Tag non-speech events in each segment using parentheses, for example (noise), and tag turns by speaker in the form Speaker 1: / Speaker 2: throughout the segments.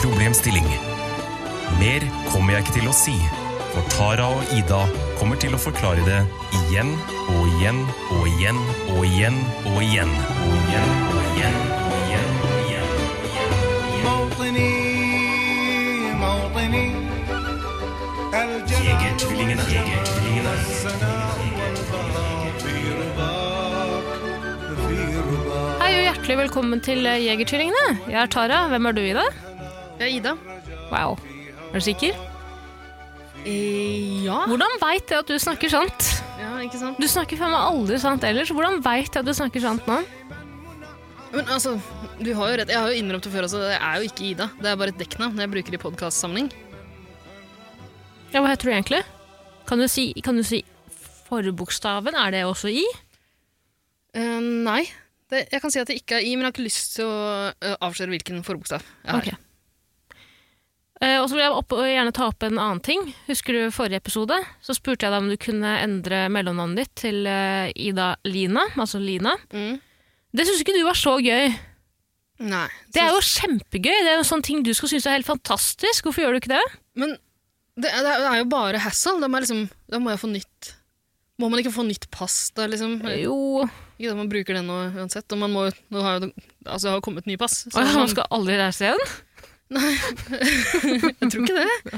Speaker 1: problemstilling. Mer kommer jeg ikke til å si, for Tara og Ida kommer til å forklare det igjen og igjen og igjen og igjen og igjen. Og igjen, og igjen, og igjen, og igjen, og igjen, og igjen.
Speaker 2: موطني موطني الجنة
Speaker 1: Jegertvillingene, jegertvillingene.
Speaker 2: والسنا والبراء في رضاك في رضاك
Speaker 3: Hei og hjertelig velkommen til eh, Jegertvillingene. Jeg er Tara. Hvem er du, Ida?
Speaker 4: Ja, Ida?
Speaker 3: Wow. Er du sikker?
Speaker 4: Eh, ja.
Speaker 3: Hvordan veit jeg at du snakker sant?
Speaker 4: ja. Ikke sant?
Speaker 3: Du snakker faen meg aldri sant ellers. Hvordan veit jeg at du snakker sant nå?
Speaker 4: Men altså, du har jo rett. Jeg har jo innrømt det før også. Det er jo ikke Ida. Det er bare et dekknavn jeg bruker i podkastsammenheng.
Speaker 3: Ja, Hva heter du egentlig? Kan du si, kan du si forbokstaven? Er det også i?
Speaker 4: Eh, nei. Det, jeg kan si at det ikke er I, men jeg har ikke lyst til å eh, avsløre hvilken forbokstav jeg har.
Speaker 3: Ok. Eh, og så vil jeg opp, og gjerne ta opp en annen ting. Husker du forrige episode? Så spurte jeg deg om du kunne endre mellomnavnet ditt til eh, Ida Lina. Altså Lina.
Speaker 4: Mm.
Speaker 3: Det syns ikke du var så gøy.
Speaker 4: Nei.
Speaker 3: Det er jo kjempegøy. Det er jo sånne ting du skal synes er helt fantastisk. Hvorfor gjør du ikke det?
Speaker 4: Men det, er- det er jo bare hassle. Da må, jeg liksom, da må jeg få nytt Må man ikke få nytt pass, da, liksom?
Speaker 3: Jo
Speaker 4: Ikke at man bruker det nå uansett. Og man må, jo- nå har jo, altså, det har jo kommet nye pass. så
Speaker 3: Åh,
Speaker 4: man-
Speaker 3: Man skal aldri reise igjen?
Speaker 4: Jeg tror ikke (laughs) det.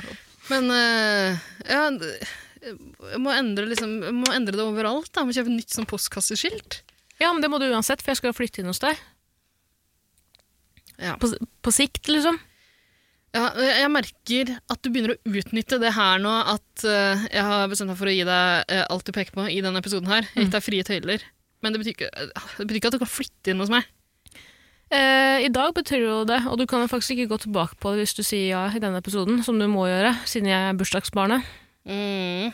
Speaker 4: Men eh, ja, d- jeg må endre, liksom, jeg må endre det overalt. Da. Jeg må kjøpe nytt sånn postkasseskilt.
Speaker 3: Ja, men det må du uansett, for jeg skal jo flytte inn hos deg.
Speaker 4: Ja.
Speaker 3: På, på sikt, liksom.
Speaker 4: Ja, jeg jeg merker at du begynner å utnytte det her nå, at eh, jeg har bestemt meg for å gi deg eh, alt du peker på i denne episoden her. Jeg har gitt deg frie tøyler. Men det betyr, ikke, eh, det betyr ikke at du kan flytte inn hos meg.
Speaker 3: Eh, I dag betyr det jo det, og du kan jo faktisk ikke gå tilbake på det hvis du sier ja i denne episoden, som du må gjøre, siden jeg er bursdagsbarnet.
Speaker 4: Mm.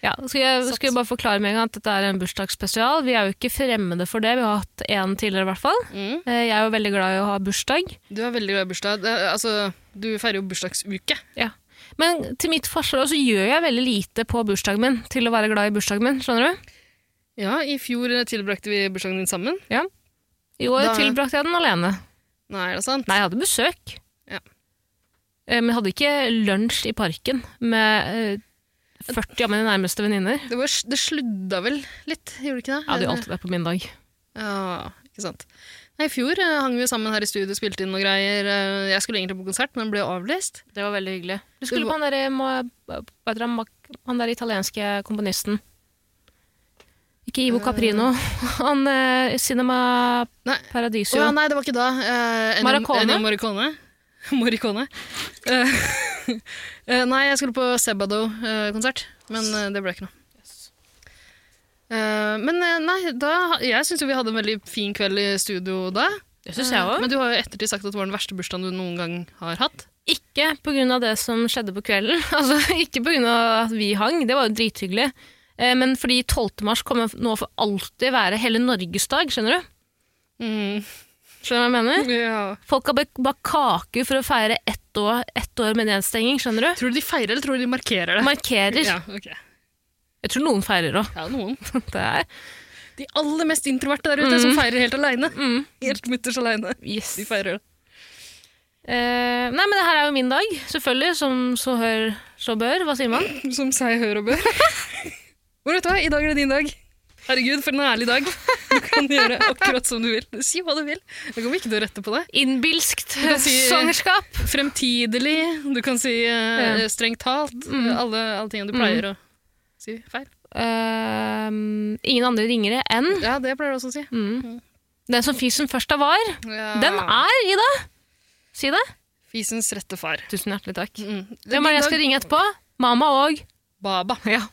Speaker 3: Ja, skal jeg, skal jeg bare forklare med en gang at dette er en bursdagsspesial. Vi er jo ikke fremmede for det, vi har hatt én tidligere i hvert fall.
Speaker 4: Mm.
Speaker 3: Eh, jeg er jo veldig glad i å ha bursdag.
Speaker 4: Du er veldig glad i bursdag. Det, er- altså, du feirer jo bursdagsuke.
Speaker 3: Ja. Men til mitt forsvar så gjør jeg veldig lite på bursdagen min til å være glad i bursdagen min, skjønner du?
Speaker 4: Ja, i fjor eh, tilbrakte vi bursdagen din sammen.
Speaker 3: I år
Speaker 4: Da-
Speaker 3: tilbrakte jeg den alene.
Speaker 4: Nei, er det sant?
Speaker 3: Nei, jeg hadde besøk.
Speaker 4: Ja.
Speaker 3: Eh, Men jeg hadde ikke lunsj i parken med eh, 40 av mine nærmeste venninner.
Speaker 4: Det, var, det sludda vel litt, gjorde det ikke det?
Speaker 3: Jeg hadde jo alltid det på min dag.
Speaker 4: Ja, ikke sant. Nei, I fjor eh, hang vi sammen her i studio, spilte inn noen greier. Eh, Jeg skulle egentlig på konsert, men den ble avlyst.
Speaker 3: Det var veldig hyggelig. Du
Speaker 4: Det
Speaker 3: skulle på
Speaker 4: var-
Speaker 3: han der, eh, Ma- hva heter han, Mac- han der italienske komponisten. Ikke Ivo Caprino. (laughs) Han eh, Cinema
Speaker 4: Nei. Å
Speaker 3: Paradiso.
Speaker 4: ja, nei, det var ikke da. Eh, Ennio-
Speaker 3: Maracone?
Speaker 4: Ennio Morricone. (laughs) Morricone. Eh, (laughs) eh, nei, jeg skulle på Sebado-konsert, men eh, det ble ikke noe. Eh, men eh, nei, da, jeg syns jo vi hadde en veldig fin kveld i studio da.
Speaker 3: det syns jeg òg.
Speaker 4: Men du har jo i ettertid sagt at det var den verste bursdagen du noen gang har hatt.
Speaker 3: Ikke pga. det som skjedde på kvelden. (laughs) Altså, ikke pga. at vi hang, det var jo drithyggelig. Eh, Men fordi 12. mars kommer nå for alltid være hele Norges dag, skjønner du?
Speaker 4: Mm. (laughs)
Speaker 3: Skjønner du hva jeg mener?
Speaker 4: Ja.
Speaker 3: Folk har bak- bakt kaker for å feire ett år, ett år med nedstenging, skjønner du?
Speaker 4: Tror du de feirer, eller tror du de markerer det?
Speaker 3: Markerer.
Speaker 4: Ja, ok.
Speaker 3: Jeg tror noen feirer òg.
Speaker 4: Ja, noen.
Speaker 3: (laughs) Det er
Speaker 4: De aller mest introverte der ute som feirer helt aleine.
Speaker 3: mm.
Speaker 4: Helt mutters aleine.
Speaker 3: Yes.
Speaker 4: De feirer det.
Speaker 3: Eh, nei, men det her er jo min dag, selvfølgelig, som så hør, så bør. Hva sier man?
Speaker 4: Som seg hør
Speaker 3: (laughs)
Speaker 4: og bør. Men vet du hva, i dag er det din dag. Herregud, for en ærlig dag. Du kan gjøre akkurat som du vil. Si hva du vil. Jeg kommer ikke til å rette på deg.
Speaker 3: Innbilskt
Speaker 4: kan si-
Speaker 3: svangerskap.
Speaker 4: Fremtidelig, du kan si eh,
Speaker 3: Ja. Mm.
Speaker 4: strengt talt. eh, Alle, alle tingene du pleier å si feil.
Speaker 3: Eh, ingen andre ringere enn
Speaker 4: Ja, det pleier du også å si.
Speaker 3: mm. Den som fikk som først av var.
Speaker 4: Ja.
Speaker 3: Den er Ida! Si det.
Speaker 4: Fisens rette far.
Speaker 3: Tusen hjertelig takk.
Speaker 4: Mm. Det
Speaker 3: Hvem er det
Speaker 4: din
Speaker 3: jeg
Speaker 4: dag.
Speaker 3: skal ringe etterpå? Mamma og
Speaker 4: Baba. (laughs)
Speaker 3: Ja.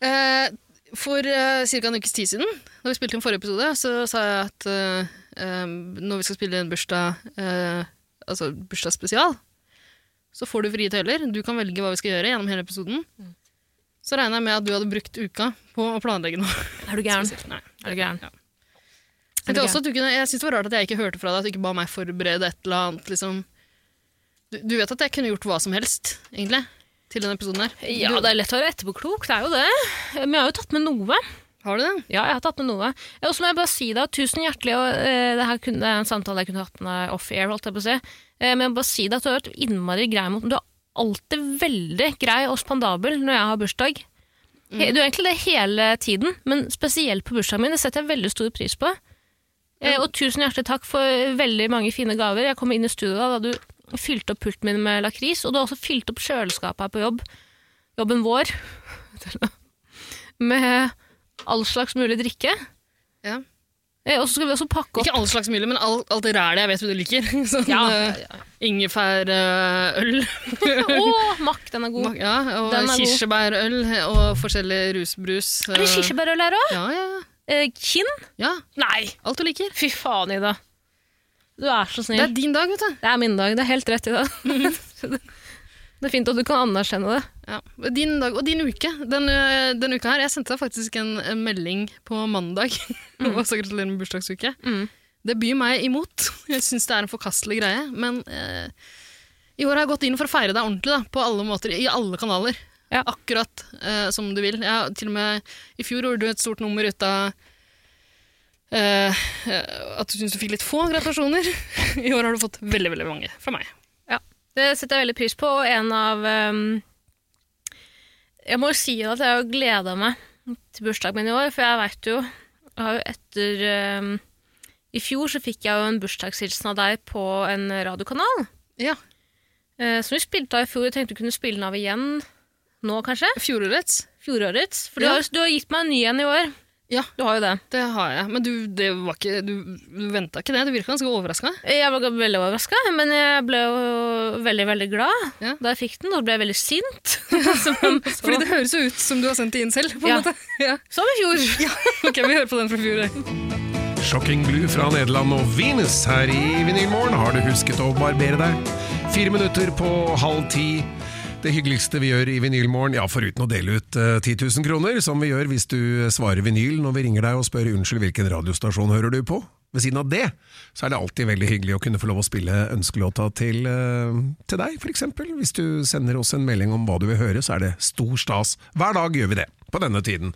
Speaker 4: Eh, for uh, ca. en ukes tid siden, da vi spilte inn forrige episode, så sa jeg at eh, eh, når vi skal spille en bursdag, eh, altså bursdagsspesial, så får du frie tøyler. Du kan velge hva vi skal gjøre gjennom hele episoden.
Speaker 3: Mm.
Speaker 4: Så regna jeg med at du hadde brukt uka på å planlegge
Speaker 3: (laughs)
Speaker 4: noe.
Speaker 3: Er du gæren?
Speaker 4: spesielt. Nei.
Speaker 3: Er du gæren?
Speaker 4: Jeg, tenkte også at du kunne, jeg synes det var rart at jeg ikke hørte fra deg, at du ikke ba meg forberede et eller annet. Liksom. Du, du vet at jeg kunne gjort hva som helst, egentlig, til denne episoden her.
Speaker 3: Ja,
Speaker 4: du,
Speaker 3: det er lett å være etterpåklok, det er jo det. Men jeg har jo tatt med noe.
Speaker 4: Har du det?
Speaker 3: Ja, jeg har tatt med noe. Eh, Og så må jeg bare si da, tusen hjertelig, og eh, det her kunne, det er en samtale jeg kunne hatt med deg off-air, holdt jeg på å si. Eh, men jeg må bare si deg at du har vært innmari grei mot Du er alltid veldig grei og spandabel når jeg har bursdag. He- Du er egentlig det hele tiden, men spesielt på bursdagen min. Det setter jeg veldig stor pris på. Eh, og tusen hjertelig takk for veldig mange fine gaver. Jeg kom inn i studio da, da du fylte opp pulten min med lakris, og du har også fylt opp kjøleskapet her på jobb. Jobben vår. (laughs) med all slags mulig drikke.
Speaker 4: Ja.
Speaker 3: Eh, Og så skulle vi også pakke opp
Speaker 4: Ikke all slags mulig, men all, alt det rælet jeg vet du liker. (laughs) Sånn
Speaker 3: Ja.
Speaker 4: eh, ingefærøl.
Speaker 3: (laughs) Å, Mack, den er god.
Speaker 4: ja, og
Speaker 3: Oh, Den er god.
Speaker 4: kirsebærøl og forskjellig rusbrus.
Speaker 3: Er det
Speaker 4: eh,
Speaker 3: kirsebærøl her òg?
Speaker 4: Ja, ja, ja.
Speaker 3: Eh, kinn?
Speaker 4: ja.
Speaker 3: Nei!
Speaker 4: Alt du liker.
Speaker 3: Fy faen, Ida. Du er så
Speaker 4: Det er
Speaker 3: snill.
Speaker 4: din dag, vet du.
Speaker 3: Det er min dag. Det er helt rett, Ida. (laughs) det er fint at du kan anerkjenne det.
Speaker 4: Ja. Din dag og din uke. Den, ø, den uka her, Jeg sendte deg faktisk en ø, melding på mandag. (laughs) og sa gratulerer med bursdagsuke.
Speaker 3: Mm.
Speaker 4: Det byr meg imot. (laughs) Jeg syns det er en forkastelig greie. Men ø, i år har jeg gått inn for å feire deg ordentlig da, på alle måter, i alle kanaler.
Speaker 3: Ja.
Speaker 4: Akkurat ø, som du vil. Jeg, har til og med, I fjor gjorde du et stort nummer ut av ø, ø, at du syns du fikk litt få gratulasjoner. (laughs) I år har du fått veldig veldig mange fra meg.
Speaker 3: Det setter jeg veldig pris på, og en av ehm, Jeg må jo si at jeg har gleda meg til bursdagen min i år, for jeg veit jo jeg har jo etter ehm, I fjor så fikk jeg jo en bursdagshilsen av deg på en radiokanal,
Speaker 4: Ja,
Speaker 3: eh, som vi spilte av i fjor. Jeg tenkte vi kunne spille den av igjen nå, kanskje.
Speaker 4: Fjorårets.
Speaker 3: Fjorårets. For
Speaker 4: Ja.
Speaker 3: du, har, du har gitt meg en ny en i år.
Speaker 4: Ja.
Speaker 3: Du har jo det.
Speaker 4: Det har jeg, men du, det var ikke, du, du venta ikke det. Du virka ganske overraska.
Speaker 3: Jeg var veldig overraska, men jeg ble jo veldig, veldig glad
Speaker 4: Ja.
Speaker 3: da jeg fikk den. Og så ble jeg veldig
Speaker 4: (laughs)
Speaker 3: sint.
Speaker 4: Fordi det høres jo ut som du har sendt det inn selv. på en
Speaker 3: Ja.
Speaker 4: måte. (laughs) Ja.
Speaker 3: Som i fjor.
Speaker 4: Ok, vi hører på den fra fjor. jeg.
Speaker 5: Shocking Blue fra Nederland og Venus her i Vinylmorgen. Har du husket å barbere deg? Fire minutter på halv ti. Det hyggeligste vi gjør i Vinylmorgen, ja, foruten å dele ut eh, 10 000 kroner, som vi gjør hvis du svarer vinyl når vi ringer deg og spør unnskyld hvilken radiostasjon hører du på? Ved siden av det, så er det alltid veldig hyggelig å kunne få lov å spille ønskelåta til, eh, til deg, f.eks. Hvis du sender oss en melding om hva du vil høre, så er det stor stas. Hver dag gjør vi det, på denne tiden.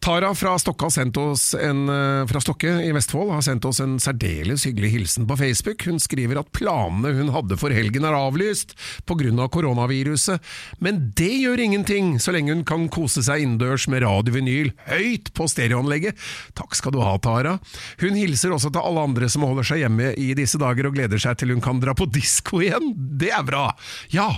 Speaker 5: Tara fra Stokke, har sendt oss en, eh, fra Stokke i Vestfold har sendt oss en særdeles hyggelig hilsen på Facebook. Hun skriver at planene hun hadde for helgen er avlyst pga. Av koronaviruset, men det gjør ingenting så lenge hun kan kose seg innendørs med radiovinyl høyt på stereoanlegget. Takk skal du ha, Tara. Hun hilser også til alle andre som holder seg hjemme i disse dager og gleder seg til hun kan dra på disko igjen. Det er bra! Ja,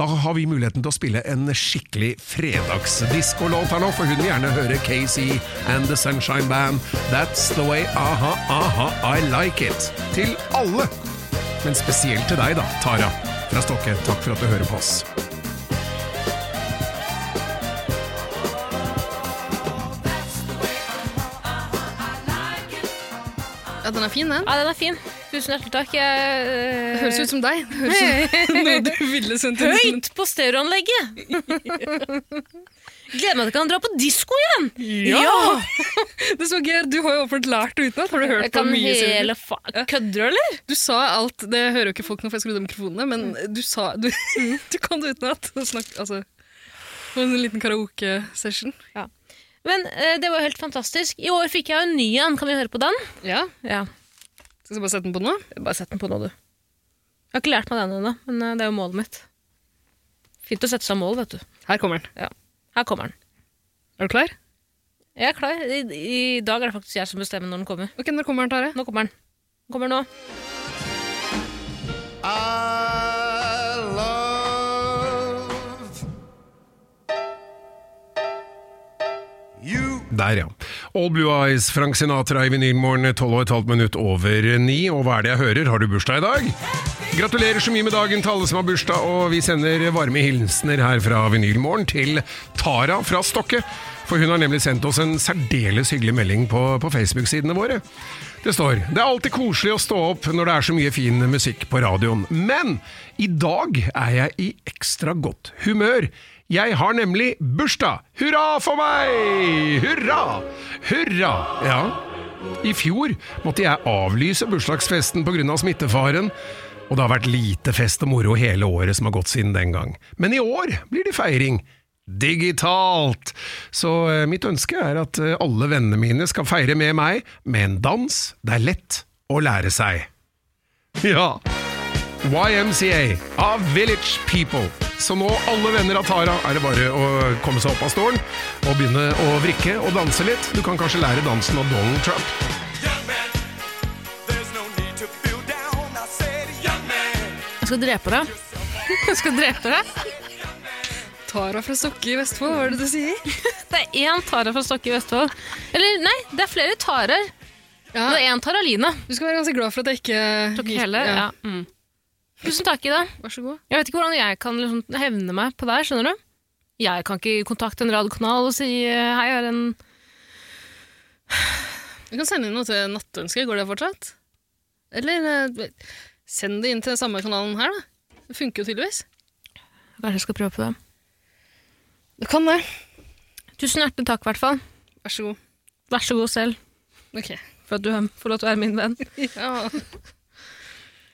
Speaker 5: da har vi muligheten til å spille en skikkelig fredagsdiskolåt her nå, for hun vil gjerne høre KC and The Sunshine Band. That's the way, aha, aha, I like it. Til alle! Men spesielt til deg da, Tara fra Stokke. Takk for at du hører på oss.
Speaker 4: Ja, den er fin, den.
Speaker 3: Ja, den er fin. Tusen hjertelig takk. Jeg, eh,
Speaker 4: Det høres ut som deg. Det høres ut som noe du ville sendt inn.
Speaker 3: Høyt på stereoanlegget!
Speaker 4: (laughs)
Speaker 3: Gleder meg til jeg kan dra på disko igjen!
Speaker 4: Det er så gøy. Du har jo åpenbart lært det utenat. Har du hørt
Speaker 3: Jeg
Speaker 4: på
Speaker 3: kan
Speaker 4: mye
Speaker 3: hele
Speaker 4: siden?
Speaker 3: fa... Kødder du, eller?
Speaker 4: Du sa alt Det hører jo ikke folk nå, for jeg skrudde av mikrofonene, men du sa Du, (laughs) du kan det utenat. Det snakk- Altså, det var en liten karaoke-session.
Speaker 3: Men eh, det var jo helt fantastisk. I år fikk jeg jo en ny en. Kan vi høre på den?
Speaker 4: Ja.
Speaker 3: Ja.
Speaker 4: Skal vi bare sette den på nå?
Speaker 3: Bare sett den på nå, du. Jeg har ikke lært meg den ennå, men eh, det er jo målet mitt. Fint å sette seg mål, vet du.
Speaker 4: Her kommer den.
Speaker 3: Her kommer den.
Speaker 4: Er du klar?
Speaker 3: Jeg er klar. I, I dag er det faktisk jeg som bestemmer når den kommer.
Speaker 4: Ok, Når kommer den, Tare?
Speaker 3: Nå kommer den. Den kommer nå.
Speaker 2: I love you.
Speaker 5: Der, ja. All Blue Eyes, Frank Sinatra i vinylmorgen, 12 og et halvt minutt over ni. Og hva er det jeg hører? Har du bursdag i dag? Gratulerer så mye med dagen til alle som har bursdag, og vi sender varme hilsener her fra vinylmorgen til Tara fra Stokke. For hun har nemlig sendt oss en særdeles hyggelig melding på, på Facebook-sidene våre. Det står Det er alltid koselig å stå opp når det er så mye fin musikk på radioen, men i dag er jeg i ekstra godt humør. Jeg har nemlig bursdag! Hurra for meg! Hurra! Hurra! Ja. I fjor måtte jeg avlyse bursdagsfesten pga. Av smittefaren, og det har vært lite fest og moro hele året som har gått siden den gang. Men i år blir det feiring. digitalt. Så eh, mitt ønske er at eh, alle vennene mine skal feire med meg med en dans det er lett å lære seg. Ja. YMCA av Village People. Så nå, alle venner av Tara, er det bare å komme seg opp av stolen og begynne å vrikke og danse litt. Du kan kanskje lære dansen av Donald Trump.
Speaker 6: Young man, there's no need to feel down. I said, young man,
Speaker 3: Jeg skal drepe deg. (laughs) Jeg skal drepe deg.
Speaker 4: Tara fra Stokke i Vestfold, hva er det du sier?
Speaker 3: Det er én Tara fra Stokke i Vestfold. Eller nei, det er flere Tarer.
Speaker 4: Ja,
Speaker 3: Det er én Tara Line.
Speaker 4: du skal være ganske glad for at jeg ikke
Speaker 3: Tok hele. Ja. Mm. Tusen takk, Ida.
Speaker 4: Vær så god.
Speaker 3: Jeg vet ikke hvordan jeg kan liksom hevne meg på deg, skjønner du? Jeg kan ikke kontakte en radiokanal og si eh, hei, jeg har en
Speaker 4: Du kan sende inn noe til Nattønsket, går det fortsatt? Eller eh, send det inn til den samme kanalen her, da. Det funker jo tydeligvis.
Speaker 3: Kanskje jeg skal prøve på det.
Speaker 4: Du kan det.
Speaker 3: Tusen hjertelig takk, i hvert fall.
Speaker 4: Vær så god.
Speaker 3: Vær så god selv
Speaker 4: Ok.
Speaker 3: for at du får lov til å være min venn.
Speaker 4: Ja.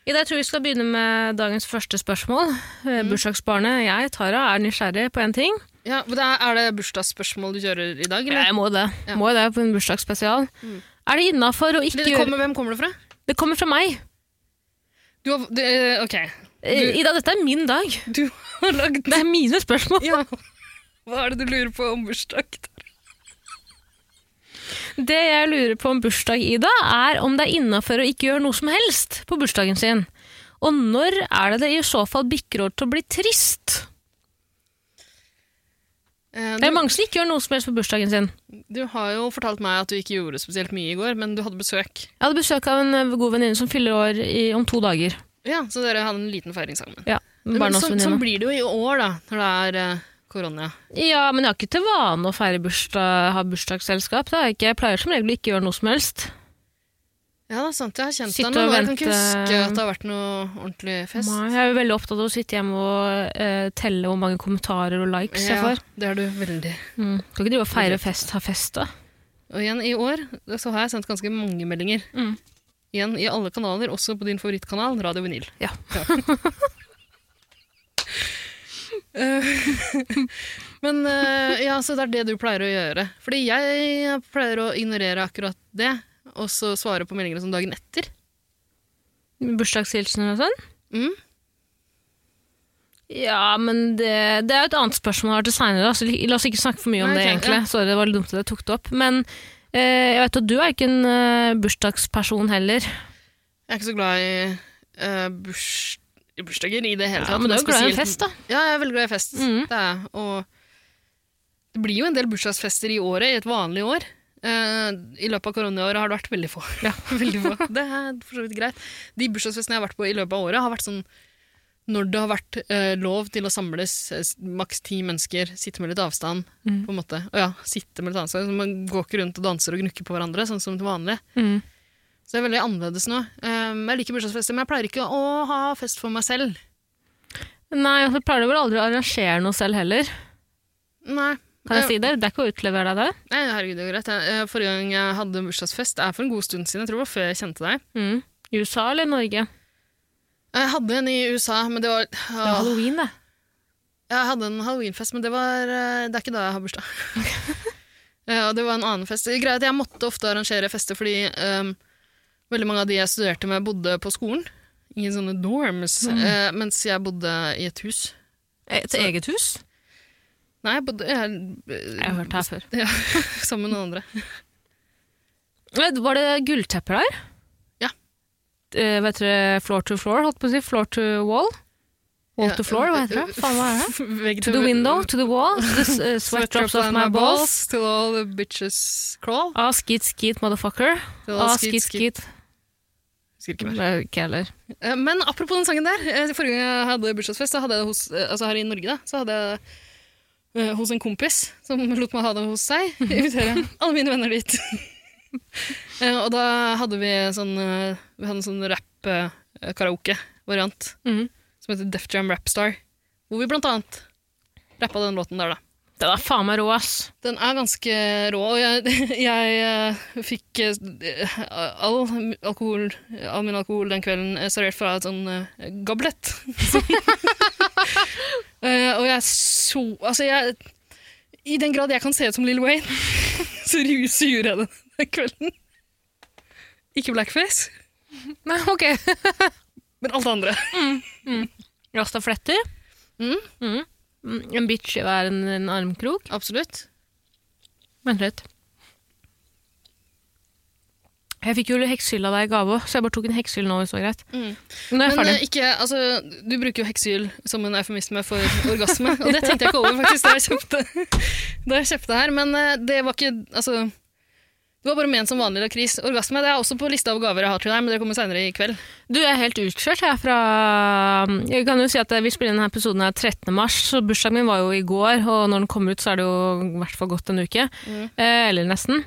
Speaker 3: Ida, jeg tror vi skal begynne med dagens første spørsmål. Eh,
Speaker 4: Mm.
Speaker 3: Bursdagsbarnet, jeg, Tara, er nysgjerrig på én ting.
Speaker 4: Ja, men det er, er det bursdagsspørsmål du kjører i dag, eller?
Speaker 3: Jeg må det.
Speaker 4: Ja.
Speaker 3: Må det på en bursdagsspesial. Er det innafor å ikke
Speaker 4: Mm. Det
Speaker 3: gjøre
Speaker 4: kommer, hvem kommer det fra?
Speaker 3: Det kommer fra meg.
Speaker 4: Du har, det, eh, ok,
Speaker 3: Eh, Ida, dette er min dag.
Speaker 4: du (laughs) har lagd
Speaker 3: Det er mine spørsmål.
Speaker 4: Ja. (laughs) Hva er det du lurer på om bursdag?
Speaker 3: Det jeg lurer på om bursdag, Ida, er om det er innafor å ikke gjøre noe som helst på bursdagen sin. Og når er det det i så fall bikker over til å bli trist?
Speaker 4: Eh,
Speaker 3: Det
Speaker 4: du,
Speaker 3: er mange som ikke gjør noe som helst på bursdagen sin.
Speaker 4: du har jo fortalt meg at du ikke gjorde spesielt mye i går, men du hadde besøk.
Speaker 3: Jeg hadde besøk av en eh, god venninne som fyller år i, om to dager.
Speaker 4: Ja, Så dere hadde en liten feiring sammen.
Speaker 3: Ja,
Speaker 4: Men så,
Speaker 3: barndomsvenninne.
Speaker 4: sånn blir det jo i år, da, når det er eh, korona.
Speaker 3: Ja, men jeg har ikke til vane å feire bursdag, ha bursdagsselskap. Det har jeg, ikke. jeg pleier som regel å ikke gjøre noe som helst.
Speaker 4: Ja, det er sant. Jeg har kjent
Speaker 3: Sitte
Speaker 4: deg noen
Speaker 3: og
Speaker 4: år. Jeg kan ikke
Speaker 3: vente-
Speaker 4: huske at det har vært noe ordentlig fest.
Speaker 3: Nei, Jeg er jo veldig opptatt av å sitte hjemme og eh, telle hvor mange kommentarer og likes jeg
Speaker 4: Ja,
Speaker 3: får.
Speaker 4: det er du veldig.
Speaker 3: Mm. Kan ikke drive og feire fest, ha fest, da.
Speaker 4: Og igjen, i år så har jeg sendt ganske mange meldinger.
Speaker 3: Mm.
Speaker 4: Igjen i alle kanaler, også på din favorittkanal, Radio Vinyl.
Speaker 3: Ja. (laughs)
Speaker 4: Eh, (laughs) Men eh, ja, så det er det du pleier å gjøre. Fordi jeg pleier å ignorere akkurat det, og så svare på meldinger som dagen etter.
Speaker 3: Bursdagshilsener og sånn.
Speaker 4: Mm.
Speaker 3: Ja, men det, det er jo et annet spørsmål her til seinere. Altså, la oss ikke snakke for mye om
Speaker 4: Nei,
Speaker 3: det,
Speaker 4: ok,
Speaker 3: egentlig.
Speaker 4: ja.
Speaker 3: Sorry, det var litt dumt at jeg tok det opp. Men eh, jeg vet at du er ikke en eh, bursdagsperson heller.
Speaker 4: Jeg er ikke så glad i eh, burs i bursdager i det hele
Speaker 3: Ja,
Speaker 4: tatt.
Speaker 3: men du er jo glad i en
Speaker 4: spesielt-
Speaker 3: fest, da.
Speaker 4: Ja, jeg er veldig glad i fest.
Speaker 3: Mm.
Speaker 4: Det er jeg. Og det blir jo en del bursdagsfester i året, i et vanlig år. Eh, I løpet av koronaåret har det vært veldig få. (laughs) veldig få. Det er for så vidt greit. De bursdagsfestene jeg har vært på i løpet av året, har vært sånn når det har vært eh, lov til å samles eh, s- maks ti mennesker, sitte med litt avstand
Speaker 3: Mm.
Speaker 4: på en måte. Og ja, sitte med litt avstand. Så man går ikke rundt og danser og gnukker på hverandre, sånn som til vanlig.
Speaker 3: Mm.
Speaker 4: Så det er veldig annerledes nå. Um, jeg liker bursdagsfester, men jeg pleier ikke å ha fest for meg selv.
Speaker 3: Nei, og så pleier du vel aldri å arrangere noe selv heller.
Speaker 4: Nei.
Speaker 3: Kan jeg
Speaker 4: Eh,
Speaker 3: si det? Det er ikke å utlevere deg det.
Speaker 4: Nei, herregud, det går greit. Jeg- eh, Forrige gang jeg hadde en bursdagsfest, det er for en god stund siden, jeg tror det var før jeg kjente deg.
Speaker 3: Mm. I USA eller Norge?
Speaker 4: Jeg hadde en i USA, men det var...
Speaker 3: Det er
Speaker 4: Åh,
Speaker 3: halloween, det.
Speaker 4: Jeg hadde en halloweenfest, men det var... eh, Det er ikke da jeg har
Speaker 3: (laughs)
Speaker 4: bursdag. Ja, og det var en annen fest. Det er greit, jeg måtte ofte arrangere fester, fordi ehm, veldig mange av de jeg studerte med bodde på skolen. I sånne dorms.
Speaker 3: Mm.
Speaker 4: eh, mens jeg bodde i et hus.
Speaker 3: Et eget hus?
Speaker 4: Nei, jeg bodde... Jeg,
Speaker 3: Jeg har hørt det her før.
Speaker 4: Ja, sammen med noen andre.
Speaker 3: Nei, Var det gulltepper der?
Speaker 4: Ja.
Speaker 3: Eh, vet dere floor to floor, holdt på å si? Floor to wall? Wall to floor, hva heter det? Faen, hva er det?
Speaker 4: (laughs) det?
Speaker 3: To the window, to the wall, the s- eh, (laughs) sweat drops off my balls.
Speaker 4: Till all the bitches crawl.
Speaker 3: Ah, skeet, skeet, motherfucker.
Speaker 4: Till all
Speaker 3: Ah,
Speaker 4: skeet,
Speaker 3: skeet,
Speaker 4: skeet.
Speaker 3: skeet.
Speaker 4: Husker ikke mer.
Speaker 3: Det er ikke heller.
Speaker 4: Eh, Men apropos den sangen der. eh, Forrige gang jeg hadde bursdagsfest, så hadde jeg det hos, eh, altså her i Norge, da, så hadde jeg eh, hos en kompis som lot meg ha det hos
Speaker 3: (laughs)
Speaker 4: seg. Invitere alle mine venner dit. (laughs) Eh, og da hadde vi sånn, eh, vi hadde en sånn rapp-karaoke-variant
Speaker 3: Mhm.
Speaker 4: som heter Def Jam Rapstar, hvor vi blant annet rappa den låten der, da.
Speaker 3: Den er faen meg rå, ass.
Speaker 4: Den er ganske rå, og jeg, (laughs) jeg eh, fikk eh, all, alkohol, all min alkohol den kvelden eh, servert fra et sånn eh, (laughs) gablett. Eh, og jeg så Altså, jeg I den grad jeg kan se ut som Lill Wayne, (laughs) så ru- så gjorde jeg det den kvelden. Ikke blackface,
Speaker 3: (laughs) Nei, ok.
Speaker 4: men alt det andre.
Speaker 3: Rastafletter.
Speaker 4: Mm.
Speaker 3: Mm. Mm, En bitch i hver en, en armkrok.
Speaker 4: Absolutt.
Speaker 3: Vent litt. Jeg fikk jo heksehylla der i gave òg, så jeg bare tok en heksehyll nå. hvis det var greit.
Speaker 4: Mm.
Speaker 3: Nå er jeg
Speaker 4: Men
Speaker 3: ferdig.
Speaker 4: eh, ikke, altså, du bruker jo heksehyl som en eufemisme for orgasme, og det tenkte jeg ikke over faktisk da jeg kjøpte, (laughs) da jeg kjøpte her, men eh, det var ikke, altså, det var bare ment som vanlig lakris. Orgasme, det er også på lista av gaver jeg har til deg, men det kommer senere i kveld.
Speaker 3: Du, jeg er helt utkjørt jeg er fra Jeg kan jo si at vi spiller inn denne episoden her 13. mars, så bursdagen min var jo i går, og når den kommer ut, så er det jo i hvert fall gått en uke. Eh, eller nesten.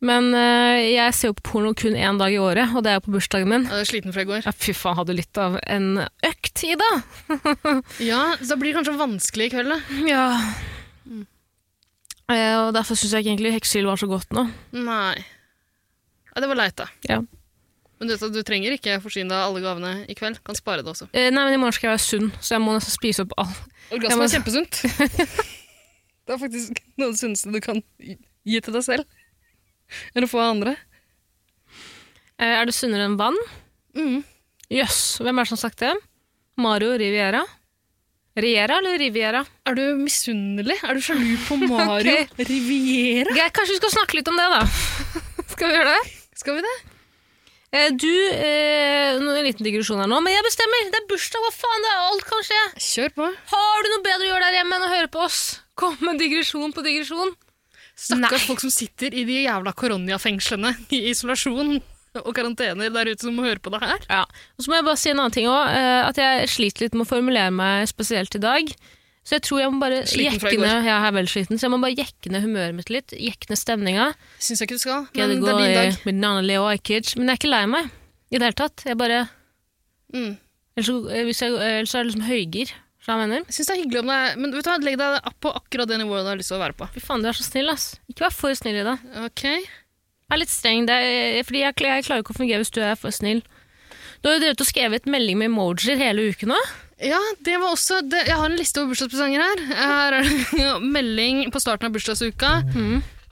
Speaker 3: Men eh, jeg ser jo på porno kun én dag i året, og det er jo på bursdagen min.
Speaker 4: Jeg er sliten fra i går.
Speaker 3: Ja, fy faen, hadde litt av en økt, Ida.
Speaker 4: Ja, så da blir det kanskje vanskelig i kveld, da.
Speaker 3: Ja. Eh, og derfor syns jeg ikke egentlig heksehyll var så godt nå.
Speaker 4: Nei. Ja, det var leit, da.
Speaker 3: Ja.
Speaker 4: Men du, vet at du trenger ikke forsyne deg av alle gavene i kveld. Kan spare det også.
Speaker 3: Eh, nei, men i morgen skal jeg være sunn, så jeg må nesten spise opp alt.
Speaker 4: Orgasme
Speaker 3: Jeg må-
Speaker 4: er kjempesunt. (laughs) det er faktisk noe av det sunneste du kan gi til deg selv. Eller få av andre.
Speaker 3: Eh, er det sunnere enn vann?
Speaker 4: Mm.
Speaker 3: Jøss, hvem er det som har sagt det? Mario Riviera? Riera eller Riviera?
Speaker 4: Er du misunnelig? Er du sjalu på (laughs) Mario Riviera?
Speaker 3: Geir, kanskje vi skal snakke litt om det, da? (laughs) skal vi gjøre det?
Speaker 4: Skal vi det?
Speaker 3: Eh, du, eh, nå- en liten digresjon her nå, men jeg bestemmer! Det er bursdag, hva faen? det er Alt kan skje!
Speaker 4: Kjør på.
Speaker 3: Har du noe bedre å gjøre der hjemme enn å høre på oss? Kom med digresjon på digresjon.
Speaker 4: Stakkars
Speaker 3: Nei.
Speaker 4: folk som sitter i de jævla koronafengslene i isolasjon og karantener der ute som må høre på det her.
Speaker 3: Ja. Og så må jeg bare si en annen ting òg. At jeg sliter litt med å formulere meg spesielt i dag. Så jeg tror jeg må bare
Speaker 4: Sliten fra i
Speaker 3: jekke
Speaker 4: går.
Speaker 3: ned, ja, jeg er veldig sliten, så jeg må bare jekke ned humøret mitt litt. Jekke ned stemninga.
Speaker 4: Syns jeg ikke du skal,
Speaker 3: Skal
Speaker 4: men
Speaker 3: det
Speaker 4: det
Speaker 3: gå
Speaker 4: er din
Speaker 3: i
Speaker 4: dag.
Speaker 3: mitt navn er Leo Ajkic? Men jeg er ikke lei meg i det hele tatt. Jeg bare
Speaker 4: Mm.
Speaker 3: Ellers, så- eh, hvis jeg, ellers er jeg liksom høygir. Så jeg mener.
Speaker 4: Jeg syns det er hyggelig om deg, men vet du hva, legg deg opp på akkurat det nivået du har lyst til å være på.
Speaker 3: Fy faen, du er så snill, ass. Ikke vær for snill i dag.
Speaker 4: Ok?
Speaker 3: Jeg er litt streng, det er, eh, fordi jeg, jeg klarer ikke å fungere hvis du er for snill. Du har jo drevet og skrevet melding med emojier hele uken nå.
Speaker 4: Ja, det var også det, Jeg har en liste over bursdagspresanger her. Her er det (laughs) melding på starten av bursdagsuka.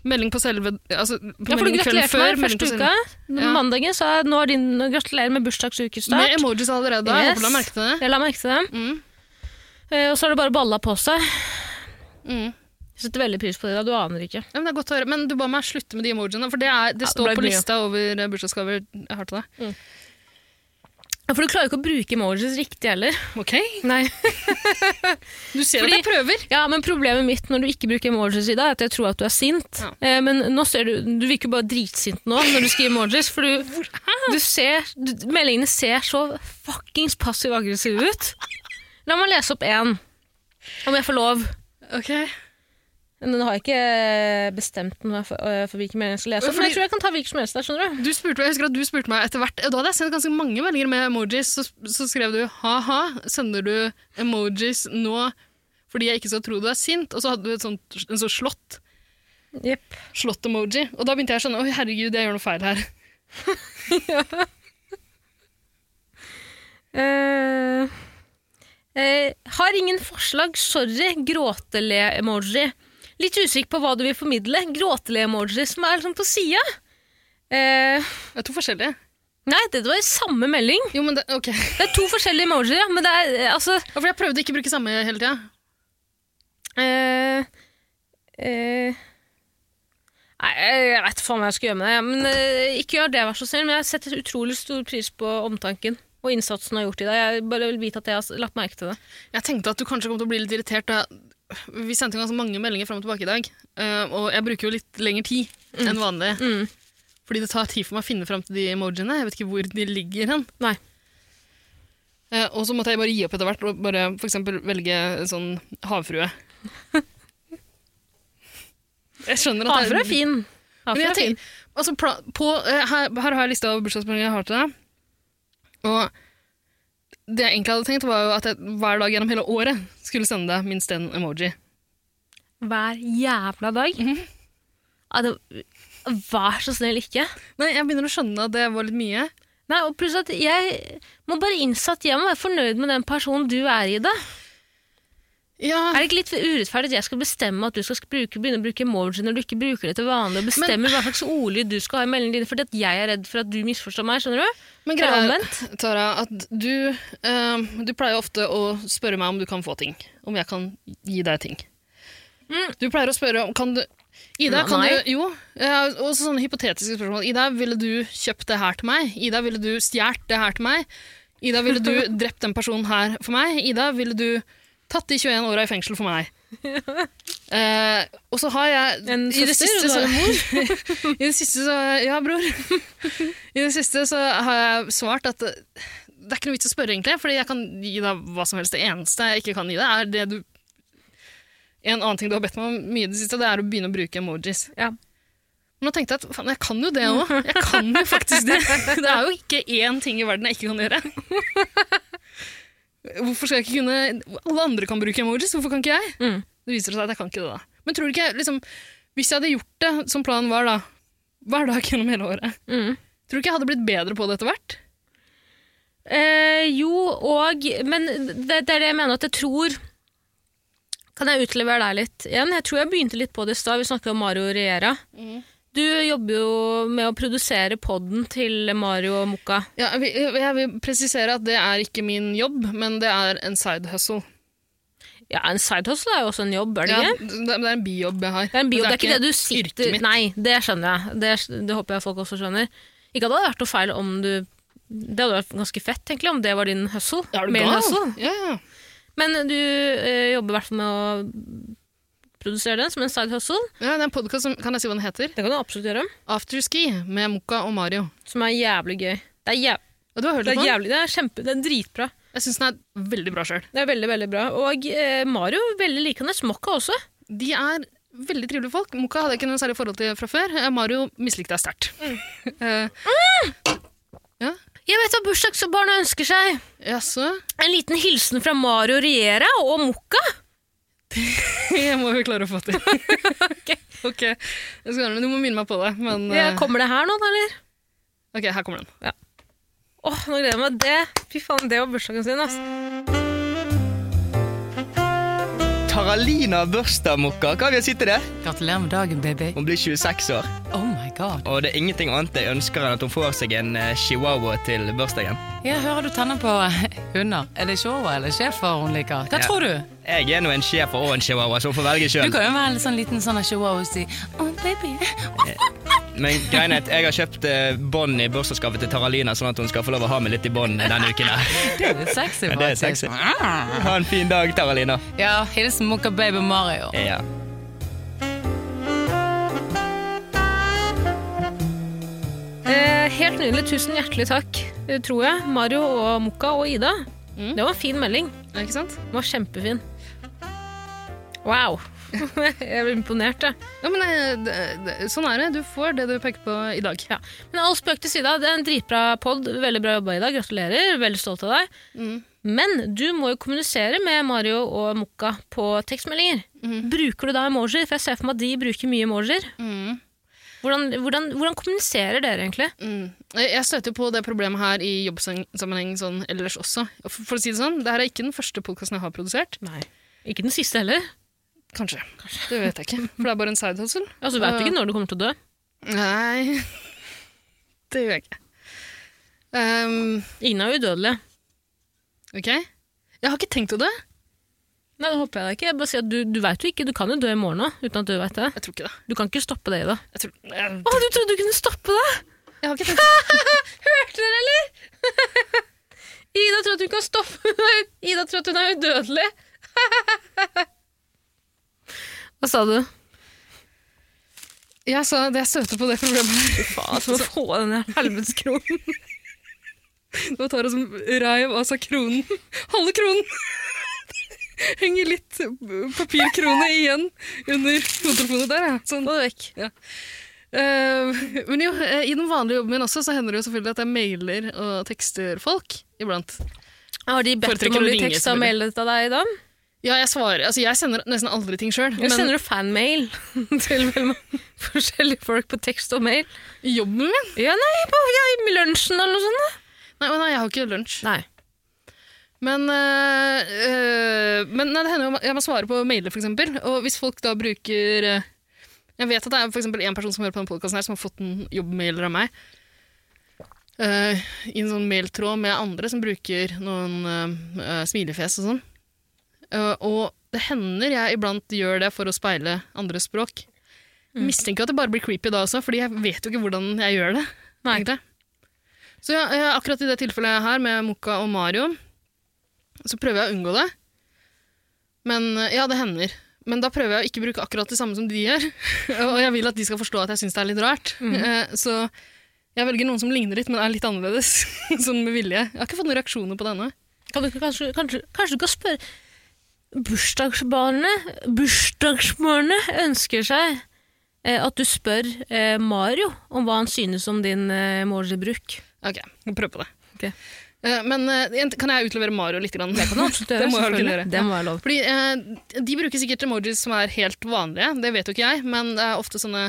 Speaker 4: Melding på selve altså, på
Speaker 3: Ja, for du
Speaker 4: melding kvelden
Speaker 3: gratulerte meg
Speaker 4: melding på
Speaker 3: første uka.
Speaker 4: selve- Ja.
Speaker 3: Mandagen sa jeg nå er din gratulerer med bursdagsukestart.
Speaker 4: Med emojis allerede. da, Jeg
Speaker 3: Yes.
Speaker 4: håper du har merket det.
Speaker 3: Jeg la merke til dem.
Speaker 4: Mm.
Speaker 3: Eh, og så har det bare balla på seg.
Speaker 4: Mm.
Speaker 3: Jeg setter veldig pris på det, da. du aner ikke.
Speaker 4: Ja, men det er godt å høre. Men du ba meg slutte med de emojiene, for det, er, det
Speaker 3: det
Speaker 4: står
Speaker 3: ble
Speaker 4: på
Speaker 3: mye.
Speaker 4: lista over eh, bursdagsgaver jeg har til deg.
Speaker 3: Ja, For du klarer ikke å bruke emojis riktig heller.
Speaker 4: Ok?
Speaker 3: (laughs) Nei.
Speaker 4: Du ser
Speaker 3: Fordi-
Speaker 4: at jeg prøver.
Speaker 3: Ja, men Problemet mitt når du ikke bruker emojis i dag, er at jeg tror at du er sint.
Speaker 4: Ja.
Speaker 3: Eh, men nå ser du Du virker jo bare dritsint nå når du skriver emojis. For du, du ser du, Meldingene ser så fuckings passiv-aggressive ut. La meg lese opp én, om jeg får lov.
Speaker 4: Ok.
Speaker 3: Men den har jeg ikke bestemt den for, øh, for hvilken melding jeg skal lese. opp, Men jeg tror jeg kan ta hvilken som helst der, skjønner du.
Speaker 4: Du spurte meg, jeg husker at du spurte meg etter hvert, og da hadde jeg sendt ganske mange meldinger med emojis, så, så skrev du «Haha, sender du emojis nå fordi jeg ikke skal tro du er sint?» Og så hadde du et sånt, en sånn slott, slott-emoji, og da begynte jeg å skjønne «Oi, herregud, jeg gjør noe feil her».
Speaker 3: Eh, eh, har ingen forslag. Sorry. Gråtele-emoji. Litt usikker på hva du vil formidle. Gråtele-emoji som er liksom på sida. Eh,
Speaker 4: Det er to forskjellige.
Speaker 3: nei, det var i samme melding.
Speaker 4: Jo, men det, ok. Ja,
Speaker 3: Det er to forskjellige emojier, ja, men det er eh, altså
Speaker 4: for jeg prøvde ikke å bruke samme hele tiden.
Speaker 3: eh, eh, Nei, jeg vet faen hva jeg skal gjøre med det. Men eh, Ikke gjør det, vær så snill. Men jeg setter utrolig stor pris på omtanken og innsatsen du har gjort i dag. Jeg bare vil vite at jeg har lagt merke til det.
Speaker 4: Jeg tenkte at du kanskje kom til å bli litt irritert. Da. Vi sendte jo ganske mange meldinger frem og tilbake i dag, eh, og jeg bruker jo litt lengre tid enn vanlig.
Speaker 3: Mm.
Speaker 4: Fordi det tar tid for meg å finne frem til de emojiene. Jeg vet ikke hvor de ligger hen.
Speaker 3: Nei.
Speaker 4: Eh, og så måtte jeg bare gi opp etter hvert og bare for eksempel velge en sånn havfrue.
Speaker 3: (laughs)
Speaker 4: Jeg skjønner at
Speaker 3: Havre er fin.
Speaker 4: Men
Speaker 3: Havre
Speaker 4: jeg
Speaker 3: er fin.
Speaker 4: tenker, altså, pla- på, eh, her, her har jeg lista over bursdagsmeldinger jeg har til deg. Og det jeg egentlig hadde tenkt, var jo at jeg hver dag gjennom hele året skulle sende deg minst en emoji.
Speaker 3: Hver jævla dag. Mhm. Ja, det, vær så snill, ikke.
Speaker 4: Nei, jeg begynner å skjønne at det var litt mye.
Speaker 3: Nei, og pluss at jeg må bare innse at jeg må være fornøyd med den personen du er i det.
Speaker 4: Ja,
Speaker 3: Er det ikke litt urettferdig at jeg skal bestemme at du skal bruke, begynne å bruke emoji når du ikke bruker det til vanlig, og bestemme hva slags ordlyd du skal ha i meldingene dine fordi at jeg er redd for at du misforstår meg? skjønner du?
Speaker 4: men
Speaker 3: Eller
Speaker 4: greia
Speaker 3: omvendt.
Speaker 4: er, Tara, at du, eh, du pleier ofte å spørre meg om du kan få ting. Om jeg kan gi deg ting. Du pleier å spørre om kan du Ida, kan
Speaker 3: Mm. Nei.
Speaker 4: du Jo. eh, også sånne hypotetiske spørsmål. Ida, ville du kjøpt det her til meg? Ida, ville du stjålet det her til meg? Ida, ville
Speaker 3: (laughs)
Speaker 4: du drept den personen her for meg? Ida, ville du tatt de 21 åra i fengsel for meg? Eh, og så har jeg
Speaker 3: En
Speaker 4: i det
Speaker 3: søster,
Speaker 4: siste
Speaker 3: og du har
Speaker 4: så- (laughs) I det siste så Ja, bror. (laughs) I det siste så har jeg svart at eh, det er ikke noe vits å spørre, egentlig, fordi jeg kan gi deg hva som helst. Det eneste jeg ikke kan gi deg, er det du En annen ting du har bedt meg om mye i det siste, det er å begynne å bruke emojis.
Speaker 3: Ja.
Speaker 4: Men nå tenkte jeg at faen, jeg kan jo
Speaker 3: (laughs)
Speaker 4: det òg. Jeg kan jo faktisk det. Det (laughs) er jo ikke én ting i verden jeg ikke kan gjøre. Hvorfor skal jeg ikke kunne Alle andre kan bruke emojis, hvorfor kan ikke jeg?
Speaker 3: Mm.
Speaker 4: Det viser seg at jeg kan ikke det, da. Men tror du ikke liksom, Hvis jeg hadde gjort det som planen var, da, hver dag gjennom hele året,
Speaker 3: Mm.
Speaker 4: tror du ikke jeg hadde blitt bedre på det etter hvert?
Speaker 3: Eh, jo, og Men det, det er det jeg mener at jeg tror Kan jeg utlevere deg litt igjen? Jeg tror jeg begynte litt på det i stad. Vi snakket om Mario Riera.
Speaker 4: Mm.
Speaker 3: Du jobber jo med å produsere podden til Mario og Moka.
Speaker 4: Ja, jeg vil- jeg vil presisere at det er ikke min jobb, men det er en side hustle.
Speaker 3: Ja, en side hustle er jo også en jobb, er det
Speaker 4: Ja,
Speaker 3: ikke?
Speaker 4: det det er en bijobb jeg har.
Speaker 3: Det er, en bio, det er ikke det du
Speaker 4: yrket
Speaker 3: sitter
Speaker 4: mitt.
Speaker 3: Nei, det skjønner jeg. Det, det håper jeg folk også skjønner. Ikke at det hadde vært noe feil om du Det hadde vært ganske fett, egentlig, om det var din hustle.
Speaker 4: Er du
Speaker 3: main
Speaker 4: gal?
Speaker 3: hustle.
Speaker 4: Ja, ja.
Speaker 3: Men du eh, jobber i hvert fall med å produsere den som en side hustle.
Speaker 4: ja, det er en podkast som Kan jeg si hva den heter?
Speaker 3: Det kan du absolutt gjøre.
Speaker 4: Afterski med Moka og Mario.
Speaker 3: Som er jævlig gøy. Det er, jæv
Speaker 4: Og du har hørt
Speaker 3: det er
Speaker 4: litt på den?
Speaker 3: jævlig, det er kjempe, det er dritbra.
Speaker 4: Jeg syns den er veldig bra sjøl.
Speaker 3: Det er veldig, veldig bra. Og eh, Mario veldig likende smokka også.
Speaker 4: De er veldig trivelige folk. Moka hadde jeg ikke noe særlig forhold til fra før. Eh, Mario mislikte jeg sterkt. (laughs) Eh,
Speaker 3: Jeg vet hva bursdagsbarna ønsker seg!
Speaker 4: Jaså? (laughs)
Speaker 3: En liten hilsen fra Mario Riera og Mokka.
Speaker 4: Jeg må jo klare å få til. ok. okay. Jeg skal, gjøre det, men du må minne meg på det. Men, eh,
Speaker 3: Kommer det her nå, da, eller?
Speaker 4: ok, her kommer den.
Speaker 3: Åh, nå gleder jeg meg. Det, fy faen, det var bursdagen sin, ass.
Speaker 7: Taralina Børstadmokka. Hva vil jeg si til det?
Speaker 8: Gratulerer med dagen, baby.
Speaker 7: Hun blir 26 år,
Speaker 8: Oh my god.
Speaker 7: og det er ingenting annet jeg ønsker enn at hun får seg en eh, chihuahua til bursdagen.
Speaker 8: Jeg hører du tenner på (laughs) hunder. Er det chihuahua eller schæfer hun liker? Hva
Speaker 7: Ja.
Speaker 8: tror du?
Speaker 7: Jeg er nå en schæfer og en chihuahua, så hun får velge
Speaker 8: Du
Speaker 7: sjøl.
Speaker 8: kan jo være en sånn liten sånn chihuahua og si oh, baby. (laughs)
Speaker 7: Men greien er at jeg har kjøpt eh, bånd i bursdagsgave til Taralina, sånn at hun skal få lov å ha meg litt i bånd denne
Speaker 8: (laughs)
Speaker 7: uken her.
Speaker 8: Det er sexy,
Speaker 7: Ja, det er
Speaker 8: faktisk.
Speaker 7: sexy. Ha en fin dag, Taralina.
Speaker 8: Ja, hilsen Mokka Baby Mario.
Speaker 7: Ja.
Speaker 3: Eh, helt nydelig. Tusen hjertelig takk, eh, tror jeg. Mario og Mokka og Ida.
Speaker 4: Mm.
Speaker 3: Det var en fin melding.
Speaker 4: Ikke sant?
Speaker 3: Den var kjempefin. Wow. (laughs) jeg ble imponert, jeg.
Speaker 4: Ja, men eh, det- det- Sånn er det. Du får det du peker på i dag.
Speaker 3: Ja. Men all spøk til side, det er en dritbra pod. Veldig bra jobba, Ida. Gratulerer. Veldig stolt av deg.
Speaker 4: Mm.
Speaker 3: Men du må jo kommunisere med Mario og Mokka på tekstmeldinger.
Speaker 4: Mhm.
Speaker 3: Bruker du da emojier? For jeg ser for meg at de bruker mye emojier.
Speaker 4: Mm.
Speaker 3: Hvordan, hvordan, hvordan kommuniserer dere egentlig?
Speaker 4: Mm. Jeg jeg støter på det problemet her i jobbsammenheng sånn ellers også. For, for å si det sånn, det her er ikke den første podkasten jeg har produsert.
Speaker 3: Nei. Ikke den siste heller.
Speaker 4: Kanskje. Det vet jeg ikke. For det er bare en side hustle.
Speaker 3: Ja, så vet Altså, du
Speaker 4: Ja.
Speaker 3: ikke når du kommer til å dø.
Speaker 4: Nei, (laughs) det gjør jeg ikke. Ehm,
Speaker 3: Ingen er udødelige.
Speaker 4: ok. Jeg har ikke tenkt på det.
Speaker 3: Nei, det håper jeg da ikke. Jeg bare sier at du, du vet jo ikke, du kan jo dø i morgen òg, uten at du vet det.
Speaker 4: Jeg tror ikke det.
Speaker 3: Du kan ikke stoppe det i det.
Speaker 4: Jeg, tror, jeg,
Speaker 3: Å, du trodde du kunne stoppe det?!
Speaker 4: jeg har ikke tenkt (laughs) på det.
Speaker 3: Hørte dere, eller?! (laughs) Ida tror at hun kan stoppe Ida tror at hun er udødelig! (laughs) Hva sa du?
Speaker 4: Jeg sa at jeg støter på det problemet. her.
Speaker 3: At hun få denne helveteskronen.
Speaker 4: Det var Tara som sånn reiv av seg kronen. (laughs) Halve kronen! (laughs) Henger litt papirkrone igjen under hodetelefonen der. Ja. Sånn.
Speaker 3: Få det vekk.
Speaker 4: Eh, men jo, eh, i den vanlige jobben min også, så hender det jo selvfølgelig at jeg mailer og tekster folk iblant.
Speaker 3: Har de bedt
Speaker 4: Foretrekker
Speaker 3: om å
Speaker 4: å
Speaker 3: bli
Speaker 4: ringe
Speaker 3: teksta og
Speaker 4: selvfølgelig.
Speaker 3: mailet av deg, Ida?
Speaker 4: Ja, jeg svarer. Altså, jeg sender nesten aldri ting sjøl.
Speaker 3: Eller sender du fanmail (laughs) til vel (laughs) forskjellige folk på tekst og mail?
Speaker 4: jobben min
Speaker 3: Ja, nei, på ja, i lunsjen eller noe sånt. da.
Speaker 4: Nei, men nei, jeg har ikke lunsj.
Speaker 3: Nei.
Speaker 4: Men, eh, eh, men nei, det hender jo at jeg må svare på mailer, for eksempel. Og hvis folk da bruker eh, Jeg vet at det er for eksempel en person som hører på denne podkasten her, som har fått en jobbmailer av meg. eh, I en sånn mailtråd med andre som bruker noen eh, eh, smilefjes og sånn. Eh, og det hender jeg iblant gjør det for å speile andres språk. Mistenker at det bare blir creepy da også, fordi jeg vet jo ikke hvordan jeg gjør det.
Speaker 3: Nei.
Speaker 4: egentlig. Så ja, eh, akkurat i det tilfellet her med Moka og Mario, så prøver jeg å unngå det. Men eh, ja, det hender. Men da prøver jeg å ikke bruke akkurat det samme som de gjør. (laughs) og jeg vil at de skal forstå at jeg syns det er litt rart.
Speaker 3: Mhm.
Speaker 4: Eh, Så jeg velger noen som ligner litt, men er litt annerledes. (laughs) sånn med vilje. Jeg har ikke fått noen reaksjoner på denne.
Speaker 3: Kan du ikke kanskje, kanskje, kanskje du kan spørre Bursdagsbarnet, bursdagsbarnet ønsker seg eh, at du spør eh, Mario om hva han synes om din eh, målebruk.
Speaker 4: Ok, vi prøver på det.
Speaker 3: Ok.
Speaker 4: Eh, Men eh, jent- kan jeg utlevere Mario litt? Grann?
Speaker 3: Det kan du absolutt gjøre.
Speaker 4: (laughs) Det må jeg vel kunne
Speaker 3: selvfølgelig.
Speaker 4: gjøre.
Speaker 3: Det må være lov.
Speaker 4: Fordi eh, De bruker sikkert emojis som er helt vanlige, det vet jo ikke jeg, men det er ofte sånne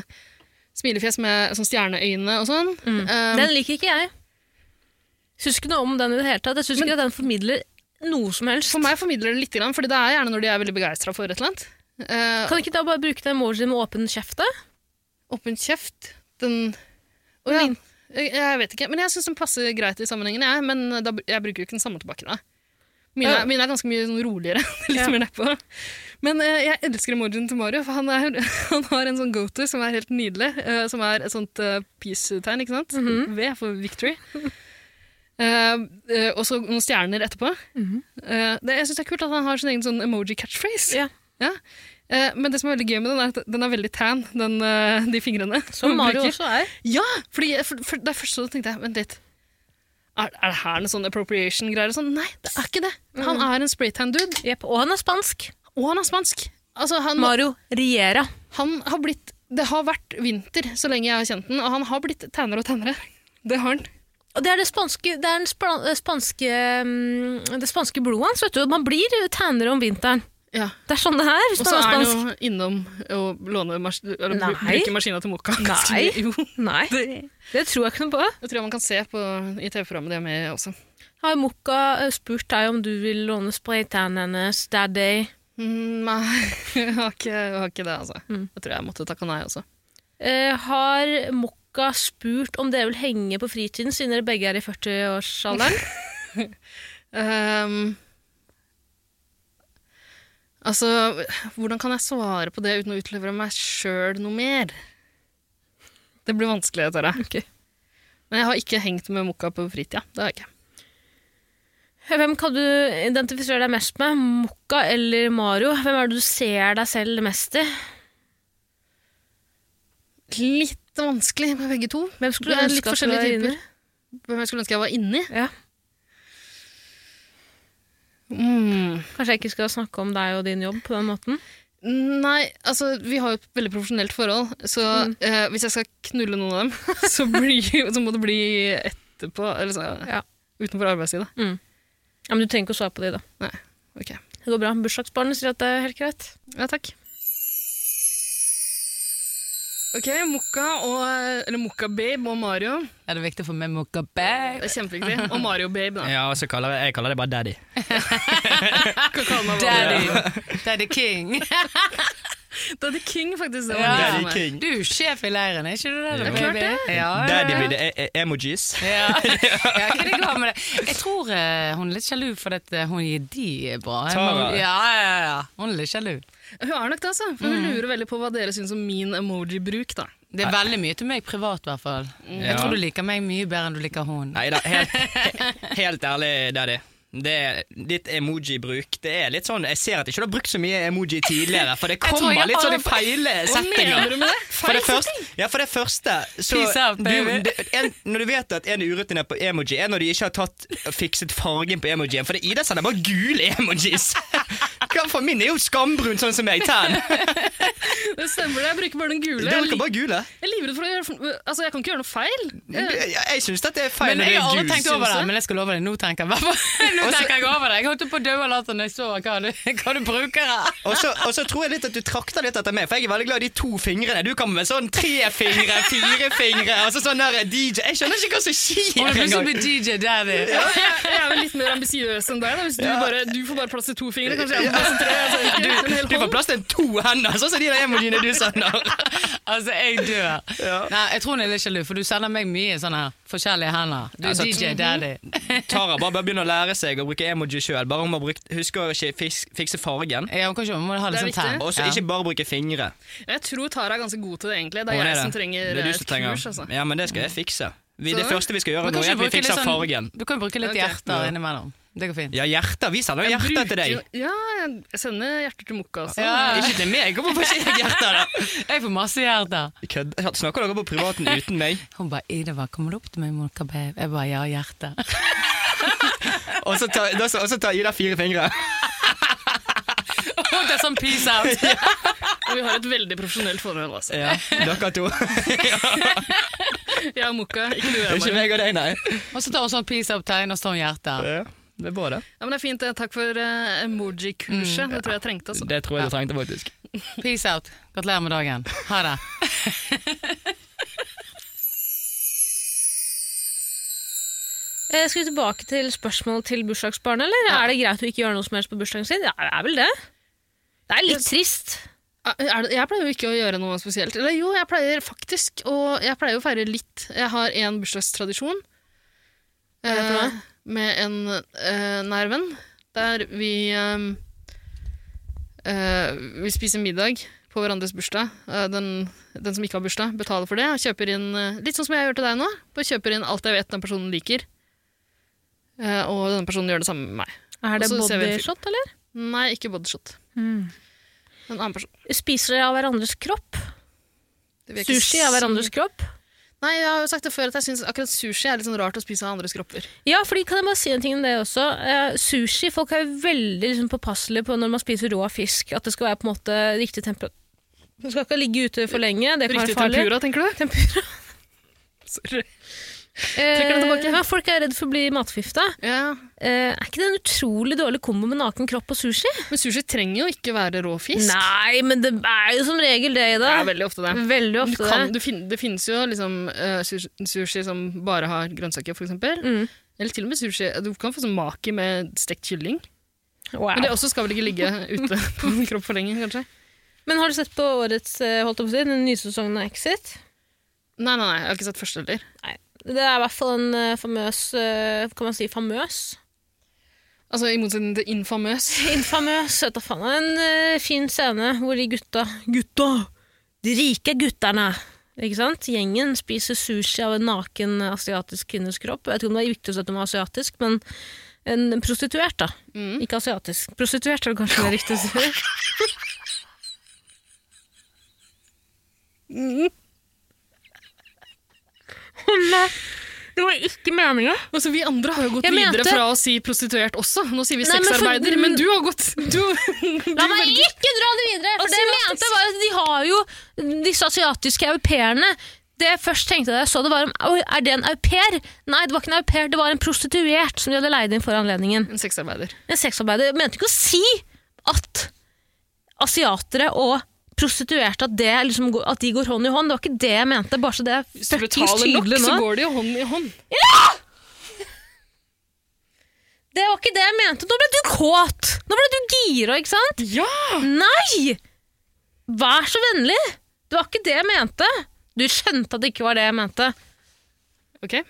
Speaker 4: smilefjes med sånn stjerneøyne og sånn.
Speaker 3: Mm.
Speaker 4: Eh,
Speaker 3: Den liker ikke jeg. Syns ikke noe om den i det hele tatt. Jeg syns ikke at den formidler noe som helst.
Speaker 4: for meg formidler det litt, grann, fordi det er gjerne når de er veldig begeistra for et eller annet. Eh,
Speaker 3: Kan ikke da bare bruke den emojien med åpen kjeft, da?
Speaker 4: Åpen kjeft Den Å ja. Jeg, jeg vet ikke, men jeg syns den passer greit i sammenhengen, jeg. Men da, br- jeg bruker jo ikke den samme tilbake, da. Mine,
Speaker 3: Ja.
Speaker 4: er- mine er ganske mye sånn roligere. (laughs) litt
Speaker 3: Ja.
Speaker 4: mer nedpå. Men eh, jeg elsker emojien til Mario, for han, er, (laughs) han har en sånn go-to som er helt nydelig. eh, som er et sånt eh, peace-tegn, ikke sant?
Speaker 3: Mhm.
Speaker 4: V for victory. (laughs) Eh, eh, og så noen stjerner etterpå.
Speaker 3: Mhm.
Speaker 4: Eh, det, jeg syns det er kult at han har sin egen sånn emoji-catchphrase.
Speaker 3: Ja.
Speaker 4: Ja. Eh, men det som er veldig gøy med den, er at den er veldig tan, den, eh, de fingrene.
Speaker 3: Som
Speaker 4: man
Speaker 3: Mario
Speaker 4: bruker.
Speaker 3: også er.
Speaker 4: Ja! Fordi jeg- for, for, det er først så tenkte jeg, vent litt. Er, er det her noe sånn appropriation-greier? og Sånn? Nei, det er ikke det. Han
Speaker 3: Mm.
Speaker 4: er en spraytan-dude,
Speaker 3: Jep, Og han er spansk.
Speaker 4: og han er spansk. Altså, han,
Speaker 3: Mario Riera.
Speaker 4: han har blitt Det har vært vinter så lenge jeg har kjent den, og han har blitt tannere og tannere. Det har han.
Speaker 3: Og det er det spanske, det er den spa- eh, spanske, mm, det spanske blodet hans. vet du. Man blir tannere om vinteren.
Speaker 4: Ja.
Speaker 3: Det er sånn det er. hvis
Speaker 4: Og
Speaker 3: man
Speaker 4: så
Speaker 3: er
Speaker 4: er han
Speaker 3: spansk.
Speaker 4: jo innom å låne mas eller, br-
Speaker 3: Nei.
Speaker 4: bruke maskina til Moka.
Speaker 3: Nei.
Speaker 4: (laughs) Jo,
Speaker 3: Nei, det tror jeg ikke noe på.
Speaker 4: det tror jeg man kan se på, i TV-programmet det er med også.
Speaker 3: Har Mokka eh, spurt deg om du vil låne spraytannen hennes, daddy?
Speaker 4: Mm, Nei, (laughs) jeg har ikke, jeg har ikke det, altså. Jeg tror jeg måtte takke nei også.
Speaker 3: Eh, har Mokka spurt om dere vil henge på fritiden, siden dere begge er i 40-årsalderen?
Speaker 4: (laughs) Ehm, altså, hvordan kan jeg svare på det uten å utlevere meg sjøl noe mer? Det blir vanskelig, dette her.
Speaker 3: Ok.
Speaker 4: Men jeg har ikke hengt med Mokka på fritida. Det har jeg ikke.
Speaker 3: Hvem kan du identifisere deg mest med? Mokka eller Mario? Hvem er det du ser deg selv mest i?
Speaker 4: Litt vanskelig med begge to.
Speaker 3: Hvem skulle
Speaker 4: Det
Speaker 3: du
Speaker 4: er litt
Speaker 3: ønske at du
Speaker 4: forskjellige
Speaker 3: var
Speaker 4: typer.
Speaker 3: inni?
Speaker 4: Hvem jeg skulle ønske jeg var inni.
Speaker 3: Ja.
Speaker 4: Mm.
Speaker 3: Kanskje jeg ikke skal snakke om deg og din jobb på den måten?
Speaker 4: Nei, altså, vi har jo et veldig profesjonelt forhold, så
Speaker 8: Mm.
Speaker 4: eh, hvis jeg skal knulle noen av dem, (laughs) så, blir, så må det bli etterpå, eller så,
Speaker 3: Ja.
Speaker 4: utenfor arbeidstida.
Speaker 3: Ja, men Du trenger ikke å svare på det, da.
Speaker 4: Ok.
Speaker 3: Det går bra. Bursdagsbarnet sier at det er helt greit.
Speaker 4: Ja, takk. Ok, Mokka og Eller Mokka Babe og Mario.
Speaker 8: Er det viktig for meg med
Speaker 4: Det
Speaker 8: Mokabe?
Speaker 4: er kjempeviktig. Og Mario Babe, da.
Speaker 7: Ja, og så kaller jeg, jeg kaller det bare daddy.
Speaker 4: Kan kalle meg hva du vil.
Speaker 8: Daddy. (laughs) Daddy King.
Speaker 4: Daddy King, faktisk. Det var
Speaker 8: Ja.
Speaker 4: det
Speaker 7: Daddy
Speaker 4: som er.
Speaker 7: King.
Speaker 8: Du er sjef i leiren, er ikke du det? da,
Speaker 7: Ja, klart
Speaker 8: baby? Ja, ja,
Speaker 7: Daddy
Speaker 8: ja.
Speaker 7: blir det e- e- emojis.
Speaker 8: Ja, ja hva det går med det? Jeg tror eh, hun er litt sjalu for at eh, hun gir de bra. Jeg må-
Speaker 7: Tara.
Speaker 8: Ja, ja, ja. Hun er litt sjalu.
Speaker 4: Hun er nok det, altså. For
Speaker 8: Mm.
Speaker 4: hun lurer veldig på hva dere syns om min emoji-bruk, da.
Speaker 8: Det er veldig mye til meg privat, i hvert fall. Jeg tror du liker meg mye bedre enn du liker hun.
Speaker 7: Nei da, helt, he- helt ærlig, Daddy. Det er ditt emoji-bruk Det er litt sånn, Jeg ser at ikke du har brukt så mye emoji tidligere, for det
Speaker 8: tror (laughs) jeg
Speaker 7: kommer litt sånn i
Speaker 8: aldri-
Speaker 7: feil settinger.
Speaker 4: Mener du med det?
Speaker 7: For det første, ja, for det første så
Speaker 8: Peace out,
Speaker 7: du,
Speaker 8: baby.
Speaker 7: det, en, Når du vet at en er urutinert på emoji, er når de ikke har tatt fikset fargen på emojien. For det Ida sender bare gule emojis! (laughs) Hva for min er jo skambrun, sånn som meg. Tan.
Speaker 8: (laughs)
Speaker 4: Det stemmer det. Jeg bruker bare den
Speaker 7: Du
Speaker 4: gule. Jeg,
Speaker 7: bruker
Speaker 4: li-
Speaker 7: bare gule.
Speaker 4: jeg er livredd for å gjøre Altså, jeg kan ikke gjøre noe feil. Jeg,
Speaker 7: Jeg, jeg syns dette er feil
Speaker 8: Men
Speaker 7: når
Speaker 8: jeg
Speaker 7: det
Speaker 8: har
Speaker 7: er
Speaker 8: aldri
Speaker 7: juice.
Speaker 8: tenkt over det, men jeg skal love deg, nå tenker jeg bare (laughs) Nå
Speaker 7: Også-
Speaker 8: tenker jeg over det. Jeg holdt på å dø av latter når jeg så hva du, (laughs) hva du bruker her.
Speaker 7: Og så, og så tror jeg litt at du trakter litt etter meg, for jeg er veldig glad i de to fingrene. Du kommer med sånn tre fingre, fire fingre, altså sånn der DJ Jeg skjønner ikke hva
Speaker 8: Og
Speaker 7: som skjer
Speaker 8: det plutselig
Speaker 7: engang.
Speaker 8: blir DJ Daddy.
Speaker 4: ja, jeg, jeg er jo litt mer ambisiøs enn deg. Da. Hvis du, bare, du får bare plass til to fingre. Kanskje jeg får plass til tre. Altså, ikke, en hel
Speaker 7: Du får
Speaker 4: hånd.
Speaker 7: plass til to hender, sånn som de der emojiene du sender.
Speaker 8: Altså, jeg dør. Nei, jeg tror hun er litt sjalu, for du sender meg mye sånne her forskjellige hender. Du er
Speaker 7: Altså,
Speaker 8: DJ Daddy.
Speaker 7: Tara bare, bare begynner å lære seg å bruke emoji sjøl. Bare hun må bruke, huske å ikke fis- fikse fargen.
Speaker 8: Ja, hun kan ikke, hun må ha litt
Speaker 4: Det er
Speaker 8: sånn tenn.
Speaker 4: viktig.
Speaker 7: Og så ikke bare bruke fingre.
Speaker 4: Jeg tror Tara er ganske god til det, egentlig. Det
Speaker 7: Hun
Speaker 4: er jeg
Speaker 7: det.
Speaker 4: som trenger
Speaker 7: Det er du
Speaker 4: eh,
Speaker 7: som
Speaker 4: et
Speaker 7: trenger.
Speaker 4: kurs. Altså.
Speaker 7: Ja, men det skal jeg fikse. Vi, det
Speaker 4: Så-
Speaker 7: første vi skal gjøre
Speaker 8: Men
Speaker 7: nå,
Speaker 8: kanskje
Speaker 7: er at vi
Speaker 8: bruke litt
Speaker 7: fikser
Speaker 8: sånn-
Speaker 7: fargen.
Speaker 8: Du kan bruke litt
Speaker 4: Ok.
Speaker 8: hjerter innimellom. Det går fint.
Speaker 7: Ja, hjerter. Vi sender jo hjerter til deg.
Speaker 4: Bruker- Ja, jeg sender hjerter til Mokka også.
Speaker 8: Ja.
Speaker 7: Ikke til meg. Hvorfor får ikke jeg hjerter, da?
Speaker 8: Jeg får masse hjerter.
Speaker 7: Kødd. Snakker dere på privaten uten meg?
Speaker 8: Hun bare 'Ida, hva kommer du opp til meg, Monica Babe?' Jeg bare 'ja, hjerte'.
Speaker 7: Og så tar, da- og så tar Ida fire fingre.
Speaker 8: Hun tar sånn peace out.
Speaker 4: Og vi har et veldig profesjonelt forhold. Altså.
Speaker 7: (laughs) Ja, dere to.
Speaker 4: Jeg og Mokka, ikke du og jeg.
Speaker 7: Ikke
Speaker 4: Mari.
Speaker 7: meg og deg, nei.
Speaker 8: Og så tar hun sånn peace out-tegn, og så tar hun hjerte.
Speaker 7: Ja, det er bra, det.
Speaker 4: Ja, men det er fint. eh, Takk for eh, emoji-kurset.
Speaker 7: Mm.
Speaker 4: Det tror jeg jeg trengte. Altså.
Speaker 7: Det tror jeg du trengte, faktisk.
Speaker 8: Peace out. Gratulerer med dagen. Ha det.
Speaker 3: Eh, Skal vi tilbake til spørsmålet til bursdagsbarnet, eller? Er det greit å ikke gjøre noe som helst på bursdagen sin? Ja, det er vel det. Det er litt trist.
Speaker 4: Eh, Er det, jeg pleier jo ikke å gjøre noe spesielt. Eller jo, jeg pleier faktisk og jeg pleier å feire litt. Jeg har en bursdagstradisjon
Speaker 3: er det for noe?
Speaker 4: med en eh, nær venn, der vi eh, eh, Vi spiser middag på hverandres bursdag. Eh, den, den som ikke har bursdag, betaler for det. Og kjøper inn, eh, litt sånn som jeg gjør til deg nå, bare kjøper inn alt jeg vet den personen liker. Eh, og denne personen gjør det samme med meg.
Speaker 3: Er det
Speaker 4: Og så ser vi en film. Mm.
Speaker 3: bodyshot, eller?
Speaker 4: Nei, ikke bodyshot. En annen person.
Speaker 3: Spiser dere av hverandres kropp?
Speaker 4: Det vil jeg ikke
Speaker 3: Sushi av
Speaker 4: si.
Speaker 3: hverandres kropp?
Speaker 4: Nei, jeg har jo sagt det før at jeg syns akkurat sushi er litt sånn rart å spise av andres kropper.
Speaker 3: Ja, fordi kan jeg bare si en ting om det også. Eh, sushi, folk er jo veldig liksom, påpasselige på når man spiser rå fisk, at det skal være på en måte riktig temperatur. Det skal ikke ligge ute for lenge, det kan være
Speaker 4: Riktig
Speaker 3: farlig.
Speaker 4: tempura, tenker du?
Speaker 3: Tempura.
Speaker 4: (laughs) Sorry.
Speaker 3: Eh,
Speaker 4: den tilbake.
Speaker 3: ja, folk er redd for å bli matforgifta.
Speaker 4: Ja.
Speaker 3: Eh, er ikke det en utrolig dårlig kombo med naken kropp og sushi?
Speaker 4: Men sushi trenger jo ikke være rå fisk.
Speaker 3: Nei, men det er jo som regel det, Ida.
Speaker 4: Det er veldig ofte det.
Speaker 3: Veldig
Speaker 4: Men
Speaker 3: ofte
Speaker 4: Du kan,
Speaker 3: det.
Speaker 4: du fin, det finnes jo liksom eh, sushi, sushi som bare har grønnsaker, for eksempel.
Speaker 3: Mm.
Speaker 4: Eller til og med sushi. Du kan få sånn maki med stekt kylling.
Speaker 3: Wow.
Speaker 4: Men
Speaker 3: Men,
Speaker 4: det også skal vel
Speaker 3: (laughs)
Speaker 4: ikke ligge ute på min kropp for lenge, kanskje?
Speaker 3: har du sett på årets eh, holdt jeg på å si, den nye sesongen av Exit?
Speaker 4: Nei, nei, nei, jeg har ikke sett første heller.
Speaker 3: Det er i hvert fall en eh, famøs eh, Kan man si famøs?
Speaker 4: Altså i motsetning til infamøs.
Speaker 3: Infamøs. vet du faen. En eh, fin scene hvor de gutta Gutta! De rike gutterne! Ikke sant? Gjengen spiser sushi av en naken asiatisk kvinnes kropp. Jeg vet ikke om det er viktig å si at hun var asiatisk, men en prostituert, da. Ikke asiatisk. Prostituert er det kanskje det er riktig å si. Å nei! eh, Det var ikke meninga.
Speaker 4: Altså, vi andre har jo gått
Speaker 3: Jeg mente-
Speaker 4: videre fra å si prostituert også. Nå sier vi
Speaker 3: Nei, men for-
Speaker 4: sexarbeider, men, du har gått (laughs) du,
Speaker 3: La meg ikke dra det videre! For det jeg mente var at de har jo disse asiatiske au pairene. Det jeg først tenkte da jeg så det, var om «Oi, er det en au pair? Nei, det var ikke en au pair, det var en prostituert som de hadde leid inn for anledningen.
Speaker 4: En sexarbeider.
Speaker 3: En sexarbeider. Jeg mente ikke å si at asiatere og prostituerte at, det liksom, går- at de går hånd i hånd. Det var ikke det jeg mente, bare så det er
Speaker 4: Hvis du
Speaker 3: fuckings
Speaker 4: betaler nok,
Speaker 3: tydelig
Speaker 4: så
Speaker 3: nå.
Speaker 4: går det jo hånd i hånd.
Speaker 3: Det var ikke det jeg mente. Nå ble du kåt! Nå ble du gira, ikke sant?
Speaker 4: Ja!
Speaker 3: Nei! Vær så vennlig! Det var ikke det jeg mente. Du skjønte at det ikke var det jeg mente.
Speaker 4: Ok.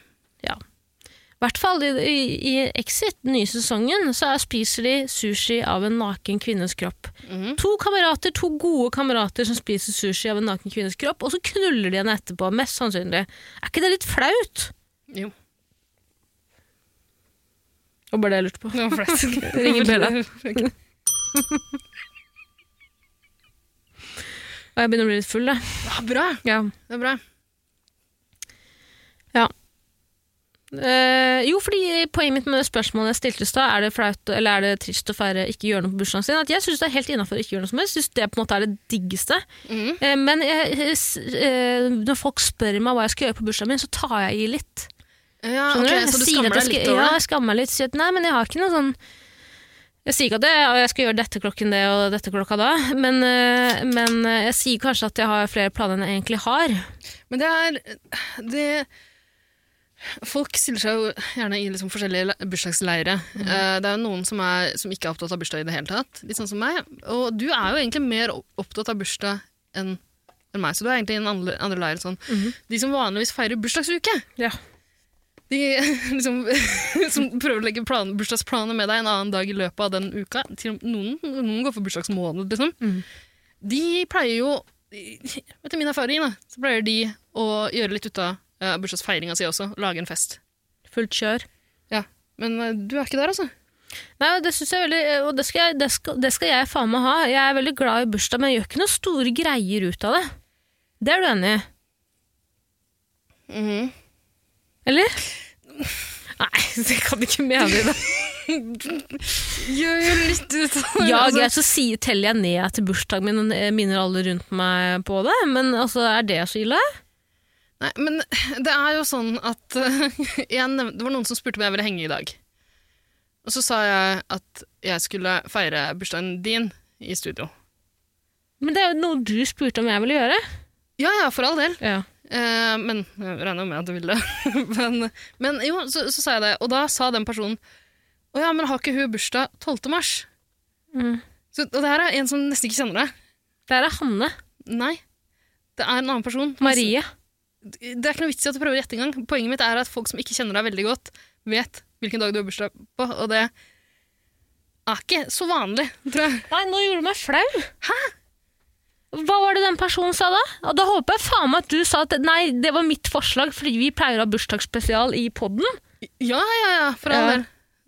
Speaker 3: I hvert fall i, i, i Exit, den nye sesongen, så er, spiser de sushi av en naken kvinnes kropp.
Speaker 4: Mhm.
Speaker 3: To kamerater, to gode kamerater som spiser sushi av en naken kvinnes kropp, og så knuller de henne etterpå, mest sannsynlig. Er ikke det litt flaut?
Speaker 4: Jo.
Speaker 3: Og bare det jeg lurte på.
Speaker 4: Det var flaut.
Speaker 3: Ringer Bella.
Speaker 4: (laughs) Ok.
Speaker 3: Og jeg begynner å bli litt full, da.
Speaker 4: Ja, bra.
Speaker 3: Ja.
Speaker 4: Det er bra.
Speaker 3: Eh, Eh, jo, fordi poenget mitt med spørsmålet jeg stilte i stad, er det flaut eller er det trist å feire ikke gjøre noe på bursdagen sin? At jeg syns det er helt innafor å ikke gjøre noe som helst. Synes det på en måte er det diggeste. Eh, men jeg, jeg s- eh, når folk spør meg hva jeg skal gjøre på bursdagen min, så tar jeg i litt. Skjønner
Speaker 4: Ja, Ah, ok,
Speaker 3: du?
Speaker 4: så du
Speaker 3: Jeg sier at
Speaker 4: skammer deg
Speaker 3: jeg
Speaker 4: litt
Speaker 3: skal-
Speaker 4: over
Speaker 3: Ja,
Speaker 4: det?
Speaker 3: jeg skammer meg litt. Sier at nei, men jeg har ikke noe sånn Jeg sier ikke at jeg, jeg skal gjøre dette klokken det og dette klokka da, men, eh, men eh, jeg sier kanskje at jeg har flere planer enn jeg egentlig har.
Speaker 4: Men det er det, Folk stiller seg jo gjerne i liksom forskjellige le- bursdagsleire. Eh, Det er jo noen som, er, som ikke er opptatt av bursdag i det hele tatt. Litt sånn som meg. Og du er jo egentlig mer opp- opptatt av bursdag enn enn meg, så du er egentlig i den andre, andre leiren. Sånn. De som vanligvis feirer bursdagsuke,
Speaker 3: Ja.
Speaker 4: de (laughs) liksom, som prøver å legge plan, bursdagsplaner med deg en annen dag i løpet av den uka til og med Noen, noen går for bursdagsmåned, liksom. De pleier jo, etter min erfaring, da, så pleier de å gjøre litt ut av eh, bursdagsfeiringa si også. Lage en fest.
Speaker 3: Fullt kjør.
Speaker 4: Ja, Men eh, du er ikke der, altså.
Speaker 3: Nei, og det synes jeg er veldig, eh, og det skal jeg, det skal, det skal jeg faen meg ha. Jeg er veldig glad i bursdag, men jeg gjør ikke noen store greier ut av det. Det er du enig i? Eller? Nei, (laughs) det kan du ikke mene i det.
Speaker 4: Gjør jo litt ut av
Speaker 3: Ja,
Speaker 4: altså.
Speaker 3: greit, så si, teller jeg ned til bursdagen min og eh, minner alle rundt meg på det, men altså, er det så ille?
Speaker 4: Nei, men det er jo sånn at eh, (laughs) jeg nevnte, Det var noen som spurte om jeg ville henge i dag. Og så sa jeg at jeg skulle feire bursdagen din i studio.
Speaker 3: Men det er jo noe du spurte om jeg ville gjøre.
Speaker 4: Ja, ja, for all del.
Speaker 3: Ja.
Speaker 4: Eh, men jeg regner jo med at du ville det. (laughs) men, men jo, så, så sa jeg det. Og da sa den personen Å ja, men har ikke hun bursdag 12. mars?
Speaker 3: Mm.
Speaker 4: Så, og det her er en som nesten ikke kjenner deg.
Speaker 3: Der er Hanne,
Speaker 4: Nei. Det er en annen person.
Speaker 3: Marie.
Speaker 4: Det er ikke noe vits i at du prøver å gjette engang. Poenget mitt er at folk som ikke kjenner deg veldig godt, vet hvilken dag du har bursdag på, og det er ikke så vanlig, tror jeg.
Speaker 3: Nei, nå gjorde du meg flau. Hæ? Hva var det den personen sa da? Og da håper jeg faen meg at du sa at nei, det var mitt forslag fordi vi pleier å ha bursdagsspesial i podden.
Speaker 4: Ja, ja, ja, for all
Speaker 3: Ja.
Speaker 4: del.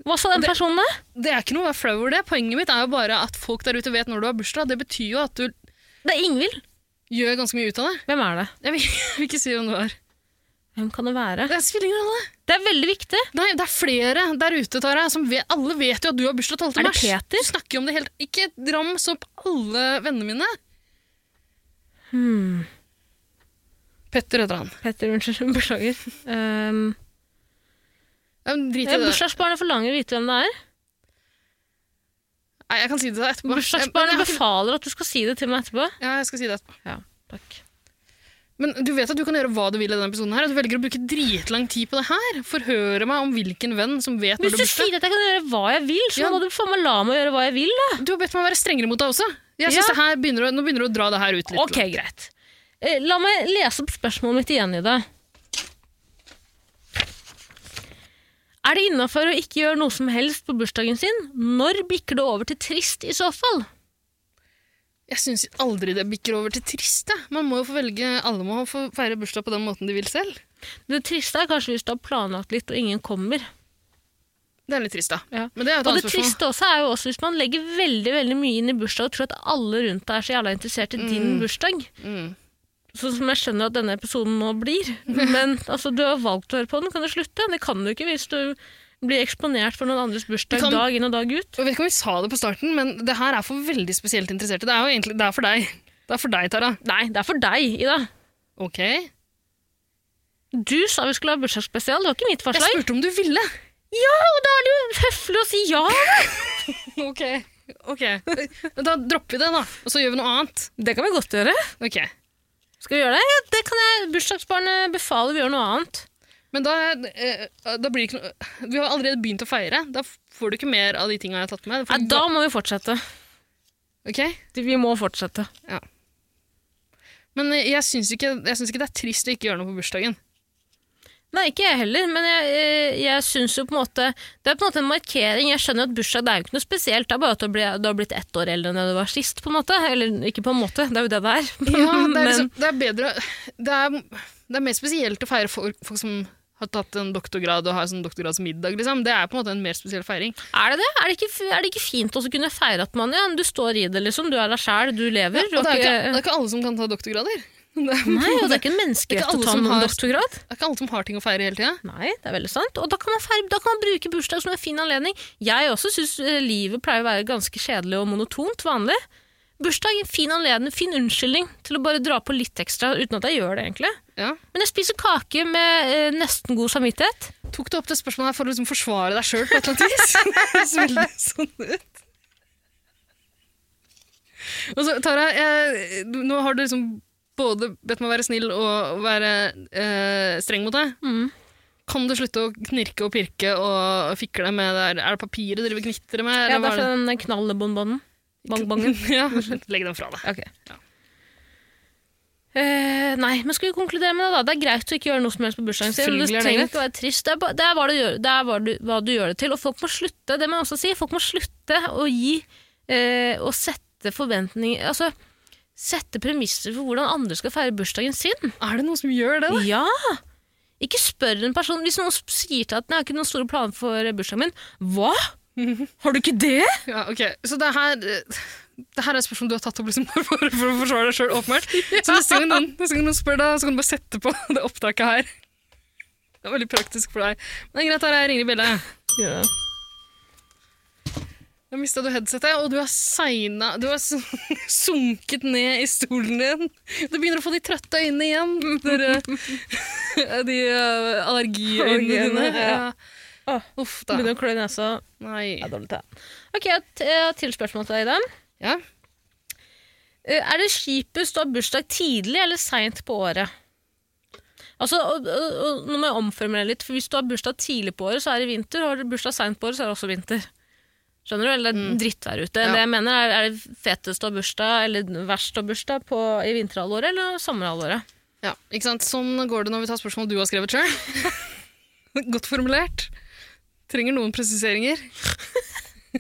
Speaker 3: Hva sa den personen da?
Speaker 4: Det er ikke noe å være flau over det. Poenget mitt er jo bare at folk der ute vet når du har bursdag. Det betyr jo at du
Speaker 3: Det er Ingvild.
Speaker 4: gjør ganske mye ut av det.
Speaker 3: Hvem er det?
Speaker 4: Jeg vil, (laughs) jeg vil ikke si hvem du er.
Speaker 3: Hvem kan det være?
Speaker 4: Det spiller ingen rolle.
Speaker 3: Det er veldig viktig.
Speaker 4: Nei, det er flere der ute, Tara. Som vet, alle vet jo at du har bursdag 12.
Speaker 3: Er det
Speaker 4: mars.
Speaker 3: Peter?
Speaker 4: Du snakker jo om det helt Ikke rams opp alle vennene mine. Petter heter han.
Speaker 3: Petter, Hmm. unnskyld, beklager. Um,
Speaker 4: Ja, men Drit i det.
Speaker 3: Bursdagsbarnet forlanger å vite hvem det er.
Speaker 4: Nei, jeg kan si det til deg etterpå. Jeg-
Speaker 3: Bursdagsbarnet
Speaker 4: men jeg,
Speaker 3: befaler at du skal si det til meg etterpå.
Speaker 4: ja, jeg skal si det etterpå.
Speaker 3: Ja, takk.
Speaker 4: Men du vet at du kan gjøre hva du vil i denne episoden. her, og Du velger å bruke dritlang tid på det her. Forhøre meg om hvilken venn som vet når
Speaker 3: Hvis
Speaker 4: du har
Speaker 3: du
Speaker 4: bursdag.
Speaker 3: sier at jeg kan gjøre hva jeg vil, så
Speaker 4: Ja.
Speaker 3: må du faen meg la meg gjøre hva jeg vil, da.
Speaker 4: Du har bedt meg å være strengere mot deg også.
Speaker 3: Ja.
Speaker 4: Jeg synes det her begynner å, Nå begynner du å dra det her ut litt.
Speaker 3: Ok, greit. Eh, La meg lese opp spørsmålet mitt igjen, Ida. Er det innafor å ikke gjøre noe som helst på bursdagen sin? Når bikker det over til trist i så fall?
Speaker 4: Jeg syns aldri det bikker over til trist. jeg. Man må jo få velge, Alle må få feire bursdag på den måten de vil selv.
Speaker 3: Det triste er kanskje hvis du har planlagt litt og ingen kommer.
Speaker 4: Det er litt trist, da.
Speaker 3: Ja.
Speaker 4: Men det er jo et
Speaker 3: Og
Speaker 4: annet
Speaker 3: det
Speaker 4: spørsmål.
Speaker 3: triste også er jo også hvis man legger veldig veldig mye inn i bursdag og tror at alle rundt deg er så jævla interessert i din bursdag.
Speaker 4: Mm.
Speaker 3: Sånn som jeg skjønner at denne episoden nå
Speaker 4: (laughs)
Speaker 3: blir. Men altså, du har valgt å høre på den, kan du slutte? Det kan du ikke hvis du blir eksponert for noen andres bursdag
Speaker 4: kan-
Speaker 3: dag inn og dag ut.
Speaker 4: Jeg vet ikke om vi sa det på starten, men det her er for veldig spesielt interesserte. Det er jo egentlig det er for deg. Det er for deg, Tara.
Speaker 3: Nei, det er for deg, Ida.
Speaker 4: Ok? Jeg
Speaker 3: Du sa vi skulle ha bursdagsspesial, det var ikke mitt forslag.
Speaker 4: spurte om du
Speaker 3: (laughs)
Speaker 4: ville.
Speaker 3: Ja, og da er det jo høflig å si ja!
Speaker 4: Ok. Ok. Men Da dropper vi det, da. Og så gjør vi noe annet.
Speaker 3: Det kan vi godt gjøre.
Speaker 4: Ok.
Speaker 3: Skal vi gjøre det? Ja, det kan jeg. Bursdagsbarnet befaler vi gjør noe annet.
Speaker 4: Men da, eh, da blir det ikke noe Vi har allerede begynt å feire. Da får du ikke mer av de tinga jeg har tatt med.
Speaker 3: Nei, da må vi fortsette.
Speaker 4: Ok?
Speaker 3: Vi må fortsette.
Speaker 4: Men eh, jeg syns ikke, jeg syns ikke det er trist å ikke gjøre noe på bursdagen.
Speaker 3: Nei, ikke jeg heller, men jeg, eh, jeg syns jo på en måte Det er på en måte en markering. Jeg skjønner at bursdag det er jo ikke noe spesielt. Det er bare at du blir- du har blitt ett år eldre enn det du var sist, på en måte. Eller ikke på en måte, det er jo det det er.
Speaker 4: Ja, det er,
Speaker 3: (laughs) Men-
Speaker 4: liksom, det er bedre det er, det er mer spesielt å feire folk, folk som har tatt en doktorgrad og har sånn doktorgradsmiddag, liksom. Det er på en måte en mer spesiell feiring.
Speaker 3: Er det det? Er det ikke, er det ikke fint også å kunne feire at man ja, du står i det, liksom? Du er deg sjæl, du lever.
Speaker 4: Og det
Speaker 3: og
Speaker 4: er jo ikke, det
Speaker 3: ikke-
Speaker 4: er ikke alle som kan ta doktorgrader. (laughs) Det er
Speaker 3: Nei, og det er ikke en
Speaker 4: Det er
Speaker 3: menneskerett
Speaker 4: ikke alle
Speaker 3: å ta
Speaker 4: som
Speaker 3: en
Speaker 4: har-
Speaker 3: doktorgrad.
Speaker 4: det er ikke alle som har ting å feire hele tida.
Speaker 3: Nei, det er veldig sant. Og da kan man, feire, da kan man bruke bursdag som en fin anledning. Jeg også syns livet pleier å være ganske kjedelig og monotont vanlig. Bursdag er en fin anledning, fin unnskyldning til å bare dra på litt ekstra uten at jeg gjør det, egentlig.
Speaker 4: Ja.
Speaker 3: Men jeg spiser kake med eh, nesten god samvittighet.
Speaker 4: Tok du opp det spørsmålet her for å liksom forsvare deg sjøl på et
Speaker 3: (laughs)
Speaker 4: eller annet vis? Det høres veldig sånn ut. Og så, Tara, jeg, du- nå har du liksom både bedt meg være snill og være eh, streng mot deg. Kan du slutte å knirke og pirke og fikle med det der? Er det papiret dere vil knitre med?
Speaker 3: Ja,
Speaker 4: eller
Speaker 3: det
Speaker 4: hva
Speaker 3: er
Speaker 4: er sånn
Speaker 3: fra den knallbonbonen. Bongbongen.
Speaker 4: det? (laughs) ja, legg den fra deg.
Speaker 3: Ok. Eh, nei, men skal vi konkludere med det, da? Det er greit å ikke gjøre noe som helst på bursdagen sin. Du
Speaker 4: Selvfølgelig er det
Speaker 3: trenger
Speaker 4: greit.
Speaker 3: ikke å være trist. Det er, ba- det er, hva, du gjør, det er hva, du, hva du gjør det til. Og folk må slutte, det må jeg også si, folk må slutte å gi eh, og sette forventninger Altså sette premisser for hvordan andre skal feire bursdagen sin.
Speaker 4: Er det noen som gjør det? da?
Speaker 3: Ja! Ikke spør en person Hvis noen sier til deg at 'jeg har ikke noen store planer for bursdagen min',
Speaker 4: (laughs)
Speaker 3: hva? Har du ikke det?
Speaker 4: Ja, ok. Så det her, det her er et spørsmål du har tatt opp liksom, (laughs) for, for å forsvare deg sjøl, åpenbart. Så neste gang, noen, neste gang noen spør deg, så kan du bare sette på (laughs) det opptaket her. Det er veldig praktisk for deg. Men det er greit, her er Ingrid Bille.
Speaker 3: Ja.
Speaker 4: Da mista du headsetet, og du har segna Du har s- (laughs) sunket ned i stolen din. Du begynner å få de trøtte øynene igjen. Dere, de eh, (laughs) allergiøynene dine.
Speaker 3: Allergiøynene, ja.
Speaker 4: Ja.
Speaker 3: Åh,
Speaker 4: Uff da.
Speaker 3: Begynner å klø i nesa.
Speaker 4: Nei.
Speaker 3: Ja, dårlig til. Ok, jeg har et- jeg har et til spørsmål til deg, Ida.
Speaker 4: Ja.
Speaker 3: Eh, Er det kjipest å ha bursdag tidlig eller seint på året? Altså, og, og, og, Nå må jeg omformulere litt, for hvis du har bursdag tidlig på året, så er det vinter. Og har du bursdag seint på året, så er det også vinter. Skjønner du? Eller det er dritt der ute.
Speaker 4: Ja.
Speaker 3: Det jeg mener er, er det fetest å ha bursdag, eller verst å ha bursdag på, i vinterhalvåret eller sommerhalvåret?
Speaker 4: Ja, ikke sant? Sånn går det når vi tar spørsmål du har skrevet sjøl. (laughs) Godt formulert. Trenger noen presiseringer. (laughs)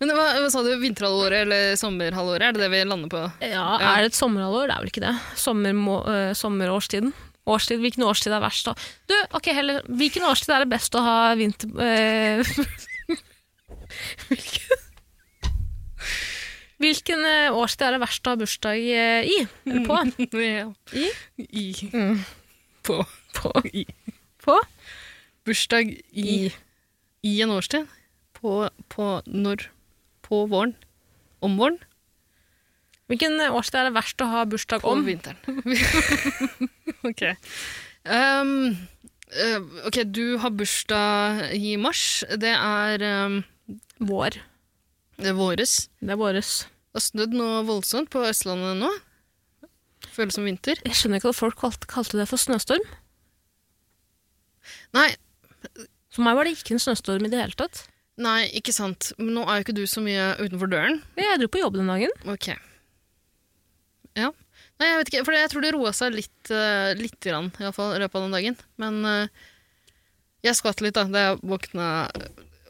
Speaker 4: Men hva, hva sa du? Vinterhalvåret eller sommerhalvåret? Er det det vi lander på? (laughs)
Speaker 3: Ja, Er det et sommerhalvår? Det er vel ikke det. Sommermå, eh, sommerårstiden. Årstid, hvilken årstid er verst, da? Du, ok, heller, Hvilken årstid er det best å ha vinter... Eh, (laughs) hvilken hvilken eh, årstid er det verst å ha bursdag eh, i? Eller på?
Speaker 4: Mm. Ja.
Speaker 3: I?
Speaker 4: I. (laughs) På. I.
Speaker 3: På?
Speaker 4: Bursdag i, i en årstid. På, på når? På våren. Om våren.
Speaker 3: Hvilken eh, årstid er det verst å ha bursdag
Speaker 4: På
Speaker 3: om?
Speaker 4: vinteren. (laughs) ok. Um, eh, ok, du har bursdag i mars. Det er um,
Speaker 3: Vår.
Speaker 4: det er våres.
Speaker 3: Det er våres.
Speaker 4: Det har snødd noe voldsomt på Østlandet nå. Føles som vinter.
Speaker 3: Jeg skjønner ikke at folk kalte, kalte det for snøstorm.
Speaker 4: Nei,
Speaker 3: For meg var det ikke en snøstorm i det hele tatt.
Speaker 4: nei, ikke sant. Men nå er jo ikke du så mye utenfor døren.
Speaker 3: Jeg dro på jobb den dagen.
Speaker 4: Ok. Ja. Nei, jeg vet ikke, for jeg tror det roa seg litt, uh, litt grann, i, alle fall, i løpet av den dagen. Men eh, jeg skvatt litt da, da jeg våkna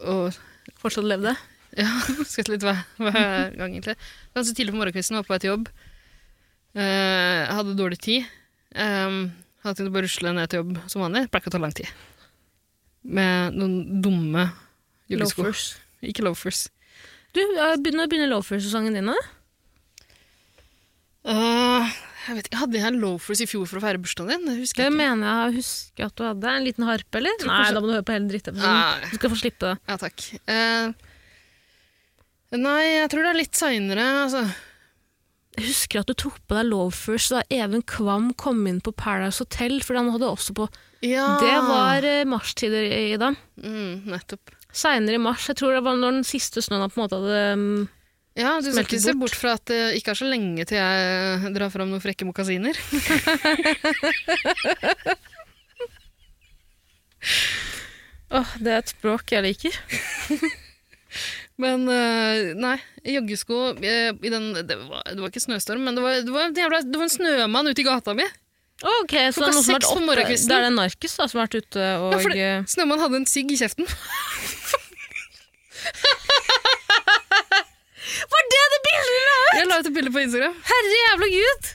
Speaker 4: og (laughs)
Speaker 3: Fortsatt levde.
Speaker 4: Ja, skvatt litt hver, hver gang, egentlig. Ganske tidlig på morgenkvisten, var på vei til jobb. Eh, hadde dårlig tid. Um, hadde tenkt å bare rusle ned til jobb som vanlig. Pleier ikke å ta lang tid. Med noen dumme joggesko. Ikke loafers.
Speaker 3: Du, eh, begynner, begynner loafer-sesongen din, da?
Speaker 4: Eh, jeg vet ikke, Hadde jeg loafers i fjor for å feire bursdagen din? Det husker
Speaker 3: Det
Speaker 4: jeg ikke.
Speaker 3: mener jeg å huske at du hadde. En liten harpe, eller? Nei,
Speaker 4: kanskje-
Speaker 3: da må du høre på hele drittepisoden.
Speaker 4: Nei.
Speaker 3: Du skal få slippe det.
Speaker 4: Ja, takk. Eh, nei, jeg tror det er litt seinere, altså.
Speaker 3: Jeg husker at du tok på deg loafers da Even Kvam kom inn på Paradise Hotel, for han hadde også på
Speaker 4: Ja.
Speaker 3: Det var eh, marstider, Ida.
Speaker 4: mm, Nettopp.
Speaker 3: Seinere i mars. Jeg tror det var når den siste snøen på en måte hadde mm,
Speaker 4: Ja, du skal
Speaker 3: Smelter
Speaker 4: ikke se bort fra at det ikke er så lenge til jeg drar fram noen frekke mokasiner.
Speaker 3: Åh, det er et språk jeg liker.
Speaker 4: Men eh, nei, joggesko eh, i den, det, var, det var ikke snøstorm, men det var, det, var en jævla, det var en snømann ute i gata mi.
Speaker 3: Ok, så det
Speaker 4: Klokka
Speaker 3: er noen som har
Speaker 4: seks på
Speaker 3: vært oppe.
Speaker 4: morgenkvisten.
Speaker 3: Det er det en narkis da, som har vært ute og
Speaker 4: Ja, for det,
Speaker 3: eh,
Speaker 4: snømann hadde en sigg i kjeften.
Speaker 3: Var det det bildet vi har?
Speaker 4: Jeg la ut et bilde på Instagram.
Speaker 3: Herre jævla gud!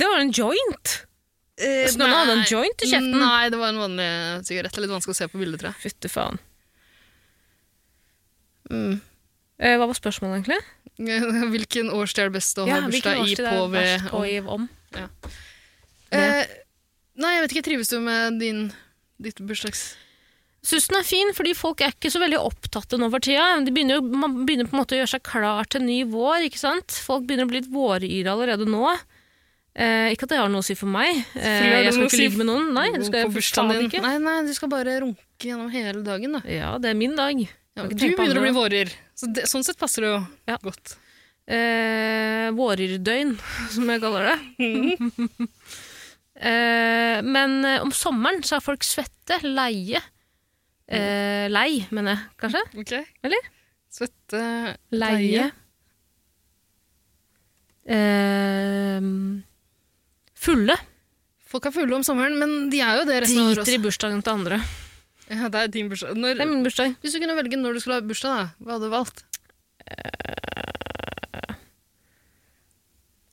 Speaker 3: Det var en joint. Snømann hadde en
Speaker 4: Nei.
Speaker 3: joint i kjeften.
Speaker 4: Nei, det var en vanlig sigarett. Det er litt vanskelig å se på bildet, tror jeg.
Speaker 3: Fytte faen. Eh, hva var spørsmålet, egentlig?
Speaker 4: (laughs) Hvilken årstid er det best å ha
Speaker 3: Ja, hvilken
Speaker 4: bursdag i,
Speaker 3: årstid er
Speaker 4: på,
Speaker 3: verst
Speaker 4: ved
Speaker 3: på, i, om?
Speaker 4: Eh, Nei, jeg vet ikke. Trives du med din, ditt bursdags...
Speaker 3: Syns den er fin, fordi folk er ikke så veldig opptatte nå for tida. De begynner, jo- man begynner på en måte å gjøre seg klar til en ny vår. ikke sant? Folk begynner å bli litt våryre allerede nå. Eh, ikke at det har noe å si for meg. Eh,
Speaker 4: Selvfølgelig har det
Speaker 3: jeg skal
Speaker 4: noe å
Speaker 3: ikke
Speaker 4: si
Speaker 3: ligge med noen. Nei, du skal
Speaker 4: på
Speaker 3: jeg
Speaker 4: bursdagen
Speaker 3: faen
Speaker 4: din?
Speaker 3: ikke.
Speaker 4: Nei, nei, du skal bare runke gjennom hele dagen, da.
Speaker 3: Ja, det er min dag.
Speaker 4: Ja,
Speaker 3: Kan
Speaker 4: du
Speaker 3: ikke tenke på
Speaker 4: begynner å
Speaker 3: andre
Speaker 4: bli vårer. Så det, sånn sett passer det jo
Speaker 3: Ja.
Speaker 4: godt.
Speaker 3: Eh, vårerdøgn, (laughs) som jeg kaller (laughs) det. eh, men eh, om sommeren så er folk svette, leie. Eh, lei, mener jeg kanskje.
Speaker 4: Ok?
Speaker 3: Eller?
Speaker 4: Svette
Speaker 3: Leie. Eh, fulle.
Speaker 4: Folk er fulle om sommeren, men de er jo det resten av året
Speaker 3: Driter i
Speaker 4: også.
Speaker 3: bursdagen til andre.
Speaker 4: Ja, det er din bursdag. Når,
Speaker 3: Det er min bursdag.
Speaker 4: hvis du kunne velge når du skulle ha bursdag, da, hva hadde du valgt?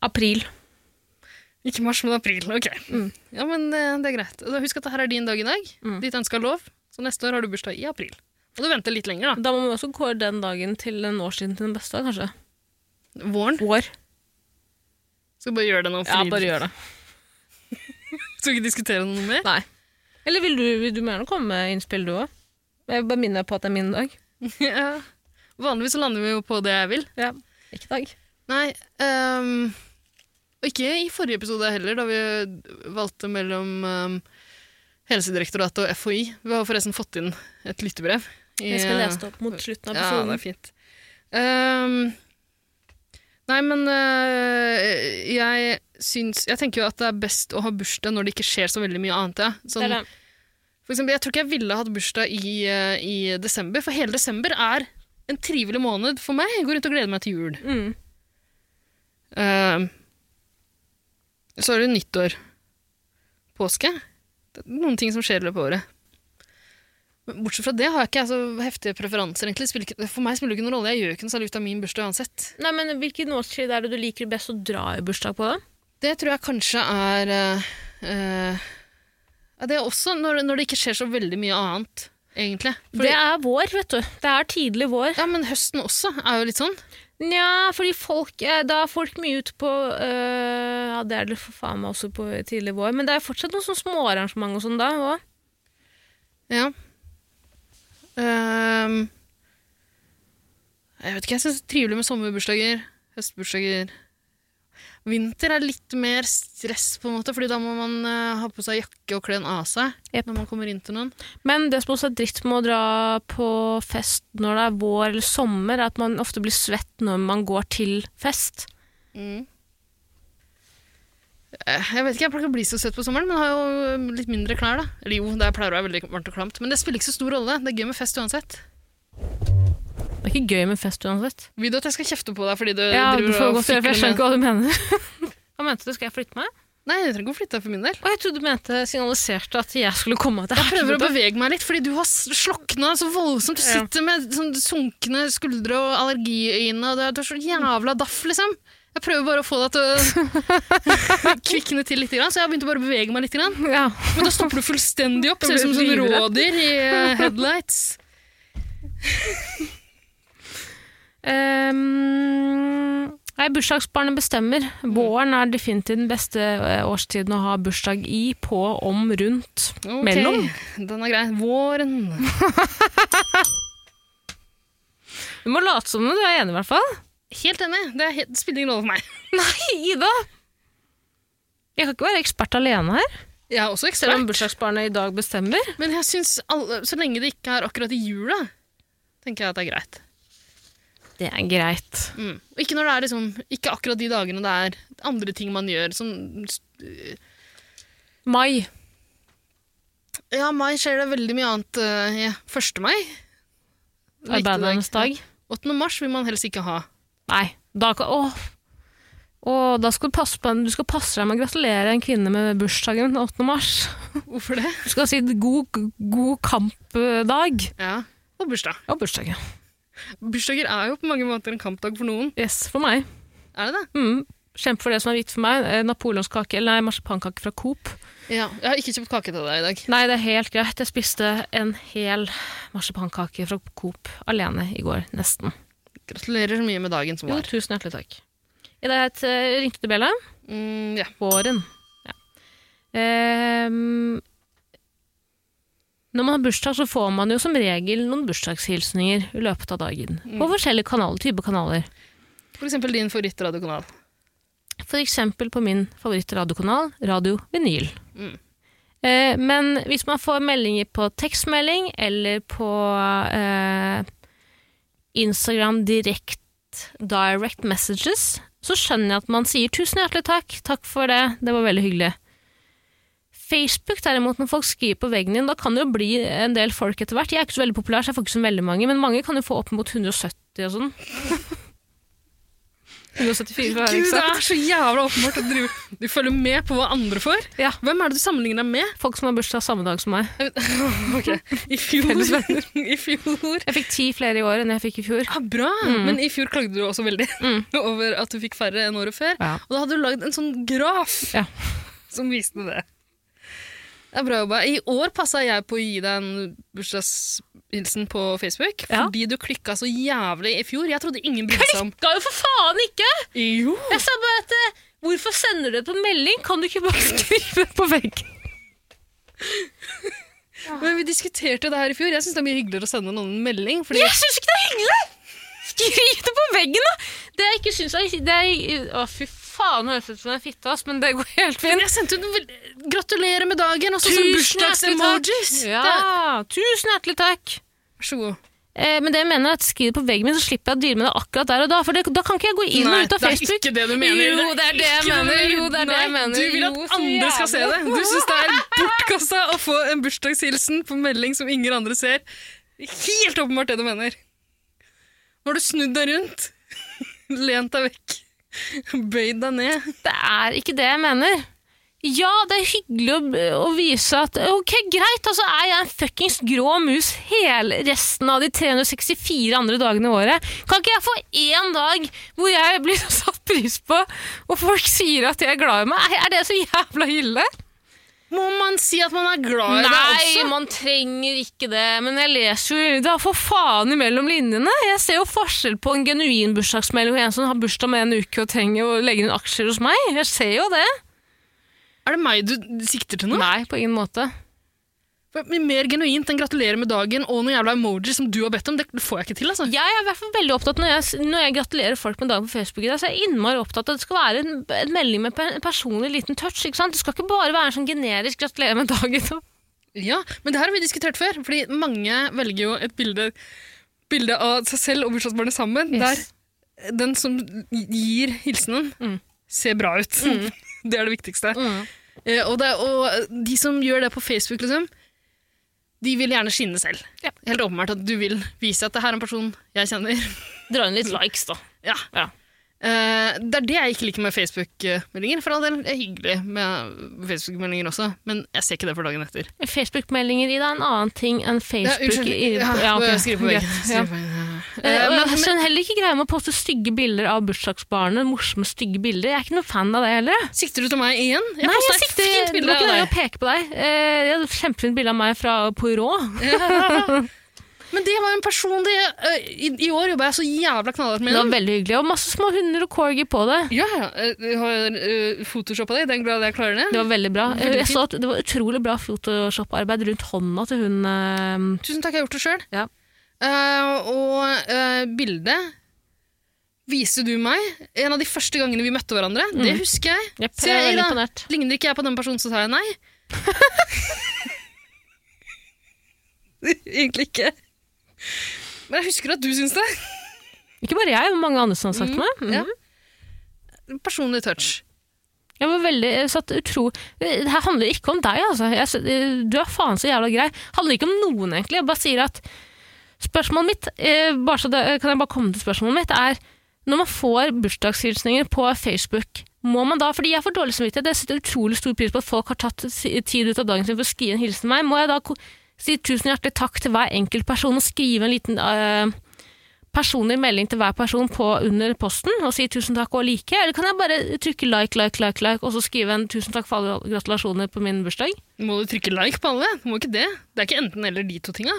Speaker 3: April.
Speaker 4: Ikke mars, men april. Ok.
Speaker 3: Mm.
Speaker 4: Ja, men det, det er greit. Da Husk at dette er din dag i dag. Ditt ønske er lov. Så neste år har du bursdag i april. Og du venter litt lenger,
Speaker 3: Da må man også kåre den dagen til en årstiden til den beste, kanskje.
Speaker 4: da. Våren.
Speaker 3: Vår.
Speaker 4: Skal vi bare gjøre det nå.
Speaker 3: Ja, bare gjør det.
Speaker 4: (laughs) Skal vi ikke diskutere noe
Speaker 3: (laughs)
Speaker 4: mer?
Speaker 3: Nei. Eller vil du, vil du må gjerne komme med innspill, du òg? Jeg bare minner deg på at det er min dag.
Speaker 4: ja. Vanligvis så lander vi jo på det jeg vil.
Speaker 3: Ja. Ikke dag.
Speaker 4: Nei, ehm, og ikke i forrige episode heller, da vi valgte mellom ehm, Helsedirektoratet og FHI. Vi har forresten fått inn et lyttebrev. i- eh,
Speaker 3: Jeg skal lese det opp mot slutten av
Speaker 4: Ja, det
Speaker 3: episoden.
Speaker 4: er fint. Ehm, nei, men øh, jeg syns Jeg tenker jo at det er best å ha bursdag når det ikke skjer så veldig mye annet. Ja. Sånn,
Speaker 3: Det er det.
Speaker 4: for eksempel, jeg tror ikke jeg ville hatt bursdag i, eh, i desember, for hele desember er en trivelig måned for meg. Jeg går rundt og gleder meg til jul.
Speaker 3: Mm.
Speaker 4: Eh, så er det nyttår. Påske. Det er noen ting som skjer i løpet av året. Men bortsett fra det har jeg ikke jeg så heftige preferanser. egentlig. Det Spiller ikke, for meg spiller det ikke noen rolle. Jeg gjør ikke noe særlig ut av min bursdag uansett.
Speaker 3: Nei, men Hvilken årstid er det du liker best å dra i bursdag på? da?
Speaker 4: Det tror jeg kanskje er eh, eh, ja, Det er også når, når det ikke skjer så veldig mye annet, egentlig. Fordi,
Speaker 3: Det er vår, vet du. Det er tidlig vår.
Speaker 4: Ja, Men høsten også er jo litt sånn.
Speaker 3: Nja, fordi folk, eh, da er folk mye ute på øh, Ja, det er det for faen meg også på tidlig vår, men det er fortsatt noen sånn småarrangement og sånn da også.
Speaker 4: Ja. Ehm, jeg vet ikke, jeg syns det er trivelig med sommerbursdager, høstbursdager. Vinter er litt mer stress, på en måte, fordi da må man eh, ha på seg jakke og kle den av seg.
Speaker 3: Jep.
Speaker 4: når man kommer inn til noen.
Speaker 3: Men det som også er dritt med å dra på fest når det er vår eller sommer, er at man ofte blir svett når man går til fest. Mm.
Speaker 4: Eh, Jeg vet ikke, jeg pleier ikke å bli så søt på sommeren, men har jo eh, litt mindre klær. da. Eller jo, det pleier å være veldig varmt og klamt, men det spiller ikke så stor rolle. Det er gøy med fest uansett.
Speaker 3: Det er ikke gøy med fest uansett.
Speaker 4: Vil du at jeg skal kjefte på deg fordi du
Speaker 3: Ja, du
Speaker 4: Eh, driver
Speaker 3: får
Speaker 4: og
Speaker 3: godt gjøre, for jeg skjønner
Speaker 4: fikler med
Speaker 3: ikke hva du mener. (laughs) Hva mente du? Skal jeg flytte meg?
Speaker 4: Nei, jeg trenger ikke å flytte deg for min del.
Speaker 3: Å, jeg trodde du mente signaliserte at jeg skulle komme. At jeg,
Speaker 4: Jeg prøver å bevege meg litt, fordi du har slokna så voldsomt. Du
Speaker 3: Ja.
Speaker 4: sitter med sånn sunkne skuldre og allergiøyne, og du er, du er så jævla daff, liksom. Jeg prøver bare å få deg til
Speaker 3: (laughs)
Speaker 4: å kvikne til litt, grann, så jeg begynte bare å bevege meg litt. Grann.
Speaker 3: Ja.
Speaker 4: Men da stopper du
Speaker 3: (laughs)
Speaker 4: fullstendig opp,
Speaker 3: Da
Speaker 4: ser
Speaker 3: blir
Speaker 4: ut som
Speaker 3: du
Speaker 4: sånn
Speaker 3: livredd.
Speaker 4: rådyr i eh, headlights.
Speaker 3: Ehm, nei, bursdagsbarnet bestemmer.
Speaker 4: Mm.
Speaker 3: Våren er definitivt den beste eh, årstiden å ha bursdag i, på, om, rundt.
Speaker 4: Ok,
Speaker 3: Mellom.
Speaker 4: Den er grei. Våren.
Speaker 3: Du må late som om du er enig, i hvert fall.
Speaker 4: Helt enig. Det, er helt, det spiller ingen rolle for meg.
Speaker 3: Nei, Ida! Jeg kan ikke være ekspert alene her.
Speaker 4: Jeg er også
Speaker 3: Selv om
Speaker 4: ekspert,
Speaker 3: bursdagsbarnet i dag bestemmer.
Speaker 4: men jeg synes alle, så lenge det ikke er akkurat i jula, tenker jeg at det er greit.
Speaker 3: Det er greit.
Speaker 4: Mm. Og Ikke når det er liksom, ikke akkurat de dagene det er andre ting man gjør. Som,
Speaker 3: Mai.
Speaker 4: ja, mai skjer det veldig mye annet. eh, ja. 1. mai.
Speaker 3: Arbeidernes dag.
Speaker 4: 8. mars vil man helst ikke ha.
Speaker 3: Nei. Da kan Åh. Åh, da skal du, passe på, du skal passe deg med å gratulere en kvinne med bursdagen den 8. mars.
Speaker 4: (laughs) Hvorfor det?
Speaker 3: Du skal si god, god kampdag.
Speaker 4: Ja. Og bursdag.
Speaker 3: Og bursdag, ja.
Speaker 4: Bursdager er jo på mange måter en kampdag for noen.
Speaker 3: Yes, for meg.
Speaker 4: Er det det?
Speaker 3: Mm. Kjempe for det som er viktig for meg. Eh, Napoleonskake eller nei, marsipankake fra Coop.
Speaker 4: Ja. Jeg har ikke kjøpt kake til deg i dag.
Speaker 3: Nei, det er helt greit. Jeg spiste en hel marsipankake fra Coop alene i går, nesten.
Speaker 4: Gratulerer så mye med dagen som
Speaker 3: Jo,
Speaker 4: var.
Speaker 3: tusen hjertelig takk. I det het eh, Ringte du Bella?
Speaker 4: Mm, ja.
Speaker 3: Våren. Ja. Ehm, når man har bursdag, så får man jo som regel noen bursdagshilsninger i løpet av dagen. På forskjellige kanaler, type kanaler.
Speaker 4: For eksempel din favorittradiokanal.
Speaker 3: For eksempel på min favorittradiokanal, Radio Vinyl. Eh, men hvis man får meldinger på tekstmelding eller på eh, Instagram direct, direct messages, så skjønner jeg at man sier tusen hjertelig takk, takk for det, det var veldig hyggelig. Facebook derimot, når folk skriver på veggen din, da kan det jo bli en del folk etter hvert. Jeg er ikke så veldig populær, så jeg får ikke så veldig mange, men mange kan jo få opp mot 170 og sånn. 174 for å være
Speaker 4: Gud, det
Speaker 3: eksakt.
Speaker 4: er så jævla åpenbart at du, (laughs) du følger med på hva andre får.
Speaker 3: Ja.
Speaker 4: Hvem er det du sammenligner deg med?
Speaker 3: Folk som har bursdag samme dag som meg.
Speaker 4: (laughs) Ok, I fjor. (laughs) I fjor.
Speaker 3: Jeg fikk ti flere i år enn jeg fikk i fjor.
Speaker 4: Ja, Ah, bra!
Speaker 3: Mm.
Speaker 4: Men i fjor klagde du også veldig (laughs) over at du fikk færre enn året før.
Speaker 3: Ja.
Speaker 4: Og da hadde du lagd en sånn graf
Speaker 3: Ja.
Speaker 4: (laughs) som viste det. Det er bra jobba. I år passa jeg på å gi deg en bursdagshilsen på Facebook.
Speaker 3: Ja.
Speaker 4: Fordi du klikka så jævlig i fjor. Jeg trodde ingen brydde seg om
Speaker 3: Ga jo for faen ikke!
Speaker 4: Jo!
Speaker 3: Jeg sa bare at eh, hvorfor sender du det på melding? Kan du ikke bare (laughs) skrive på veggen?
Speaker 4: Men vi diskuterte det her i fjor. Jeg syns det er mye hyggeligere å sende noen en melding. Fordi
Speaker 3: Jeg syns ikke det er hyggelig! Skriv det på veggen, da! Det jeg ikke syns er det er, Å, fy faen, høres ut som en fitte, ass, men det går helt
Speaker 4: Men
Speaker 3: fint.
Speaker 4: jeg sendte ut en vel... gratulerer med dagen, og så sånn
Speaker 3: Tusen hjertelig takk.
Speaker 4: bursdagsemojis! Det-
Speaker 3: Ja, tusen hjertelig takk.
Speaker 4: Vær så god.
Speaker 3: Eh, men det jeg mener er at skriv det på veggen min, så slipper jeg å deale med det akkurat der og da. For det, da kan ikke jeg gå inn og ut av
Speaker 4: det er
Speaker 3: Facebook.
Speaker 4: ikke det du mener.
Speaker 3: Jo, det er det jeg
Speaker 4: ikke
Speaker 3: mener.
Speaker 4: du-
Speaker 3: Jo, det er det jeg
Speaker 4: Nei,
Speaker 3: mener.
Speaker 4: Du vil at
Speaker 3: Jo, så
Speaker 4: andre skal se det.
Speaker 3: jævlig.
Speaker 4: Du syns det er bortkasta å få en bursdagshilsen på melding som ingen andre ser. Helt åpenbart det du mener. Nå har du snudd deg rundt, (laughs) lent deg vekk, bøyd deg ned.
Speaker 3: Det er ikke det jeg mener. Ja, det er hyggelig å, å vise at ok, greit, altså er jeg en fuckings grå mus hele resten av de 364 andre dagene i året. Kan ikke jeg få én dag hvor jeg blir (laughs) satt pris på, og folk sier at de er glad i meg? Er- Er det så jævla ille?
Speaker 4: Må man si at man er glad i deg også?
Speaker 3: Nei, man trenger ikke det. Men jeg leser jo da for faen imellom linjene. Jeg ser jo forskjell på en genuin bursdagsmelding og en som har bursdag med en uke og trenger å legge inn aksjer hos meg. Jeg ser jo det.
Speaker 4: Er det meg du sikter til nå?
Speaker 3: Nei, på ingen måte.
Speaker 4: For Mer genuint enn gratulerer med dagen og noen jævla emoji som du har bedt om, det får jeg ikke til, altså.
Speaker 3: Jeg er i hvert fall veldig opptatt når jeg, når jeg gratulerer folk med dagen på Facebook. i dag, Så er jeg innmari opptatt av at det skal være en, en melding med en personlig liten touch. ikke sant? Det skal ikke bare være en sånn generisk 'gratulerer med dagen'.
Speaker 4: Ja, men det her har vi diskutert før, fordi mange velger jo et bilde, bilde av seg selv og bursdagsbarnet sammen,
Speaker 3: Yes.
Speaker 4: der eh, den som gir hilsenen,
Speaker 3: Mm.
Speaker 4: ser bra ut. (laughs) Det er det viktigste. Eh, og, det, og de som gjør det på Facebook, liksom, de vil gjerne skinne selv.
Speaker 3: Ja.
Speaker 4: Helt åpenbart at du vil vise at det her er en person jeg kjenner. (laughs)
Speaker 3: Dra
Speaker 4: Mm.
Speaker 3: inn litt likes, da.
Speaker 4: Ja.
Speaker 3: Ja.
Speaker 4: Eh, det er det jeg ikke liker med Facebook-meldinger. For all del det er hyggelig med Facebook-meldinger også, men jeg ser ikke det for dagen etter.
Speaker 3: Facebook-meldinger i deg er en annen ting enn
Speaker 4: Ja,
Speaker 3: Facebook
Speaker 4: unnskyld.
Speaker 3: i-
Speaker 4: Ja,
Speaker 3: ja, ok,
Speaker 4: Skriv på veggen.
Speaker 3: greit, ja.
Speaker 4: Skriv på veggen.
Speaker 3: Eh,
Speaker 4: Eh,
Speaker 3: og
Speaker 4: men-
Speaker 3: jeg skjønner heller ikke greia med å poste stygge bilder av bursdagsbarnet. Morsomme, stygge bilder. Jeg er ikke noen fan av det heller. jeg.
Speaker 4: Sikter du til meg igjen?
Speaker 3: Nei, jeg
Speaker 4: postet et
Speaker 3: sikter
Speaker 4: fint bilde av
Speaker 3: deg.
Speaker 4: deg.
Speaker 3: Peke på deg. Eh, jeg hadde et kjempefint bilde av meg fra Poirot.
Speaker 4: (laughs) Men det var en person det, eh, i, I år jobba jeg så jævla knallhardt med
Speaker 3: Det var
Speaker 4: den.
Speaker 3: veldig hyggelig. Og masse små hunder og corgi på det.
Speaker 4: Ja, ja. eh, Jeg har uh, photoshoppa det. i Den grad jeg klarer det.
Speaker 3: Det var veldig bra.
Speaker 4: Veldig
Speaker 3: Jeg så at det var utrolig bra Photoshop-arbeid rundt hånda til hun eh,
Speaker 4: Tusen takk, jeg har gjort det sjøl.
Speaker 3: Ja.
Speaker 4: og eh, bildet viste du meg en av de første gangene vi møtte hverandre.
Speaker 3: Mm.
Speaker 4: Det husker jeg.
Speaker 3: Jepp,
Speaker 4: Se,
Speaker 3: jeg er veldig
Speaker 4: Ida.
Speaker 3: imponert.
Speaker 4: Ligner ikke jeg på den personen, så sa jeg nei. Egentlig ikke. Men jeg husker at du syns det.
Speaker 3: Ikke bare jeg, men mange andre som har sagt meg. Mm.
Speaker 4: Ja. Personlig touch.
Speaker 3: Jeg var veldig jeg satt utro... Det her handler ikke om deg, altså. Jeg, s- du er faen så jævla grei. Handler ikke om noen, egentlig. Jeg bare sier at spørsmålet mitt, eh, bare så det, kan jeg bare komme til spørsmålet mitt, er når man får bursdagshilsninger på Facebook, må man da, fordi jeg får dårlig samvittighet, jeg setter utrolig stor pris på at folk har tatt si- tid ut av dagen sin for å skrive en hilsen til meg, må jeg da ko- si tusen hjertelig takk til hver enkelt person og skrive en liten eh, personlig melding til hver person på under posten og si tusen takk og like, eller kan jeg bare trykke like, like, like, like, og så skrive en tusen takk for alle gratulasjoner på min bursdag?
Speaker 4: Må du trykke like på alle? Du må ikke det. Det er ikke enten eller de to tinga.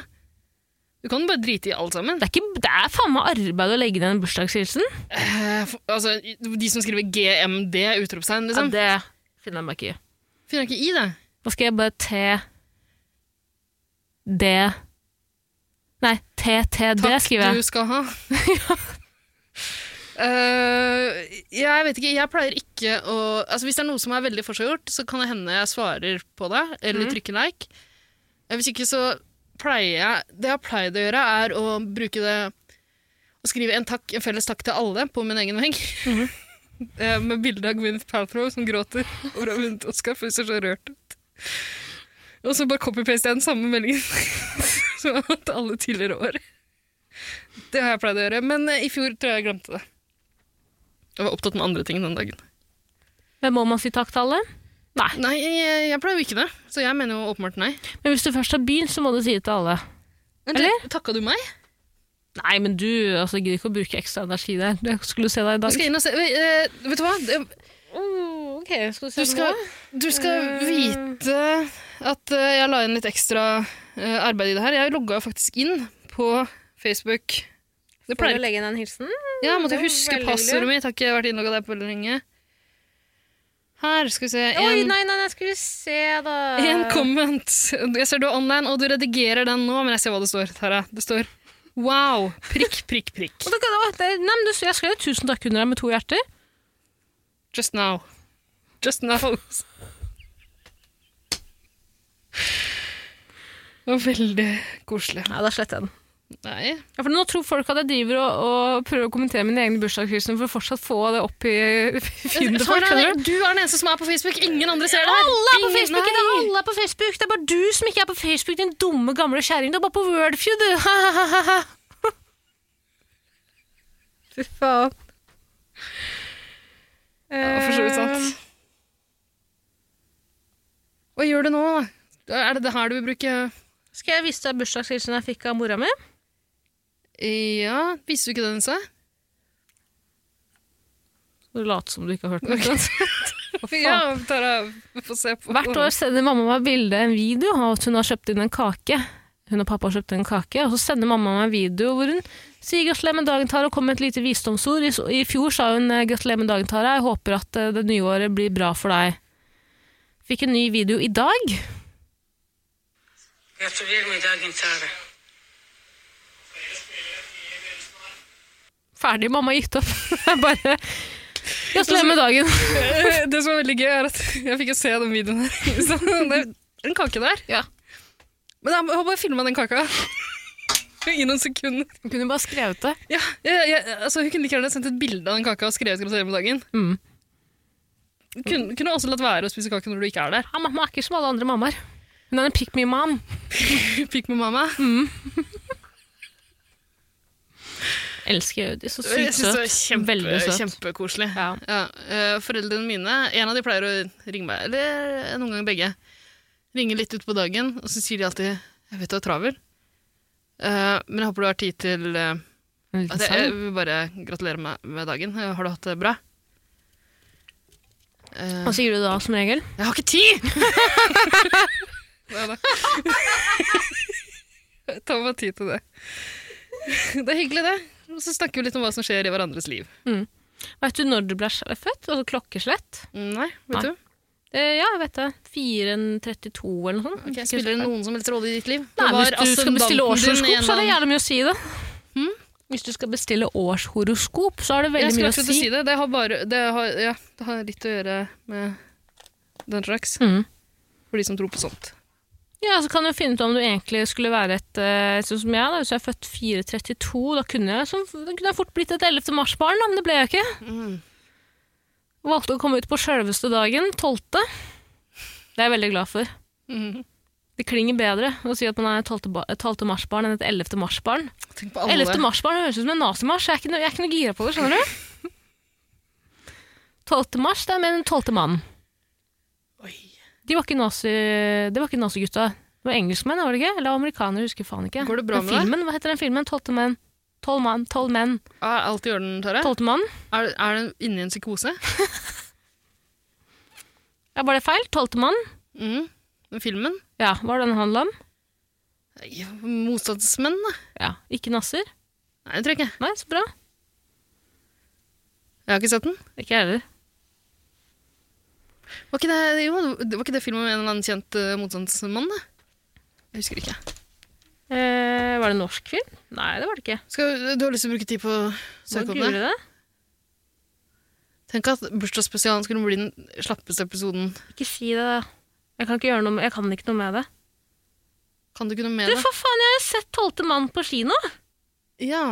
Speaker 4: Du kan bare drite i alt sammen.
Speaker 3: Det er, ikke, det er faen meg arbeid å legge ned en bursdagshilsen.
Speaker 4: Eh, for- altså, de som skriver GMD, utropstegn,
Speaker 3: Ja,
Speaker 4: liksom.
Speaker 3: det finner jeg meg ikke i.
Speaker 4: Finner ikke i det.
Speaker 3: Nå skal jeg bare T D Nei, TTD
Speaker 4: Takk
Speaker 3: skriver
Speaker 4: du
Speaker 3: jeg. (laughs)
Speaker 4: skal ha. Eh, jeg vet ikke, jeg pleier ikke å altså Hvis det er noe som er veldig forseggjort, så kan det hende jeg svarer på det,
Speaker 3: Mm.
Speaker 4: eller trykker like. Eh, Hvis ikke, så pleier jeg Det jeg har pleid å gjøre, er å bruke det Å skrive en, takk, en felles takk til alle på min egen vegg.
Speaker 3: Mm-hmm.
Speaker 4: (laughs) Eh, Med bilde av Gwyneth Paltrow som gråter over å ha vunnet Oscar, for hun ser så rørt ut. Og så bare copy-paste jeg den samme meldingen (laughs) som jeg har hatt alle tidligere år. Det har jeg pleid å gjøre, men eh, i fjor tror jeg jeg glemte det. Jeg var opptatt med andre ting den dagen.
Speaker 3: Men må man si takk til alle? Nei.
Speaker 4: Nei, jeg, jeg pleier jo ikke det, så jeg mener jo åpenbart nei.
Speaker 3: Men hvis du først har begynt, så må du si det til alle.
Speaker 4: Men
Speaker 3: Eller?
Speaker 4: tak- Takka du meg?
Speaker 3: Nei, men du altså, jeg gidder ikke å bruke ekstra energi der. Jeg skulle se deg i dag.
Speaker 4: Jeg skal inn og se eh, Vet du hva? Det-
Speaker 3: Oh, ok, skal
Speaker 4: Du skal, du skal vite at eh, jeg la inn litt ekstra eh, arbeid i det her. Jeg logga jo faktisk inn på Facebook. Det pleier
Speaker 3: legge inn en hilsen?
Speaker 4: Ja, jeg måtte
Speaker 3: det var
Speaker 4: huske
Speaker 3: veldig
Speaker 4: passordet mitt. Har ikke vært innlogga der på veldig lenge. Her, skal vi se.
Speaker 3: Oi,
Speaker 4: en-
Speaker 3: nei, nei, nei, skal vi se, da.
Speaker 4: En comment. Jeg ser du er online, og du redigerer den nå, men jeg ser hva det står. Tara. Det står wow. Prikk, prikk, prikk.
Speaker 3: Og da kan det være- det- Nei, men du, jeg skrev tusen takk under deg med to hjerter.
Speaker 4: Just now. Just now. Det var veldig koselig.
Speaker 3: Nei, da sletter jeg den.
Speaker 4: Nei.
Speaker 3: Ja, for nå tror folk at jeg driver og, og prøver å kommentere mine egne bursdagshilsener for å fortsatt få det opp i feeden til folk.
Speaker 4: Tara,
Speaker 3: skjønner du?
Speaker 4: du er den eneste som er på Facebook. Ingen andre ser det her.
Speaker 3: Alle er på
Speaker 4: Ingen-
Speaker 3: Facebook! Det er
Speaker 4: Nei.
Speaker 3: alle er på Facebook. Det er bare du som ikke er på Facebook, din dumme gamle kjerring. Du er bare på Wordfeud, du. Fy faen.
Speaker 4: Ja, for så vidt sant. Hva gjør du nå, da? Er det det her du vil bruke
Speaker 3: Skal jeg vise deg bursdagshilsenen jeg fikk av mora mi?
Speaker 4: Ja, visste du ikke den, sa jeg?
Speaker 3: Du later som du ikke har hørt
Speaker 4: Ok.
Speaker 3: den.
Speaker 4: Ja, Tara, få se på
Speaker 3: Hvert år sender mamma meg bilde en video av at hun har kjøpt inn en kake. Hun og pappa har kjøpt inn en kake, og så sender mamma meg en video hvor hun sier 'gratulerer med dagen, Tara', og kommer med et lite visdomsord. I, s- I fjor sa hun eh, 'gratulerer med dagen, Tara', jeg håper at eh, det nye året blir bra for deg. Fikk en ny video i dag.
Speaker 9: Gratulerer med dagen, Tara.
Speaker 3: Ferdig, mamma har gitt opp. (laughs) Det er Bare 'gratulerer med dagen'.
Speaker 4: (laughs) Det som er veldig gøy, er at jeg fikk jo se den videoen her. (laughs) Så det er en kake der.
Speaker 3: Ja.
Speaker 4: Men jeg har bare filma den kaka. I noen sekunder.
Speaker 3: Hun kunne bare skrevet det.
Speaker 4: Ja, jeg, jeg, altså, hun kunne like gjerne sendt et bilde av den kaka og skrevet gratulerer med dagen.
Speaker 3: Mm.
Speaker 4: Kunne, kunne også latt være å spise kake når du ikke er der. (laughs)
Speaker 3: Ja, mamma er ikke som alle andre mammaer. Hun er en pick me mom.
Speaker 4: Pikk med mamma.
Speaker 3: Elsker Audi, så
Speaker 4: Jeg
Speaker 3: sykt
Speaker 4: synes det
Speaker 3: søt.
Speaker 4: var kjempe,
Speaker 3: Veldig søt.
Speaker 4: Kjempekoselig.
Speaker 3: Ja.
Speaker 4: eh, foreldrene mine, en av de pleier å ringe meg, eller eh, noen ganger begge, ringer litt ut på dagen, og så sier de alltid, jeg vet du er travel, eh, men jeg håper du har tid til, eh,
Speaker 3: En liten
Speaker 4: at jeg,
Speaker 3: sang.
Speaker 4: jeg vil bare gratulere meg med dagen. Eh, Har du hatt det bra? Eh,
Speaker 3: Hva sier du da, som regel?
Speaker 4: jeg har ikke tid! Nei (laughs) da. Ta meg tid til det. (laughs) Det er hyggelig det. Og så snakker vi litt om hva som skjer i hverandres liv.
Speaker 3: Veit du når du ble født? Altså klokkeslett?
Speaker 4: Nei,
Speaker 3: Nei.
Speaker 4: vet du?
Speaker 3: Eh, ja, jeg vet det. 4.32 eller noe sånt.
Speaker 4: Ok,
Speaker 3: Ikke
Speaker 4: spiller det noen som helst rolle i ditt liv?
Speaker 3: Nei,
Speaker 4: Det var
Speaker 3: Hvis du skal bestille
Speaker 4: ascendanten din
Speaker 3: årshoroskop, så er det gjerne mye
Speaker 4: gjennom-
Speaker 3: å si det. Hvis du skal bestille årshoroskop, så er det
Speaker 4: Jeg
Speaker 3: veldig
Speaker 4: skulle
Speaker 3: mye å
Speaker 4: akkurat
Speaker 3: si.
Speaker 4: til å si det. Det har, bare, det, har, ja, det har litt å gjøre med den slags.
Speaker 3: Mhm.
Speaker 4: For de som tror på sånt.
Speaker 3: Ja, så kan du finne ut om du egentlig skulle være et eh, Sånn som jeg, da. Hvis jeg er født 4.32, da kunne jeg, som, da kunne jeg fort blitt et 11. mars-barn, da, men det ble jeg ikke. Valgte å komme ut på sjølveste dagen, 12. Det er jeg veldig glad for.
Speaker 4: Mhm.
Speaker 3: Det klinger bedre å si at man er et 12. ba- et 12. mars-barn enn et 11. mars-barn.
Speaker 4: Tenk på alle.
Speaker 3: 11. mars-barn høres ut som en nazimarsj. Jeg er ikke noe, jeg er ikke noe gira på det, skjønner du?
Speaker 4: (laughs)
Speaker 3: 12. mars, det er med den 12. mannen.
Speaker 4: Oi.
Speaker 3: De var ikke nazi, det var ikke nazigutta. Det var engelskmenn, var det ikke? Eller amerikanere, husker jeg faen ikke.
Speaker 4: Går det bra
Speaker 3: Den
Speaker 4: med deg?
Speaker 3: filmen, Hva heter den filmen? 12. menn. 12 mann. 12 menn.
Speaker 4: Er alt i orden, Tara?
Speaker 3: 12. mann.
Speaker 4: Er, er den inni en psykose?
Speaker 3: Ja, var det feil? 12. mann.
Speaker 4: Mm. Den filmen?
Speaker 3: Ja, hva var det den handla om?
Speaker 4: Ja, Motstandsmenn, da?
Speaker 3: Ja. Ikke Nasser?
Speaker 4: Nei, det tror jeg ikke.
Speaker 3: Nei, så bra.
Speaker 4: Jeg har ikke sett den.
Speaker 3: Ikke jeg heller.
Speaker 4: Var ikke det, jo, det var ikke det filmen med en eller annen kjent eh, motstandsmann? da? Jeg husker ikke.
Speaker 3: Eh, var det norsk film? Nei, det var det ikke.
Speaker 4: Skal, du har lyst til å bruke tid på å
Speaker 3: Må
Speaker 4: søke opp det?
Speaker 3: google det.
Speaker 4: Tenk at bursdagsspesialen skulle bli den slappeste episoden.
Speaker 3: Ikke si det. da. Jeg kan ikke gjøre noe med, jeg kan ikke noe med det.
Speaker 4: Kan du ikke noe
Speaker 3: Du,
Speaker 4: med det?
Speaker 3: for faen, jeg har jo sett 'Tolvte mann' på kino!
Speaker 4: Ja.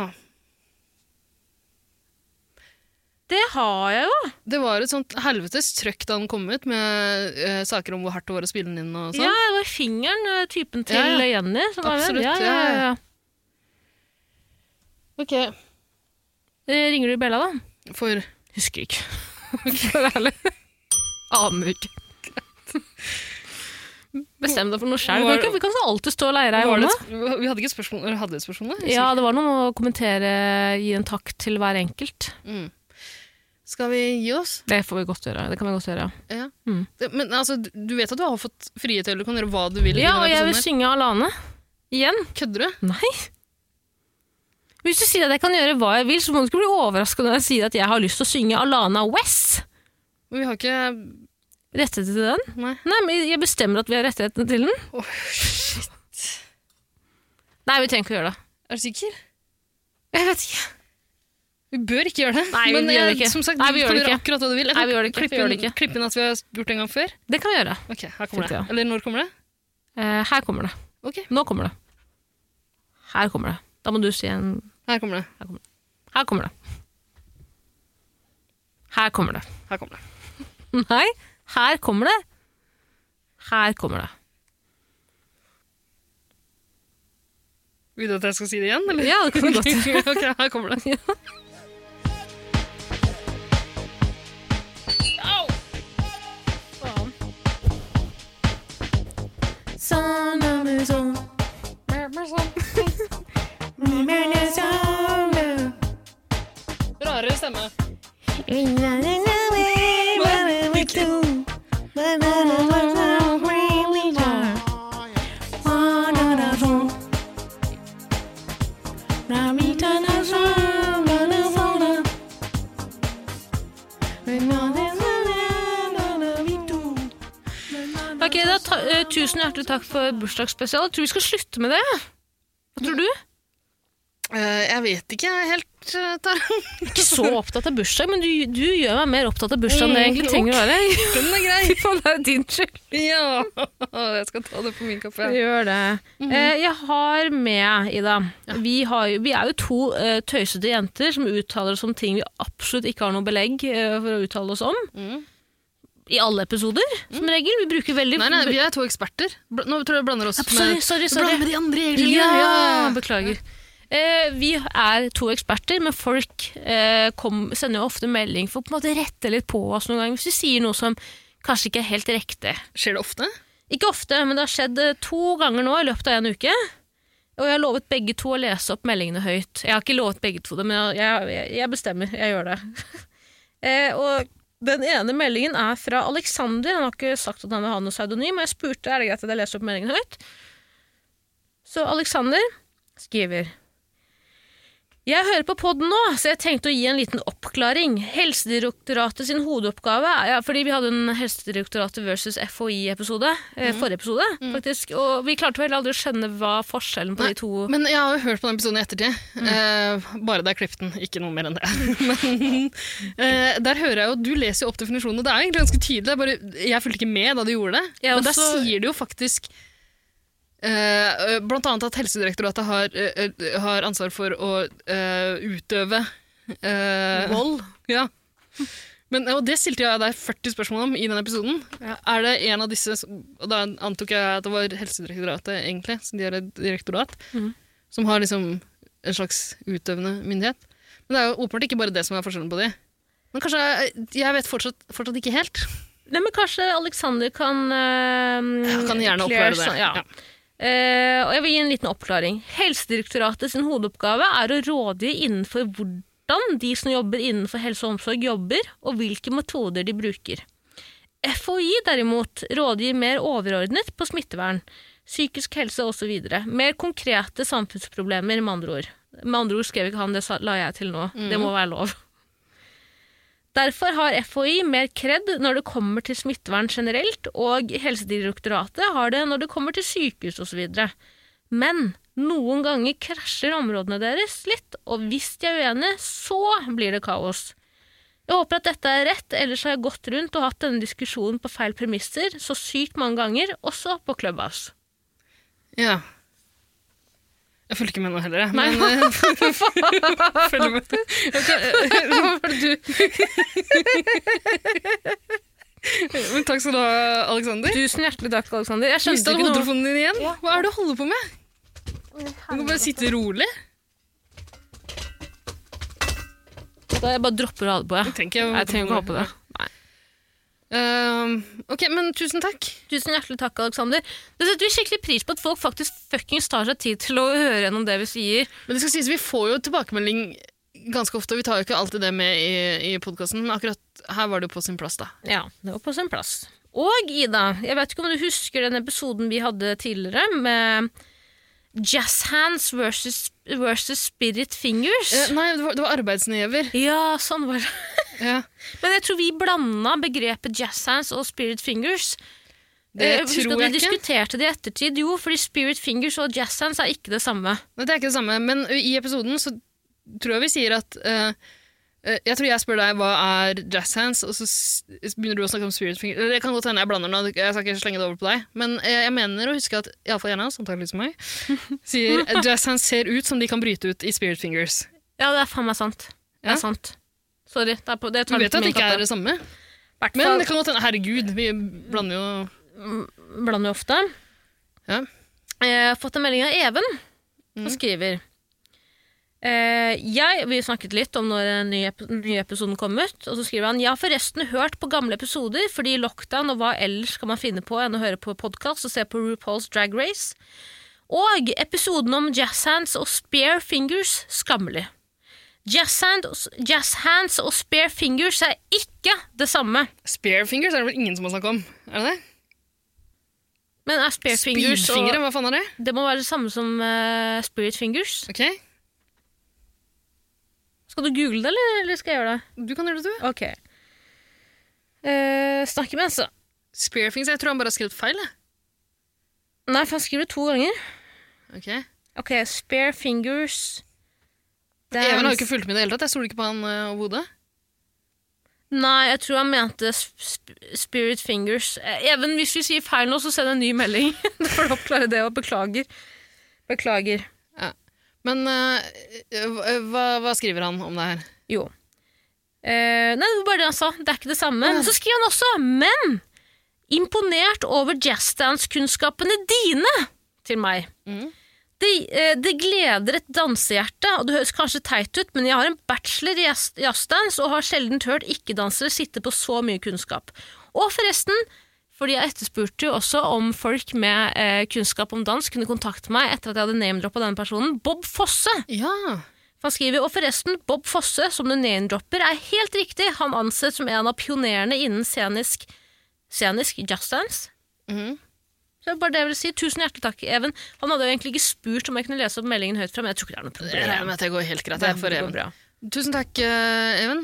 Speaker 3: Det har jeg jo!
Speaker 4: Det var et sånt helvetes trøkk da den kom ut, med eh, saker om hvor hardt det var å spille den inn og sånn.
Speaker 3: Ja, det var fingeren, eh, typen til
Speaker 4: Ja, ja.
Speaker 3: eh, Jenny. Som var med.
Speaker 4: Absolutt,
Speaker 3: Ja, ja, ja. ja.
Speaker 4: Ok,
Speaker 3: Eh, ringer du Bella, da?
Speaker 4: for
Speaker 3: Husker
Speaker 4: (laughs)
Speaker 3: ikke. For å være ærlig. Aner ikke. Bestem deg for noe sjøl.
Speaker 4: Var-
Speaker 3: Vi kan så alltid stå og leie deg i
Speaker 4: var det
Speaker 3: hånda.
Speaker 4: et, sp- Vi hadde ikke et spørsmål, eller hadde vi et spørsmål? da? Jeg
Speaker 3: Ja,
Speaker 4: husker
Speaker 3: det var noe med å kommentere, gi en takk til hver enkelt.
Speaker 4: ikke. Mm. Skal vi gi oss?
Speaker 3: Det får vi godt gjøre. Det kan vi godt gjøre.
Speaker 4: Ja.
Speaker 3: Mm.
Speaker 4: Det- Men altså, du du vet at du har fått frihet til å kan gjøre hva du vil? i
Speaker 3: Ja,
Speaker 4: denne
Speaker 3: og jeg vil
Speaker 4: episoden
Speaker 3: synge Alane. Igjen.
Speaker 4: her. Kødder du?
Speaker 3: Nei. Hvis du sier at jeg kan gjøre hva jeg vil, så må du ikke bli overraska når jeg sier at jeg har lyst til å synge Alana West.
Speaker 4: Men vi har ikke
Speaker 3: Rettet til den?
Speaker 4: Nei.
Speaker 3: Nei, men jeg bestemmer at vi har rettighetene til den.
Speaker 4: Åh, shit.
Speaker 3: Nei, vi trenger ikke å gjøre det.
Speaker 4: Er du sikker?
Speaker 3: Jeg vet ikke.
Speaker 4: Vi bør ikke gjøre det.
Speaker 3: Nei, vi
Speaker 4: men
Speaker 3: gjør det
Speaker 4: eh,
Speaker 3: ikke.
Speaker 4: som sagt,
Speaker 3: Nei,
Speaker 4: du
Speaker 3: vi gjør
Speaker 4: kan
Speaker 3: det
Speaker 4: gjøre
Speaker 3: ikke.
Speaker 4: akkurat hva du vil. Jeg
Speaker 3: Nei,
Speaker 4: kan
Speaker 3: vi gjør det ikke. Vi
Speaker 4: Klippe
Speaker 3: gjør det
Speaker 4: inn,
Speaker 3: ikke.
Speaker 4: klippe inn at vi har gjort det en gang før.
Speaker 3: Det kan vi gjøre.
Speaker 4: Ok, her kommer det.
Speaker 3: Tenkte jeg.
Speaker 4: Eller når kommer det?
Speaker 3: Eh, her kommer det.
Speaker 4: Ok,
Speaker 3: Nå kommer det. Her kommer det. Da må du si en
Speaker 4: her kommer det.
Speaker 3: Her kommer det. Her kommer det. (laughs)
Speaker 4: Her kommer det.
Speaker 3: Nei, her kommer det. Her kommer det.
Speaker 4: Vil du at jeg skal si det igjen, eller?
Speaker 3: Ja, det kunne gått.
Speaker 4: (laughs) ok, her kommer det.
Speaker 3: (laughs)
Speaker 4: Rarere stemme.
Speaker 3: Ok, da ta, eh, Tusen hjertelig takk for bursdagsspesial. Jeg tror vi skal slutte med det. Hva tror du?
Speaker 4: Eh, jeg vet ikke helt, eh, (laughs) Tara.
Speaker 3: Ikke så opptatt av bursdag, men du, du gjør meg mer opptatt av bursdag enn jeg egentlig trenger å være.
Speaker 4: Mm, Den er grei.
Speaker 3: (laughs) Fy faen, det er din skyld.
Speaker 4: Ja, jeg skal ta det på min kaffe.
Speaker 3: Gjør det.
Speaker 4: Mhm.
Speaker 3: eh, jeg har med, Ida vi, har, jo- vi er jo to eh, tøysete jenter som uttaler oss om ting vi absolutt ikke har noe belegg eh, for å uttale oss om.
Speaker 4: Mhm.
Speaker 3: I alle episoder, som regel. Vi bruker veldig
Speaker 4: Mm. Nei, nei, vi er to eksperter. Bl nå tror jeg jeg blander oss
Speaker 3: Sorry,
Speaker 4: med...
Speaker 3: sorry.
Speaker 4: Du
Speaker 3: sorry.
Speaker 4: blander med de andre egentlig.
Speaker 3: Ja, beklager. Eh, vi er to eksperter, men folk eh, kom, sender jo ofte melding for å på en måte rette litt på oss noen ganger hvis vi sier noe som kanskje ikke er helt riktig.
Speaker 4: Skjer det ofte?
Speaker 3: Ikke ofte, men det har skjedd eh, to ganger nå i løpet av en uke. Og jeg har lovet begge to å lese opp meldingene høyt. Jeg har ikke lovet begge to det, men jeg, jeg, jeg bestemmer. Jeg gjør det. eh, og den ene meldingen er fra Alexander. Han har ikke sagt at han vil ha noe pseudonym, og jeg spurte er det greit at jeg leser opp meldingen høyt. Så Alexander skriver jeg hører på podden nå, så jeg tenkte å gi en liten oppklaring. Helsedirektoratet sin hovedoppgave er- ja, Fordi vi hadde en Helsedirektoratet versus FHI-episode. Eh, forrige episode, faktisk. Og vi klarte vel aldri å skjønne hva forskjellen på
Speaker 4: Nei,
Speaker 3: de to
Speaker 4: Men jeg har jo hørt på den episoden i ettertid.
Speaker 3: Mm.
Speaker 4: Eh, bare det er klippet den, ikke noe mer enn det. (laughs) Men eh, der hører jeg jo at du leser jo opp definisjonen, og det er egentlig ganske tydelig. Jeg, bare, jeg fulgte ikke med da du gjorde det.
Speaker 3: Jeg
Speaker 4: men
Speaker 3: også-
Speaker 4: der sier du jo faktisk eh, blant annet at Helsedirektoratet har, eh, eh, har ansvar for å eh, utøve eh,
Speaker 3: Vold.
Speaker 4: Ja. Men, og det stilte jeg deg 40 spørsmål om i den episoden. Er det en av disse som- Og da antok jeg at det var Helsedirektoratet, egentlig, så de er et direktorat, som har liksom en slags utøvende myndighet. Men det er jo åpenbart ikke bare det som er forskjellen på de. Men kanskje jeg, jeg vet fortsatt, fortsatt ikke helt.
Speaker 3: Nei, men kanskje Alexander kan eh,
Speaker 4: Jeg kan gjerne
Speaker 3: clear
Speaker 4: oppklare det.
Speaker 3: sånn- ja. Eh, og jeg vil gi en liten oppklaring. Helsedirektoratet sin hovedoppgave er å rådgi innenfor hvordan de som jobber innenfor helse og omsorg jobber, og hvilke metoder de bruker. FHI derimot rådgir mer overordnet på smittevern, psykisk helse osv. Mer konkrete samfunnsproblemer, med andre ord. Med andre ord skrev ikke han, det sa- la jeg til nå. Det
Speaker 4: Mm.
Speaker 3: må være lov. Derfor har FHI mer kred når det kommer til smittevern generelt, og Helsedirektoratet har det når det kommer til sykehus osv. Men noen ganger krasjer områdene deres litt, og hvis de er uenige, så blir det kaos. Jeg håper at dette er rett, ellers har jeg gått rundt og hatt denne diskusjonen på feil premisser så sykt mange ganger, også på (laughs) Clubhouse.
Speaker 4: Ja. Jeg følger ikke med nå heller, jeg.
Speaker 3: Nei.
Speaker 4: Men, eh, (laughs) følger med. Jeg kan- eh, Hva var det du (laughs) Men takk skal du ha, Aleksander.
Speaker 3: Tusen hjertelig takk, Alexander. Jeg
Speaker 4: Mista
Speaker 3: skjønte
Speaker 4: du
Speaker 3: ikke noe.
Speaker 4: hodetelefonen din igjen? Hva er det du holder på med? Du kan bare sitte rolig.
Speaker 3: Da jeg bare dropper å ha det på.
Speaker 4: Jeg
Speaker 3: Jeg,
Speaker 4: trenger ikke
Speaker 3: jeg trenger ikke å ha på det.
Speaker 4: Eh, ok, men tusen takk.
Speaker 3: Tusen hjertelig takk, Alexander. Det setter vi skikkelig pris på at folk faktisk fuckings tar seg tid til å høre gjennom det vi sier.
Speaker 4: Men det skal sies, vi får jo tilbakemelding ganske ofte, og vi tar jo ikke alltid det med i, i podkasten, men akkurat her var det jo på sin plass, da.
Speaker 3: Ja, det var på sin plass. Og Ida, jeg vet ikke om du husker den episoden vi hadde tidligere med Jazz Hands versus, versus Spirit Fingers?
Speaker 4: Eh, nei, det var, det var arbeidsnever.
Speaker 3: Ja, sånn var det.
Speaker 4: Ja.
Speaker 3: Men jeg tror vi blanda begrepet jazz hands og spirit fingers.
Speaker 4: Det
Speaker 3: Eh, husker
Speaker 4: tror
Speaker 3: at
Speaker 4: jeg
Speaker 3: Vi
Speaker 4: ikke.
Speaker 3: diskuterte det i ettertid, jo, fordi spirit fingers og jazz hands er ikke det samme.
Speaker 4: Nei, det er ikke det samme, men i episoden så tror jeg vi sier at eh, eh, Jeg tror jeg spør deg hva er jazz hands, og så s- begynner du å snakke om spirit finger. Eller det kan godt hende jeg blander nå, jeg skal ikke slenge det over på deg. Men eh, jeg mener å huske at iallfall en av oss, antakeligvis meg, sier at jazz hands ser ut som de kan bryte ut i spirit fingers.
Speaker 3: Ja, det er faen meg sant. Det
Speaker 4: Ja.
Speaker 3: er sant. Sorry. Det er på, det
Speaker 4: Du
Speaker 3: tar
Speaker 4: vet
Speaker 3: litt
Speaker 4: at det
Speaker 3: min
Speaker 4: ikke
Speaker 3: kappe.
Speaker 4: er det samme,
Speaker 3: Hvert
Speaker 4: men
Speaker 3: fall
Speaker 4: det kan godt hende Herregud, vi blander jo
Speaker 3: blander jo ofte.
Speaker 4: Ja.
Speaker 3: Jeg har fått en melding av Even, som skriver eh, jeg, Vi snakket litt om når den nye, ep- nye episoden kom ut, og så skriver han Jeg har forresten hørt på gamle episoder, fordi lockdown og hva ellers kan man finne på enn å høre på podkast og se på RuPaul's Drag Race? Og episoden om jazz hands og spare fingers skammelig. Jazz, hand, jazz hands og spare fingers er ikke det samme.
Speaker 4: Spare fingers er det vel ingen som har snakket om? Er det det?
Speaker 3: Men er spare fingers og
Speaker 4: Speedfingre, hva faen er det?
Speaker 3: Det må være det samme som eh, Spirit Fingers.
Speaker 4: Ok,
Speaker 3: Skal du google det, eller, eller skal jeg gjøre det?
Speaker 4: Du kan gjøre det, du.
Speaker 3: Ok. Eh, snakke med Ensa.
Speaker 4: Spare fingers, Jeg tror han bare har skrevet feil. jeg.
Speaker 3: Nei, for han skriver det to ganger.
Speaker 4: Ok.
Speaker 3: Ok, spare fingers dance.
Speaker 4: Even har jo ikke fulgt med i det hele tatt. Jeg stoler ikke på han uh, overhodet.
Speaker 3: Nei, jeg tror han mente sp sp- Spirit Fingers. Eh, Even, hvis vi sier feil nå, så send en ny melding. (laughs) Da får du oppklare det, og beklager. Beklager.
Speaker 4: Men eh, eh, hva, hva skriver han om det her?
Speaker 3: Jo. Eh, nei, det var bare det han sa. Det er ikke det samme. Men så skriver han også Men! Imponert over jazzdance-kunnskapene dine til meg. Det, eh, det gleder et dansehjerte, og det høres kanskje teit ut, men jeg har en bachelor i jazz- jazzdans og har sjelden hørt ikke-dansere sitte på så mye kunnskap. Og forresten, fordi jeg etterspurte jo også om folk med eh, kunnskap om dans kunne kontakte meg etter at jeg hadde name-droppa denne personen. Bob Fosse!
Speaker 4: Ja,
Speaker 3: Han skriver, og forresten, Bob Fosse, som du name-dropper, er helt riktig. Han anses som en av pionerene innen scenisk, scenisk jazzdance.
Speaker 4: Mhm.
Speaker 3: Så det er bare det jeg vil si. Tusen hjertelig takk, Even. Han hadde jo egentlig ikke spurt om jeg kunne lese opp meldingen høyt fra, men jeg tror ikke det er noe
Speaker 4: jeg regner
Speaker 3: problem.
Speaker 4: med at det går helt greit.
Speaker 3: Det
Speaker 4: Jeg får
Speaker 3: går
Speaker 4: Even.
Speaker 3: bra.
Speaker 4: Tusen takk, eh, Even.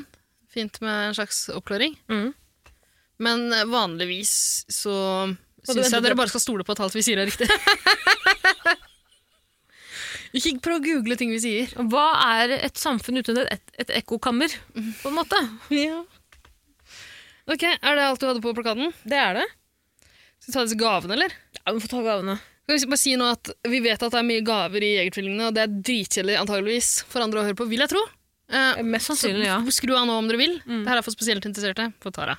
Speaker 4: Fint med en slags oppklaring.
Speaker 3: Mhm.
Speaker 4: Men eh, vanligvis så
Speaker 3: du
Speaker 4: syns
Speaker 3: venter
Speaker 4: jeg dere
Speaker 3: på-
Speaker 4: bare skal stole på at alt vi sier, er riktig. (laughs) Ikke prøv å google ting vi sier.
Speaker 3: Hva er et samfunn uten et, et ekkokammer, på en (laughs) måte?
Speaker 4: Ok, Er det alt du hadde på plakaten?
Speaker 3: Det er det.
Speaker 4: Skal vi ta disse gavene, eller?
Speaker 3: Ja, Vi får ta gavene.
Speaker 4: Skal vi bare si nå at Vi vet at det er mye gaver i Jegertvillingene, og det er dritkjedelig antageligvis for andre å høre på, vil jeg tro. Eh,
Speaker 3: Mest sannsynlig, ja.
Speaker 4: så Skru av nå om dere vil.
Speaker 3: Mm.
Speaker 4: Det her er for spesielt interesserte. For Tara.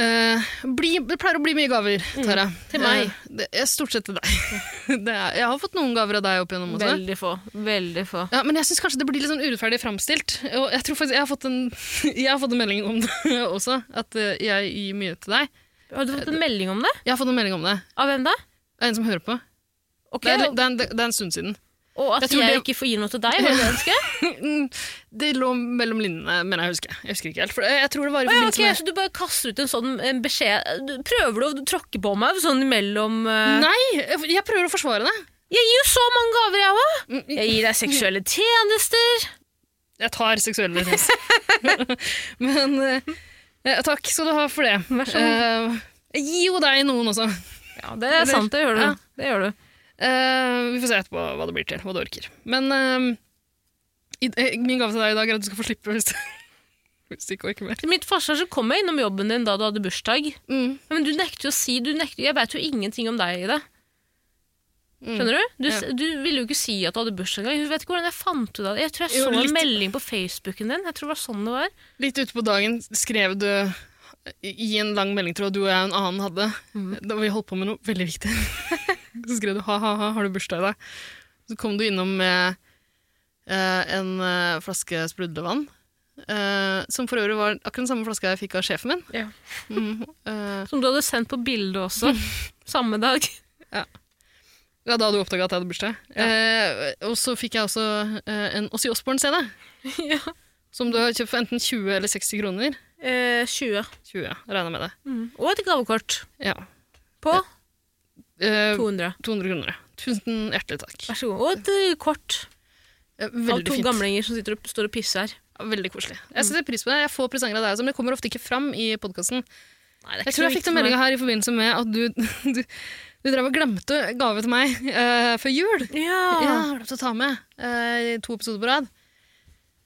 Speaker 4: Eh, bli, det pleier å bli mye gaver, Tara.
Speaker 3: Mm. til meg.
Speaker 4: Eh, det er stort sett til deg. (laughs) det er, jeg har fått noen gaver av deg opp igjennom også.
Speaker 3: Veldig få. Veldig få.
Speaker 4: Ja, men jeg syns kanskje det blir litt sånn urettferdig framstilt. Og jeg tror faktisk jeg har fått en, (laughs) jeg har fått en melding om det (laughs) også, at eh, jeg gir mye til deg.
Speaker 3: Har du fått en melding om det?
Speaker 4: Jeg har fått en melding om det.
Speaker 3: Av hvem da?
Speaker 4: Det er en som hører på.
Speaker 3: Ok,
Speaker 4: Det er, det, er, det er en stund siden.
Speaker 3: Og at
Speaker 4: Jeg
Speaker 3: jeg,
Speaker 4: tror det-
Speaker 3: ikke får gi noe (laughs) til deg, var det det du ønsket?
Speaker 4: Mm, Det lå mellom linjene, mener jeg å huske. Jeg husker ikke helt. For jeg tror det var i
Speaker 3: Å ja,
Speaker 4: forbindelse
Speaker 3: ok, så du bare kaster ut en sånn eh, beskjed Du- Prøver du å tråkke på meg sånn imellom eh,
Speaker 4: med Nei, jeg prøver å forsvare det.
Speaker 3: Jeg gir jo så mange gaver, jeg òg!
Speaker 4: Mm,
Speaker 3: Jeg gir deg seksuelle tjenester.
Speaker 4: Jeg tar
Speaker 3: (laughs)
Speaker 4: seksuelle tips. (laughs) Men eh, eh, takk skal du ha for det. Vær
Speaker 3: så
Speaker 4: jeg gir jo deg noen også.
Speaker 3: (laughs) Ja, det er sant, det gjør du.
Speaker 4: Ja.
Speaker 3: Det gjør du.
Speaker 4: Eh, vi får se etterpå hva det blir til, hva du orker. Men eh, i, eh, min gave til deg i dag er at du skal få slippe hvis du, hvis du (laughs) ikke orker mer.
Speaker 3: Til mitt forsvar så kom jeg innom jobben din da du hadde bursdag.
Speaker 4: Mm.
Speaker 3: Men du nekter jo å si du nekter, Jeg veit jo ingenting om deg i det.
Speaker 4: Mm.
Speaker 3: Skjønner du? Du,
Speaker 4: Ja.
Speaker 3: s- du ville jo ikke si at du hadde bursdag engang. Jeg vet ikke hvordan jeg fant ut av det. Jeg tror jeg
Speaker 4: Jo,
Speaker 3: så
Speaker 4: litt.
Speaker 3: en melding på Facebooken din. Jeg tror det var sånn det var.
Speaker 4: Litt ute på dagen skrev du i en lang meldingtråd du og jeg og en annen hadde,
Speaker 3: Mm.
Speaker 4: da vi holdt på med noe veldig
Speaker 3: (laughs)
Speaker 4: viktig. Så skrev du ha-ha-ha, har du bursdag i dag? Så kom du innom med eh, en eh, flaske sprudlevann, eh, som for øvrig var akkurat den samme flaska jeg fikk av sjefen min.
Speaker 3: Ja.
Speaker 4: Mm, eh,
Speaker 3: Som du hadde sendt på bilde (laughs) også. Samme dag.
Speaker 4: ja, da hadde du oppdaga at jeg hadde bursdag. Eh, og så fikk jeg også eh, en Åssi Osborn-CD,
Speaker 3: (laughs) Ja.
Speaker 4: som du har kjøpt for enten 20 eller 60 kroner.
Speaker 3: Eh, 20.
Speaker 4: 20, ja, regner med det.
Speaker 3: Og et gavekort
Speaker 4: Ja.
Speaker 3: på
Speaker 4: Eh,
Speaker 3: 200.
Speaker 4: 200 kroner. Tusen hjertelig takk.
Speaker 3: Vær så god. Og et eh, kort
Speaker 4: Eh,
Speaker 3: av
Speaker 4: Veldig
Speaker 3: to
Speaker 4: fint.
Speaker 3: gamlinger som sitter og står og pisser her.
Speaker 4: Ja, Veldig koselig. Jeg setter pris på det. Jeg får presanger av deg også, men det kommer ofte ikke fram i podkasten.
Speaker 3: Nei, det er
Speaker 4: Jeg tror jeg fikk den meldinga her i forbindelse med at du, (laughs) du, du drev og glemte gave til meg eh, før jul.
Speaker 3: Ja.
Speaker 4: Ja, glemte å ta med eh, i to episoder på rad.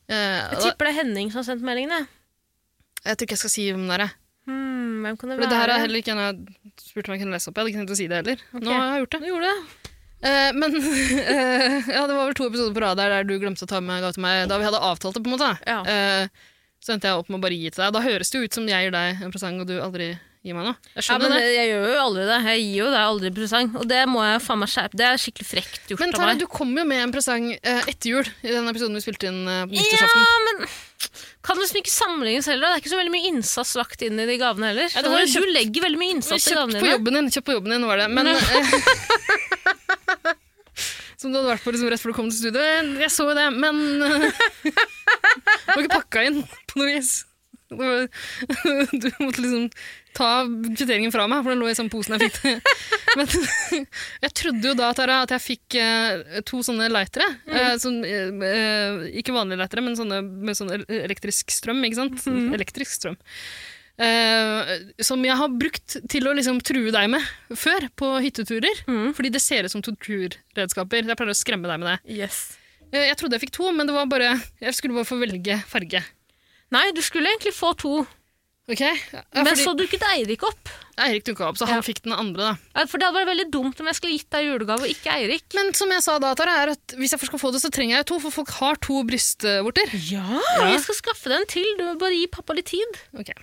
Speaker 4: Eh,
Speaker 3: Jeg
Speaker 4: og da,
Speaker 3: tipper det er Henning som har sendt meldingene.
Speaker 4: jeg tror ikke jeg skal si hvem det er. jeg.
Speaker 3: Hmm, hvem kan det
Speaker 4: For
Speaker 3: være?
Speaker 4: det her er heller ikke en jeg spurte om jeg kunne lese opp. Jeg hadde ikke tenkt å si det heller.
Speaker 3: Ok.
Speaker 4: Nå har jeg gjort det.
Speaker 3: Du gjorde det.
Speaker 4: Eh, men (laughs) eh, ja, det var vel to episoder på rad der, der du glemte å ta med gave til meg da vi hadde avtalt det. på en måte.
Speaker 3: Ja.
Speaker 4: Eh, så endte jeg opp med å bare gi til deg. Da høres det jo ut som jeg gir deg en presang, og du aldri gir meg noe. Jeg
Speaker 3: Ja,
Speaker 4: skjønner
Speaker 3: men
Speaker 4: det.
Speaker 3: jeg gjør jo aldri det. Jeg gir jo deg aldri presang. Og det må jeg faen meg skjerpe. Det er skikkelig frekt gjort
Speaker 4: Men
Speaker 3: av
Speaker 4: Tara,
Speaker 3: meg.
Speaker 4: du kom jo med en presang eh, etter jul i den episoden vi spilte inn eh, på
Speaker 3: Ja,
Speaker 4: nyttårsaften.
Speaker 3: men kan liksom ikke sammenlignes heller. Det er ikke så veldig mye innsats lagt inn i de gavene heller.
Speaker 4: Ja, det var
Speaker 3: Skjønner
Speaker 4: jo
Speaker 3: du? du legger veldig mye innsats i
Speaker 4: Kjøpt
Speaker 3: gavene
Speaker 4: på
Speaker 3: dine.
Speaker 4: jobben din, kjøpt på jobben din var det. (laughs) Men, eh, som du hadde vært på liksom, rett før du kom til studio. Jeg så jo det, men (laughs) eh, Du var ikke pakka inn på noe vis. Det var, (laughs) du måtte liksom ta kvitteringen fra meg, for den lå i samme posen jeg fikk det. (laughs) Men jeg trodde jo da, Tara, at jeg fikk eh, to sånne lightere. eh, som, eh, eh, ikke vanlige lightere, men sånne med sånn el- elektrisk strøm, ikke sant? Elektrisk strøm. Eh, som jeg har brukt til å liksom true deg med før på hytteturer. Fordi det ser ut som torturredskaper. Jeg pleier å skremme deg med det. Eh, jeg trodde jeg fikk to, men det var bare, jeg skulle bare få velge farge.
Speaker 3: Nei, du skulle egentlig få to,
Speaker 4: Ok? Ja,
Speaker 3: men
Speaker 4: fordi
Speaker 3: så dukket Eirik opp.
Speaker 4: Eirik dukka opp, så han fikk den andre, da.
Speaker 3: Ja, For det hadde vært veldig dumt om jeg skulle gitt deg julegave og ikke Eirik.
Speaker 4: Men som jeg sa da, Tara, er at hvis jeg først skal få det, så trenger jeg jo to, for folk har to brystvorter.
Speaker 3: Ja, Jeg skal skaffe den til. Du må bare gi pappa litt tid.
Speaker 4: Ok.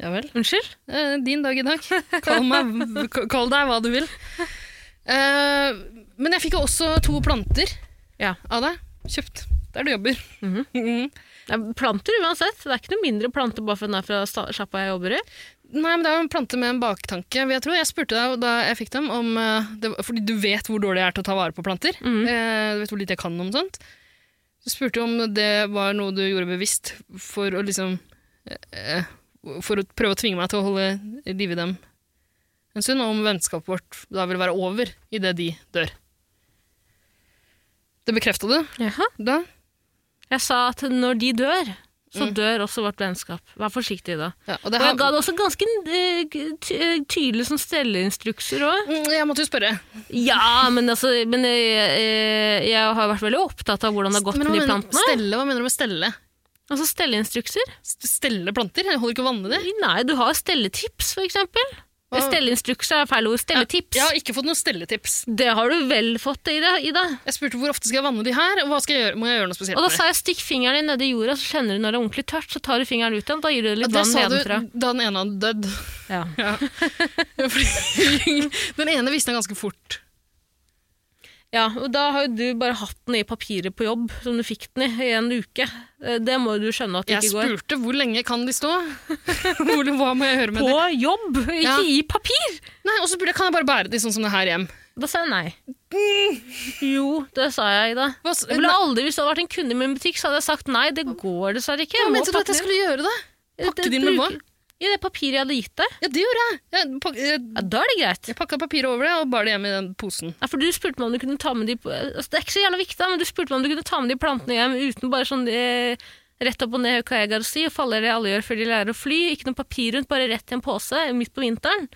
Speaker 4: Ja vel.
Speaker 3: Unnskyld?
Speaker 4: Eh, din dag i dag. Kall, meg, kall deg hva du vil. Eh, men jeg fikk jo også to planter
Speaker 3: Ja.
Speaker 4: av deg. Kjøpt der du jobber. Mhm.
Speaker 3: Det er planter uansett. Det er ikke noe mindre planter bare for den er fra sta- sjappa jeg jobber i.
Speaker 4: Nei, men Det er jo en plante med en baktanke. vil Jeg tror jeg spurte deg jo da jeg fikk dem om eh, det, var- Fordi du vet hvor dårlig jeg er til å ta vare på planter.
Speaker 3: Mm.
Speaker 4: Eh, du vet hvor lite jeg kan om sånt. Du spurte om det var noe du gjorde bevisst for å liksom eh, For å prøve å tvinge meg til å holde liv i dem en stund, og om vennskapet vårt da vil være over idet de dør. Det bekrefta du
Speaker 3: Jaha.
Speaker 4: da?
Speaker 3: Jeg sa at når de dør, så dør også vårt vennskap. Vær forsiktig da.
Speaker 4: Ja, og
Speaker 3: Og
Speaker 4: det
Speaker 3: jeg ga
Speaker 4: har,
Speaker 3: det også ganske eh, g- ty- eh, tydelige sånn stelleinstrukser òg.
Speaker 4: Mm, jeg måtte jo spørre.
Speaker 3: Ja, men altså men jeg, jeg, jeg har vært veldig opptatt av hvordan det har gått
Speaker 4: Men
Speaker 3: med de
Speaker 4: hva mener-
Speaker 3: plantene.
Speaker 4: Stelle, hva mener du med stelle?
Speaker 3: Altså stelleinstrukser?
Speaker 4: St- Stelle planter? Jeg holder ikke å vanne dem.
Speaker 3: Nei, du har stelletips, for eksempel.
Speaker 4: Hva-
Speaker 3: Stelleinstrukser er feil ord. Stelletips.
Speaker 4: Jeg har ikke fått noen stelletips.
Speaker 3: Det har du vel fått, Ida. Ida.
Speaker 4: Jeg spurte hvor ofte skal jeg vanne de her, og hva skal jeg gjøre? må jeg gjøre noe spesielt
Speaker 3: Og da
Speaker 4: med?
Speaker 3: sa jeg stikk fingeren din nedi jorda, så kjenner du når det er ordentlig tørt. Så tar du fingeren ut igjen, da gir du det
Speaker 4: Ja,
Speaker 3: litt
Speaker 4: det
Speaker 3: vann
Speaker 4: sa du
Speaker 3: nedenfra.
Speaker 4: da den ene hadde dødd. (laughs)
Speaker 3: Ja.
Speaker 4: Fordi den ene visste ganske fort.
Speaker 3: Ja, og da har jo du bare hatt den i papiret på jobb, som du fikk den i, i en uke. Eh, Det må jo du skjønne at det
Speaker 4: Jeg
Speaker 3: ikke går.
Speaker 4: spurte hvor lenge kan de stå? (laughs) Hvor, hva må jeg gjøre med
Speaker 3: På
Speaker 4: dem?
Speaker 3: jobb, ikke
Speaker 4: Ja.
Speaker 3: i papir!
Speaker 4: Nei, og så burde jeg, kan jeg bare bære de sånn som det her hjem.
Speaker 3: Da sa jeg nei. Mm. Jo, det sa jeg, Ida.
Speaker 4: Hva s-
Speaker 3: Jeg ville aldri, Hvis det hadde vært en kunde i min butikk, så hadde jeg sagt nei, det går dessverre ikke.
Speaker 4: Hva
Speaker 3: Jeg må
Speaker 4: mente du at
Speaker 3: pakke
Speaker 4: jeg
Speaker 3: den
Speaker 4: skulle gjøre da?
Speaker 3: inn.
Speaker 4: pakke
Speaker 3: Det
Speaker 4: det inn med
Speaker 3: bruker- I det papiret jeg hadde gitt deg.
Speaker 4: Ja, det gjorde jeg. Jeg, pak jeg,
Speaker 3: Ja, Da er det greit.
Speaker 4: jeg pakka papiret over det og bar det hjem i den posen.
Speaker 3: Ja, for du spurte meg om du kunne ta med de altså, Det er ikke så jævla viktig, da, men du spurte meg om du kunne ta med de plantene hjem uten bare sånn eh, rett opp og ned hva jeg har å si, og faller det alle gjør før de lærer å fly. Ikke noe papir rundt, bare rett i en pose midt på vinteren.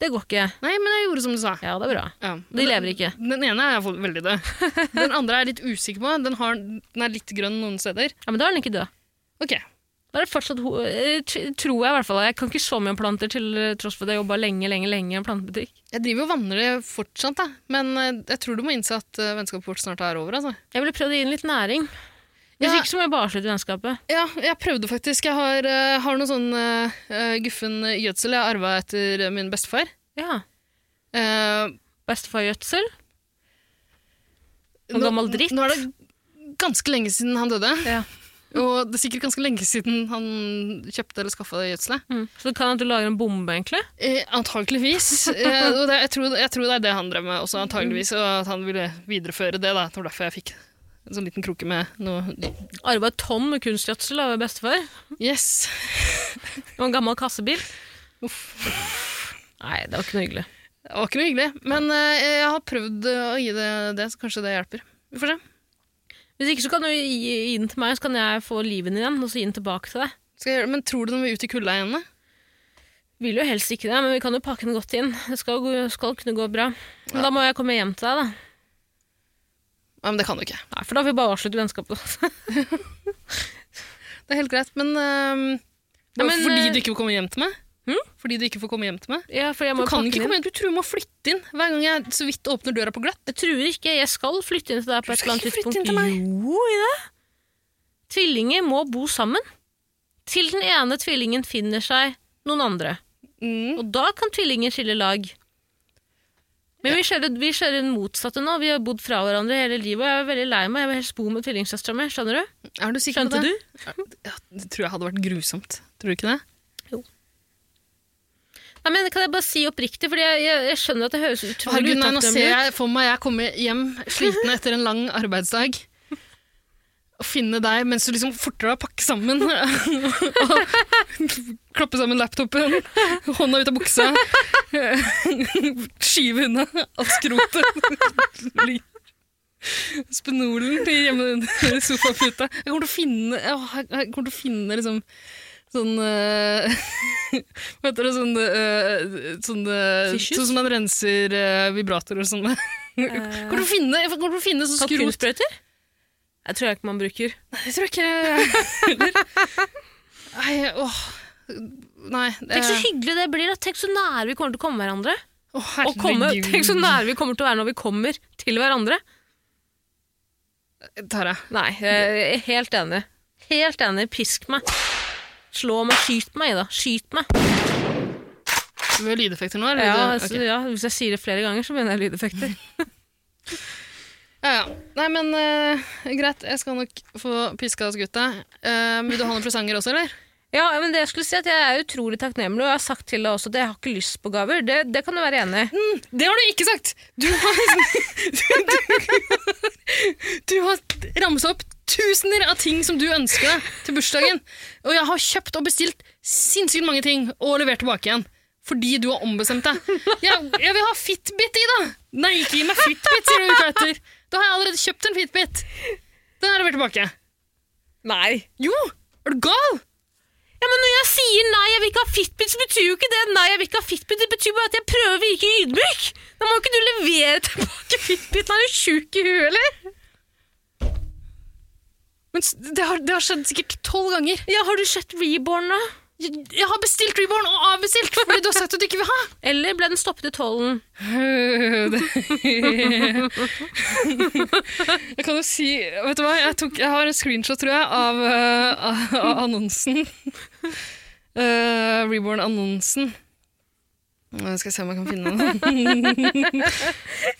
Speaker 3: Det går ikke.
Speaker 4: Nei, men jeg gjorde som du sa.
Speaker 3: Ja, det er bra.
Speaker 4: Ja.
Speaker 3: De lever ikke.
Speaker 4: Den ene er iallfall veldig død.
Speaker 3: (laughs)
Speaker 4: Den andre er jeg litt usikker på. Den, har, den er litt grønn noen steder.
Speaker 3: Ja, Men da er den ikke død.
Speaker 4: Ok,
Speaker 3: Da er det fortsatt, ho- eh, tr- tror jeg i hvert fall. Jeg kan ikke så mye om planter til eh, tross for at jeg jobba lenge, lenge, lenge i en plantebutikk.
Speaker 4: Jeg driver og vanner det fortsatt, da. men eh, jeg tror du må innse at eh, vennskapet vårt snart er over. altså.
Speaker 3: Jeg ville prøvd å gi den litt næring. Hvis
Speaker 4: Ja.
Speaker 3: ikke så må jeg bare avslutte vennskapet.
Speaker 4: Ja, jeg prøvde faktisk. Jeg har, eh, har noe sånn eh, guffen gjødsel jeg arva etter eh, min bestefar.
Speaker 3: Ja.
Speaker 4: Eh,
Speaker 3: Bestefargjødsel.
Speaker 4: nå-
Speaker 3: Noe gammel dritt.
Speaker 4: Nå er det ganske lenge siden han døde.
Speaker 3: Ja.
Speaker 4: Og det er sikkert ganske lenge siden han kjøpte eller skaffa det gjødselet.
Speaker 3: Mm. Så det kan at du lager en bombe, egentlig?
Speaker 4: Eh, antakeligvis. Eh, og det, jeg, tror, jeg tror det er det han drev med også, antakeligvis, og at han ville videreføre det. da. Det var derfor jeg fikk en sånn liten krukke med noe
Speaker 3: Arva et tonn med kunstgjødsel av bestefar.
Speaker 4: Yes!
Speaker 3: Og en gammel kassebil. Nei, det var ikke noe hyggelig.
Speaker 4: Det var ikke noe hyggelig, men eh, jeg har prøvd eh, å gi det det, så kanskje det hjelper. Vi får se.
Speaker 3: Hvis ikke så kan du gi gi den til meg, så kan jeg få liven igjen, og så gi den tilbake til deg.
Speaker 4: Skal jeg gjøre det? Men tror du den vil ut i kulda igjen? da?
Speaker 3: Vil jo helst ikke det, men vi kan jo pakke den godt inn. Det skal, gå- skal kunne gå bra. Men da må jeg komme hjem til deg, da.
Speaker 4: Nei, men det kan du ikke.
Speaker 3: Nei, for da får vi bare avslutte vennskapet.
Speaker 4: Det er helt greit, men, eh,
Speaker 3: Ja, ehm, men,
Speaker 4: Fordi
Speaker 3: eh,
Speaker 4: du ikke får komme hjem til meg? Fordi du ikke får komme hjem til meg?
Speaker 3: ja, for jeg
Speaker 4: Du
Speaker 3: må
Speaker 4: kan
Speaker 3: pakke
Speaker 4: ikke
Speaker 3: den
Speaker 4: komme
Speaker 3: inn.
Speaker 4: hjem, du tror du må flytte inn hver gang jeg så vidt åpner døra på glatt.
Speaker 3: Jeg truer ikke, jeg skal flytte inn til deg på et
Speaker 4: skal
Speaker 3: eller annet
Speaker 4: ikke flytte
Speaker 3: tidspunkt.
Speaker 4: inn til meg.
Speaker 3: Jo, Ida. Tvillinger må bo sammen. Til den ene tvillingen finner seg noen andre.
Speaker 4: Mm.
Speaker 3: Og da kan tvillinger skille lag. Men vi skjører, vi skjører den motsatte nå. Vi har bodd fra hverandre hele livet. og Jeg er veldig lei meg. Jeg vil helst bo med tvillingsøstera mi. Skjønner du?
Speaker 4: Er du sikker
Speaker 3: Skjønte
Speaker 4: på
Speaker 3: du?
Speaker 4: det? Ja, det tror jeg hadde vært grusomt. Tror du ikke det?
Speaker 3: Nei, men Kan jeg bare si oppriktig, Fordi jeg, jeg, jeg skjønner at det høres utrolig
Speaker 4: Herregud, nei, nå ser
Speaker 3: utakknemlig ut.
Speaker 4: jeg for meg jeg kommer hjem sliten etter en lang arbeidsdag. Og finne deg mens du liksom forter deg å pakke sammen. (laughs) og klappe sammen laptopen, hånda ut av buksa. Skyve unna alt skrotet. (laughs) Spenolen til hjemme under sofaputa. Jeg kommer til å finne, åh, jeg kommer til å finne liksom sånn eh, (laughs) Hva heter det? Sånn, eh, sånn, eh,
Speaker 3: Tissues?
Speaker 4: sånn som man renser eh, vibratorer og sånn. (laughs) med.
Speaker 3: Eh.
Speaker 4: Kommer til å finne, jeg kommer til å finne sånn skrot
Speaker 3: Kalkunsprøyter? Jeg tror jeg ikke man bruker.
Speaker 4: Jeg tror ikke heller. Nei, åh. Nei.
Speaker 3: Tenk så
Speaker 4: eh,
Speaker 3: hyggelig det blir. da. Tenk så nære vi kommer til å komme hverandre.
Speaker 4: åh,
Speaker 3: Og komme,
Speaker 4: herregud.
Speaker 3: tenk så nære vi kommer til å være når vi kommer til hverandre.
Speaker 4: Tara.
Speaker 3: Nei, jeg er helt enig. Helt enig. Pisk meg. Slå meg. Skyt meg, Ida. Skyt meg.
Speaker 4: Vi har lydeffekter nå, eller?
Speaker 3: Ja,
Speaker 4: Ok.
Speaker 3: altså, ja, hvis jeg sier det flere ganger, så mener jeg lydeffekter.
Speaker 4: Ja, ja. Nei, men eh, greit. Jeg skal nok få piska oss gutta. Eh, vil du ha noen presanger også, eller?
Speaker 3: Ja, men det jeg skulle si at jeg er utrolig takknemlig, og jeg har sagt til deg også at jeg har ikke lyst på gaver. Det, det kan du være enig i.
Speaker 4: Det har du ikke sagt! Du har, (laughs) du, du, du har ramsa opp tusener av ting som du ønsker deg til bursdagen. Og jeg har kjøpt og bestilt sinnssykt mange ting og levert tilbake igjen. Fordi du har ombestemt deg. Jeg, jeg vil ha Fitbit i, da! Nei, ikke gi meg Fitbit, sier du uka etter. Da har jeg allerede kjøpt en Fitbit. Den har jeg levert tilbake.
Speaker 3: Nei.
Speaker 4: Jo! Er du gal?
Speaker 3: Ja, men når jeg sier nei, jeg vil ikke ha Fitbit, så betyr jo ikke det nei, jeg vil ikke ha Fitbit. Det betyr bare at jeg prøver å virke ydmyk. Da må jo ikke du levere tilbake (laughs) Fitbiten. Er du sjuk i huet, eller?
Speaker 4: Men s- det har, det har skjedd sikkert tolv ganger.
Speaker 3: Ja, har du sett Reborn, da?
Speaker 4: Jeg, jeg har bestilt Reborn og avbestilt fordi du har sagt at du ikke vil ha.
Speaker 3: Eller ble den stoppet i tollen?
Speaker 4: jeg kan jo si Vet du hva, jeg, tok, jeg har en screenshot, tror jeg, av, eh, av annonsen. Eh, Reborn-annonsen. Nå skal jeg se om jeg kan finne den.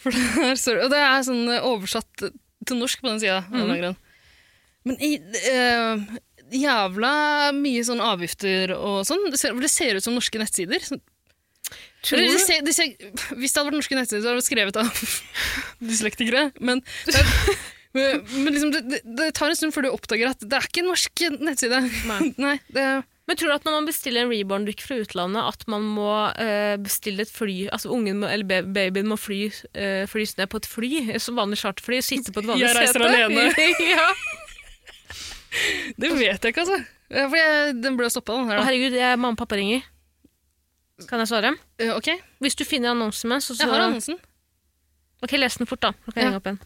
Speaker 4: For der står det- Og det er sånn eh, oversatt til norsk på den sida. Men i, eh, jævla mye sånn avgifter og sånn. Det ser, for det ser ut som norske nettsider. Sånn- Eller det ser, det ser, hvis det hadde vært norske nettsider, så hadde det vært skrevet av (laughs) dyslektikere. Men, det (laughs) er- men, men liksom, det, det, det tar en stund før du oppdager at det er ikke en norsk nettside. (laughs)
Speaker 3: Nei.
Speaker 4: Nei det er
Speaker 3: Men tror du at når man bestiller en reborn-dukk fra utlandet, at man må eh, bestille et fly Altså ungen må, eller ba- babyen må fly, eh, flys ned på et fly, eh, som vanlig charterfly, sitte på et vanlig
Speaker 4: Jeg reiser alene.
Speaker 3: (laughs) ja.
Speaker 4: Det vet jeg ikke, altså. Ja, For jeg, den ble stoppa, den
Speaker 3: Å,
Speaker 4: her. da.
Speaker 3: herregud, jeg, mamma og pappa ringer. Kan jeg svare?
Speaker 4: Eh, Ok, jeg
Speaker 3: Hvis du finner annonsen min, så, så
Speaker 4: har annonsen.
Speaker 3: Ok, les den fort, da. Nå kan jeg
Speaker 4: Ja.
Speaker 3: henge opp igjen.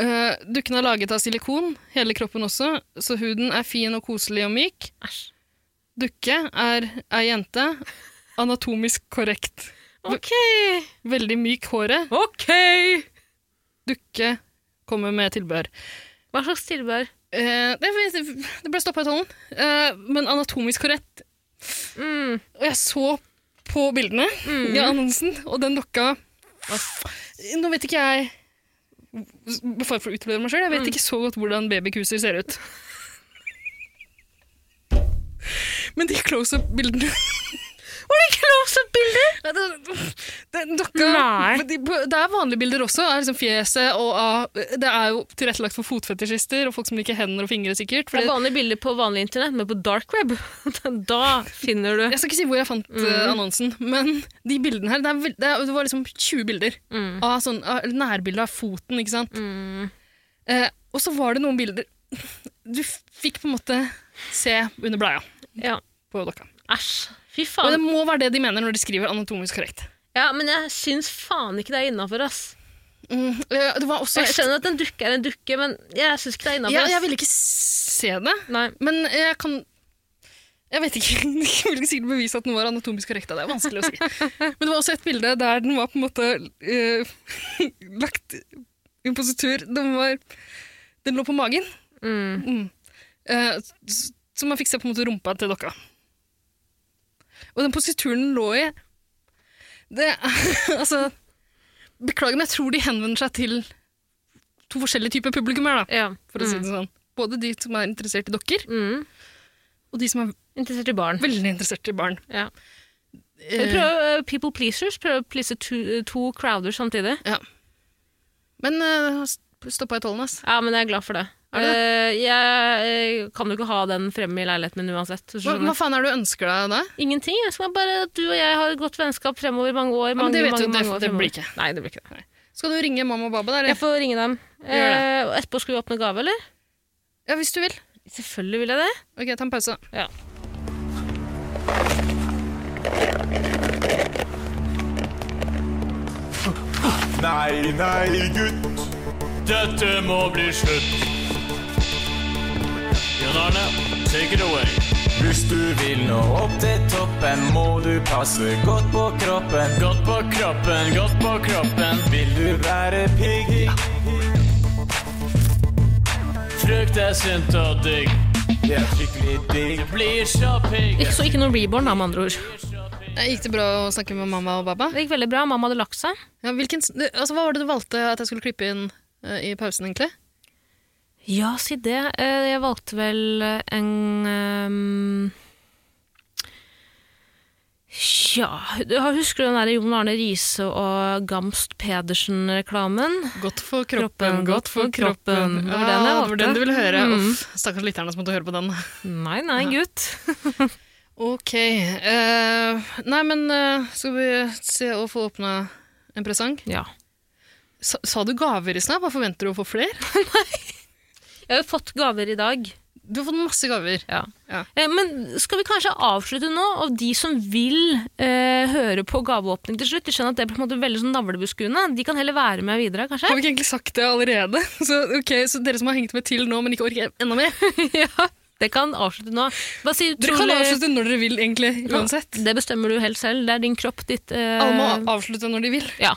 Speaker 4: Eh, dukken er laget av silikon, hele kroppen også, så huden er fin og koselig og myk.
Speaker 3: Æsj.
Speaker 4: Dukke er ei jente. Anatomisk korrekt.
Speaker 3: Ok.
Speaker 4: Veldig myk håret.
Speaker 3: Ok!
Speaker 4: Dukke kommer med tilbehør.
Speaker 3: Hva slags tilbehør?
Speaker 4: Eh, det, det ble stoppa i tollen. Eh, men anatomisk korrekt
Speaker 3: Mm.
Speaker 4: Og jeg så på bildene i annonsen, og den dokka Nå vet ikke jeg Med fare for å utlevere meg sjøl, jeg vet
Speaker 3: Mm.
Speaker 4: ikke så godt hvordan babykuser ser ut. Men de close-up-bildene
Speaker 3: Var det close-up-bilder?
Speaker 4: Ja, det- Den dokka
Speaker 3: Nei.
Speaker 4: Men de- Det er vanlige bilder også. Er liksom fjeset og av Det er jo tilrettelagt for fotfetisjister og folk som liker hender og fingre,
Speaker 3: Det
Speaker 4: sikkert. Fordi,
Speaker 3: er vanlige bilder på vanlig internett, men på dark web, (laughs) da finner du
Speaker 4: jeg skal ikke si hvor jeg fant eh,
Speaker 3: Mm.
Speaker 4: annonsen, men de bildene her Det, er, vel- det, er, det var liksom 20 bilder.
Speaker 3: Mm.
Speaker 4: av sånn, av nærbilde av foten, ikke sant?
Speaker 3: Mm.
Speaker 4: Eh, og så var det noen bilder (laughs) Du f- fikk på en måte se under bleia
Speaker 3: Ja.
Speaker 4: på dokka.
Speaker 3: Æsj. Fy
Speaker 4: Og det
Speaker 3: faen.
Speaker 4: må være det de mener når de skriver anatomisk korrekt.
Speaker 3: Ja, men jeg syns faen ikke det er innafor, ass.
Speaker 4: Mm, eh, det var også
Speaker 3: Jeg skjønner at en dukke er en dukke, men jeg syns ikke det er
Speaker 4: jeg,
Speaker 3: innafor.
Speaker 4: jeg ville ikke se det,
Speaker 3: Nei.
Speaker 4: men jeg kan Jeg vet ikke, (laughs) jeg vil ikke sikkert bevise at den var anatomisk korrekt. Det er vanskelig å si. Men det var også et bilde der den var på en måte eh, (laughs) lagt i en positur. Den, var, den lå på magen.
Speaker 3: Mm.
Speaker 4: Eh, s- Så man fikk se på en måte rumpa til dokka. Og den posituren den lå i Det er (laughs) altså Beklager, men jeg tror de henvender seg til to forskjellige typer publikummer, da,
Speaker 3: Ja.
Speaker 4: for å si det sånn. Både de som er interessert i dokker,
Speaker 3: Mm.
Speaker 4: og de som er
Speaker 3: Interessert i barn.
Speaker 4: veldig interessert i barn.
Speaker 3: Ja.
Speaker 4: Eh,
Speaker 3: Prøv eh, people pleasers. Prøv å please to, to crowder samtidig.
Speaker 4: Men eh, stoppa i tollen, ass.
Speaker 3: Ja, men jeg er glad for det.
Speaker 4: Er du det?
Speaker 3: Eh, jeg eh, kan jo ikke ha den fremme i leiligheten min uansett. så
Speaker 4: Hva,
Speaker 3: skjønner
Speaker 4: hva
Speaker 3: du.
Speaker 4: faen er det du ønsker deg da?
Speaker 3: Ingenting. Jeg skal bare at du og jeg har et godt vennskap fremover i mange år.
Speaker 4: men
Speaker 3: Mange,
Speaker 4: det vet
Speaker 3: mange,
Speaker 4: du, det-
Speaker 3: mange år
Speaker 4: det blir
Speaker 3: fremover.
Speaker 4: ikke.
Speaker 3: Nei, det blir ikke det.
Speaker 4: Skal du ringe mamma og baba? der?
Speaker 3: Jeg får ringe dem.
Speaker 4: Gjør det.
Speaker 3: Eh, og etterpå skal vi åpne gave, eller?
Speaker 4: Ja, hvis du vil.
Speaker 3: Selvfølgelig vil jeg det.
Speaker 4: Ok, ta en pause.
Speaker 3: Ja.
Speaker 6: Nei, nei, gutt.
Speaker 9: Dette må bli slutt. Jan Arne, take it away.
Speaker 6: Hvis du vil nå opp til toppen, må du passe godt på kroppen.
Speaker 9: Godt på kroppen, godt på kroppen.
Speaker 6: Vil du være piggy?
Speaker 9: Frukt er sunt og digg.
Speaker 6: Det er skikkelig digg.
Speaker 9: Blir så pigg.
Speaker 3: Ikke, så ikke noe reborn, da, med andre ord.
Speaker 4: Eh, Gikk det bra å snakke med mamma og baba?
Speaker 3: Det gikk veldig bra. Mamma hadde lagt seg.
Speaker 4: Ja, hvilken, s- det- altså, hva var det du valgte at jeg skulle klippe inn eh, i pausen, egentlig?
Speaker 3: Ja, si det. Eh, jeg valgte vel en ehm, ja, du har- Husker du den der Jon Arne Riise og Gamst Pedersen-reklamen?
Speaker 4: Godt for
Speaker 3: Kroppen, godt for kroppen. Det var den
Speaker 4: Ja,
Speaker 3: jeg
Speaker 4: Ah, det var
Speaker 3: valgte.
Speaker 4: den du ville høre.
Speaker 3: Mm.
Speaker 4: Uff, stakkars lytterne som måtte høre på den.
Speaker 3: Nei, nei, gutt.
Speaker 4: Ok. eh, nei, men eh, skal vi se å få åpna en presang?
Speaker 3: Ja.
Speaker 4: Sa, sa du gaver i stad? Hva forventer du å få flere?
Speaker 3: Jeg har jo fått gaver i dag.
Speaker 4: Du har fått masse gaver.
Speaker 3: Ja.
Speaker 4: Ja.
Speaker 3: Eh, Men skal vi kanskje avslutte nå? Og de som vil eh, høre på gaveåpning til slutt, de skjønner at det er på en måte veldig sånn navlebeskuende. De kan heller være med videre, kanskje?
Speaker 4: Har vi ikke egentlig sagt det allerede? (laughs) Så, ok, så dere som har hengt med til nå, men ikke orker enda mer,
Speaker 3: (laughs) ja. Det kan avslutte nå. Hva sier du?
Speaker 4: dere kan
Speaker 3: Trulle?
Speaker 4: avslutte når dere vil, egentlig. Uansett.
Speaker 3: Det bestemmer du helt selv. Det er din kropp, ditt eh,
Speaker 4: Alle må avslutte når de vil.
Speaker 3: Ja.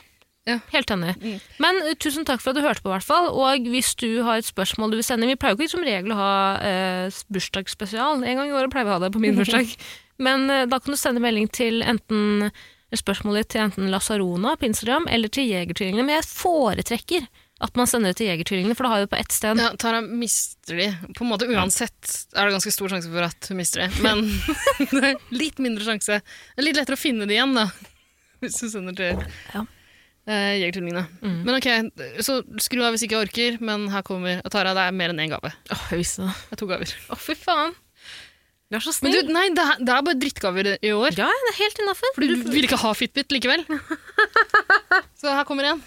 Speaker 4: Ja.
Speaker 3: Helt enig.
Speaker 4: Mm.
Speaker 3: Men eh, tusen takk for at du hørte på, i hvert fall. Og hvis du har et spørsmål
Speaker 4: (laughs)
Speaker 3: du vil sende Vi pleier jo ikke som regel å ha eh, bursdagsspesial. En gang i året pleier vi å ha det på min bursdag. Men eh, da kan du sende melding til enten spørsmålet til enten Lasarona på Instagram eller til Jegertvillingene. Men jeg foretrekker at man sender det til Jegertvillingene, for da har jeg det på ett sted.
Speaker 4: Ja, Tara mister de. På en måte uansett er det ganske stor sjanse for at hun mister de. (laughs) Men det er litt mindre sjanse. Det er litt lettere å finne de igjen, da. (laughs) Hvis du sender til
Speaker 3: Ja.
Speaker 4: eh, Jegertvillingene. Men ok, så skru av hvis ikke jeg orker, men her kommer Og Tara, det er mer enn én gave.
Speaker 3: Åh, jeg visste det.
Speaker 4: Det er to gaver.
Speaker 3: Å, fy faen. Du er så
Speaker 4: Men
Speaker 3: snill.
Speaker 4: du, nei, det er, det er bare drittgaver i år.
Speaker 3: ja, det er helt innafor.
Speaker 4: Fordi du vil ikke ha Fitbit (laughs) likevel. Så her kommer en.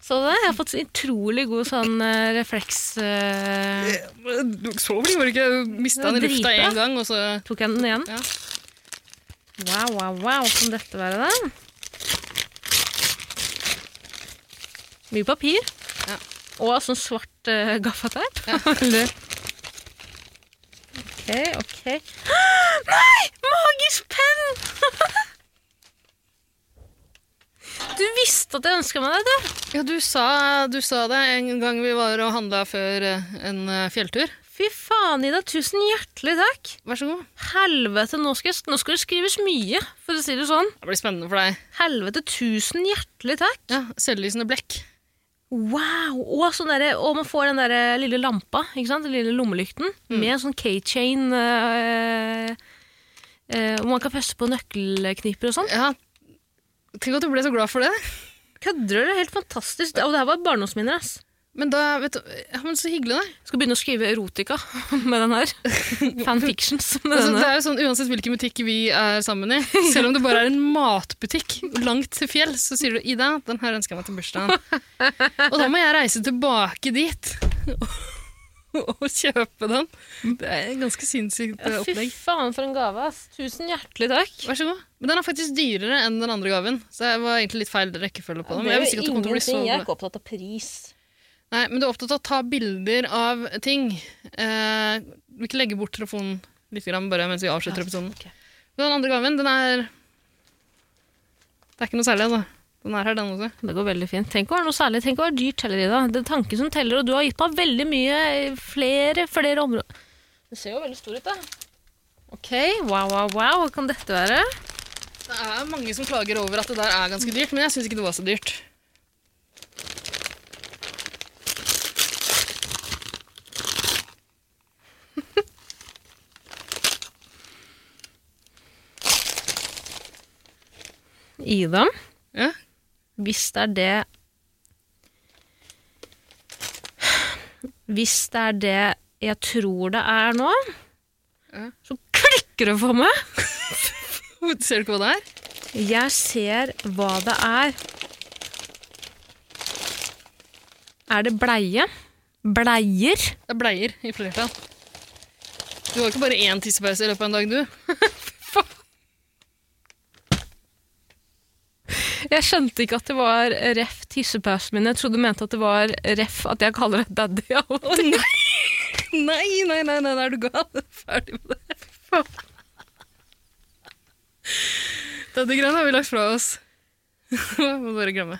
Speaker 3: Så det, jeg har fått en utrolig god sånn eh, refleks... eh,
Speaker 4: Du så vel gjorde ikke mista den i lufta
Speaker 3: Dritbra.
Speaker 4: én gang, og så
Speaker 3: tok jeg den igjen?
Speaker 4: Ja.
Speaker 3: Wow, wow, wow. Kan dette være det? Mye papir.
Speaker 4: Ja.
Speaker 3: Og sånn svart eh, gaffateip.
Speaker 4: (laughs)
Speaker 3: Eller- ok, ok. (gasps) Nei! Magisk penn! (laughs) du visste at jeg ønska meg det, du.
Speaker 4: Ja, du sa, du sa det en gang vi var og handla før eh, en eh, fjelltur.
Speaker 3: Fy faen, Ida. Tusen hjertelig takk.
Speaker 4: Vær så god.
Speaker 3: Helvete, nå skal, nå skal det skrives mye, for å si det sånn.
Speaker 4: Det blir spennende for deg.
Speaker 3: Helvete, tusen hjertelig takk.
Speaker 4: Ja, Selvlysende blekk.
Speaker 3: Wow! Og, sånn derre- og man får den der eh, lille lampa, ikke sant? den lille lommelykten, med en sånn keychain. øh, øh, og man kan feste på nøkkelknipper og sånn.
Speaker 4: Ja, Tenk at du ble så glad for det.
Speaker 3: Kødder du? Det er helt fantastisk. Og det her var barndomsminner. ass.
Speaker 4: Men da, vet du, ja, men Så hyggelig, da.
Speaker 3: Skal begynne å skrive erotika (laughs) med den her. Fanfictions med
Speaker 4: Altså, det
Speaker 3: denne.
Speaker 4: er jo sånn, Uansett hvilken butikk vi er sammen i, selv om det bare er en matbutikk langt til fjell, så sier du 'Ida, den her ønsker jeg meg til bursdagen'. Og da må jeg reise tilbake dit og kjøpe den. Det er et ganske sinnssykt eh,
Speaker 3: Ja, Fy
Speaker 4: opplegg.
Speaker 3: faen, for en gave. ass. Tusen hjertelig takk.
Speaker 4: Vær så god. Men den er faktisk dyrere enn den andre gaven. Så jeg var egentlig litt feil rekkefølge på den. Men jeg visste ikke at det kom til å bli så
Speaker 3: Jeg er
Speaker 4: bra.
Speaker 3: ikke opptatt av pris.
Speaker 4: Nei, men du er opptatt av å ta bilder av ting. Eh, du vil ikke legge bort telefonen litt grann, bare mens vi avslutter episoden.
Speaker 3: ok.
Speaker 4: Den andre gaven, den er Det er ikke noe særlig, altså. Den er her, den også.
Speaker 3: Det går veldig fint. Tenk å være noe særlig. Tenk å være dyrt heller, Ida. Det er tanken som teller, og du har gitt meg veldig mye eh, flere, flere områder. Det ser jo veldig stor ut, da. Ok, wow, wow, wow. Hva kan dette være?
Speaker 4: Det er mange som klager over at det der er ganske dyrt, men jeg syns ikke det var så dyrt.
Speaker 3: Ida,
Speaker 4: Ja?
Speaker 3: hvis det er det Hvis det er det jeg tror det er nå,
Speaker 4: Ja.
Speaker 3: så klikker det for meg!
Speaker 4: Ser du ikke hva det er?
Speaker 3: Jeg ser hva det er. Er det bleie? Bleier?
Speaker 4: Det er bleier i flertall. Du har jo ikke bare én tissepause i løpet av en dag, du.
Speaker 3: Jeg skjønte ikke at det var ref tissepausen min. Jeg trodde du mente at det var ref at jeg kaller det daddy. av og til.
Speaker 4: Nei, nei, nei, nei, er du gal? Ferdig med det. Dette greiene har vi lagt fra oss. (laughs) Må bare glemme.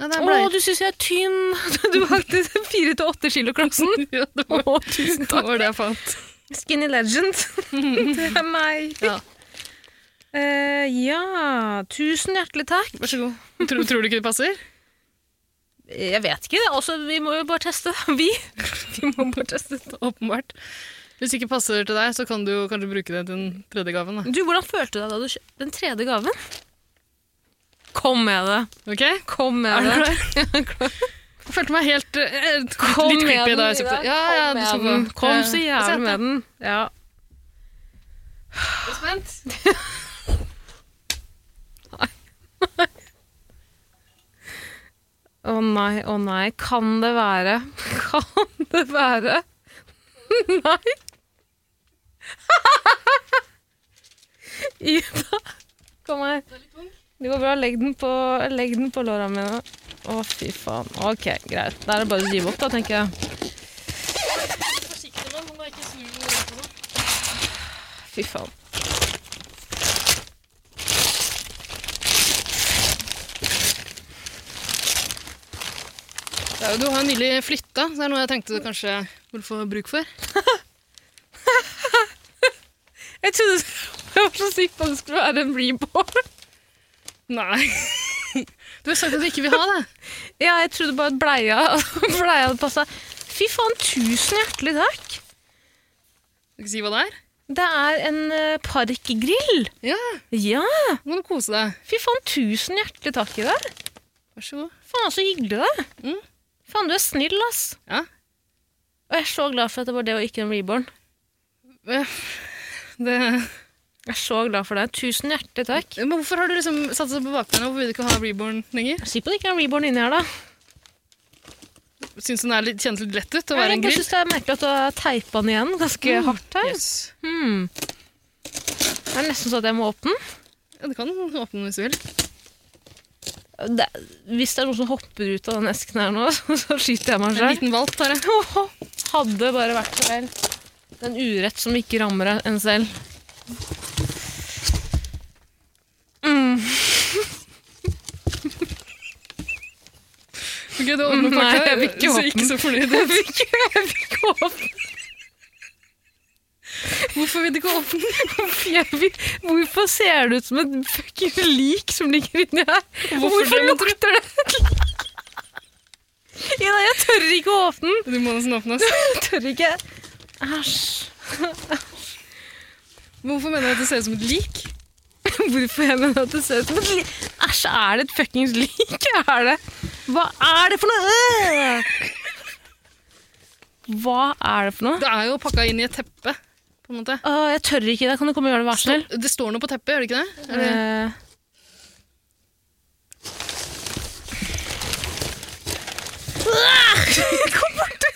Speaker 4: Nei, det
Speaker 3: Å,
Speaker 4: er bleier.
Speaker 3: du syns jeg er tynn! (laughs) Du valgte fire til åtte kilo-klassen.
Speaker 4: (laughs) Ja, det
Speaker 3: Å,
Speaker 4: var,
Speaker 3: tusen
Speaker 4: det
Speaker 3: takk.
Speaker 4: var det jeg fant.
Speaker 3: Skinny legend.
Speaker 4: (laughs)
Speaker 3: Det er meg.
Speaker 4: Ja.
Speaker 3: Eh, ja Tusen hjertelig takk.
Speaker 4: Vær så god. Tror, tror du ikke det passer?
Speaker 3: Jeg vet ikke. Altså, vi må jo bare teste. (laughs) Vi. vi må bare teste.
Speaker 4: (laughs) Åpenbart. Hvis ikke passer til deg, så kan du jo kanskje bruke det til den tredje gaven. Da.
Speaker 3: Du, Hvordan følte du deg da du kjøpte den tredje gaven? Kom med det.
Speaker 4: Ok?
Speaker 3: Kom med
Speaker 4: Er du
Speaker 3: det.
Speaker 4: klar? Jeg følte meg helt eh, litt
Speaker 3: Kom
Speaker 4: litt creepy da jeg så på
Speaker 3: Ida.
Speaker 4: det. Ja,
Speaker 3: Kom
Speaker 4: ja, du
Speaker 3: med
Speaker 4: så på
Speaker 3: den.
Speaker 4: det.
Speaker 3: Kom så
Speaker 4: Ja. Jeg ser
Speaker 3: jævlig
Speaker 4: det.
Speaker 3: med den. Ja.
Speaker 4: Er du spent?
Speaker 3: (laughs) Å nei, å nei. Kan det være (laughs) Kan det være (laughs) Nei. (laughs) Ida, kom her. Det går bra. Legg den på, legg den på låra mine. Å, fy faen. Ok, greit. Da er det bare å rive opp, da, tenker jeg. Fy faen.
Speaker 4: Det er jo- Du har jo nylig flytta, så det er noe jeg tenkte du kanskje ville få bruk for.
Speaker 3: (laughs) Sikkbank skulle være en reborn.
Speaker 4: Nei. (laughs) Du har sagt at du ikke vil ha det.
Speaker 3: Ja, jeg trodde bare at bleia, (laughs) bleia hadde passa. Fy faen, tusen hjertelig takk!
Speaker 4: Skal ikke si hva det er?
Speaker 3: Det er en eh, parkgrill.
Speaker 4: Ja,
Speaker 3: Ja!
Speaker 4: nå må du kose deg.
Speaker 3: Fy faen, tusen hjertelig takk i deg.
Speaker 4: Vær så god.
Speaker 3: Faen, så hyggelig det er.
Speaker 4: Mm.
Speaker 3: Faen, du er snill, ass.
Speaker 4: Ja.
Speaker 3: Og jeg er så glad for at det var det og ikke en reborn.
Speaker 4: Det,
Speaker 3: Jeg er så glad for det. Tusen hjertelig takk.
Speaker 4: men hvorfor har du liksom satsa på bakbeina? Hvorfor vil du ikke ha Reborn lenger?
Speaker 3: Si på det ikke er en reborn inni her, da.
Speaker 4: Syns den er litt, kjennes litt lett ut
Speaker 3: Jeg,
Speaker 4: å være
Speaker 3: jeg
Speaker 4: en
Speaker 3: bare
Speaker 4: grill?
Speaker 3: syns det er merkelig at du har teipa den igjen ganske hardt her.
Speaker 4: Yes.
Speaker 3: Hmm. Det er nesten så at jeg må åpne den.
Speaker 4: Ja, du kan åpne den hvis du vil.
Speaker 3: Det, hvis det er noen som hopper ut av den esken her nå, (laughs) så skyter jeg meg
Speaker 4: En
Speaker 3: selv.
Speaker 4: liten valp, bare.
Speaker 3: (laughs) Hadde bare vært så vel. Det er en urett som ikke rammer en selv.
Speaker 4: Ok, du åpner
Speaker 3: Nei,
Speaker 4: pakka.
Speaker 3: jeg vil ikke
Speaker 4: så
Speaker 3: åpne
Speaker 4: ikke så fornøyd ut. Hvorfor vil du ikke åpne den?
Speaker 3: Jeg vil- Hvorfor ser det ut som et fucking lik som ligger inni her? Hvorfor, lukter det? Ida, jeg tør ikke å åpne den.
Speaker 4: Du må nesten åpne, ass.
Speaker 3: Jeg tør ikke. Æsj.
Speaker 4: Hvorfor mener du at det ser ut som et lik?
Speaker 3: Hvorfor jeg mener at det ser ut som et lik? Æsj, er det et fuckings lik? Er det? Hva er det for noe? Øh! Hva er det for noe?
Speaker 4: Det er jo pakka inn i et teppe, på en måte.
Speaker 3: Åh, jeg tør ikke det. Kan du komme og gjøre det, vær så snill?
Speaker 4: Det står noe på teppet, gjør det ikke det? Er det?
Speaker 3: Eh. (laughs) Ah! Kom bort!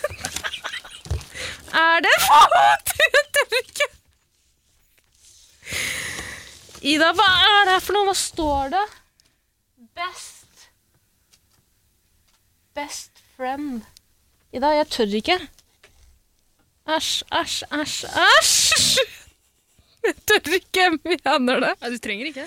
Speaker 3: Er det Faen, (laughs) jeg tør ikke! Ida, hva er det her for noe? Hva står det? Best Best friend. Ida, jeg tør ikke. Æsj, æsj, æsj, æsj! (laughs) Jeg tør ikke, jeg mener det.
Speaker 4: Nei, du trenger ikke.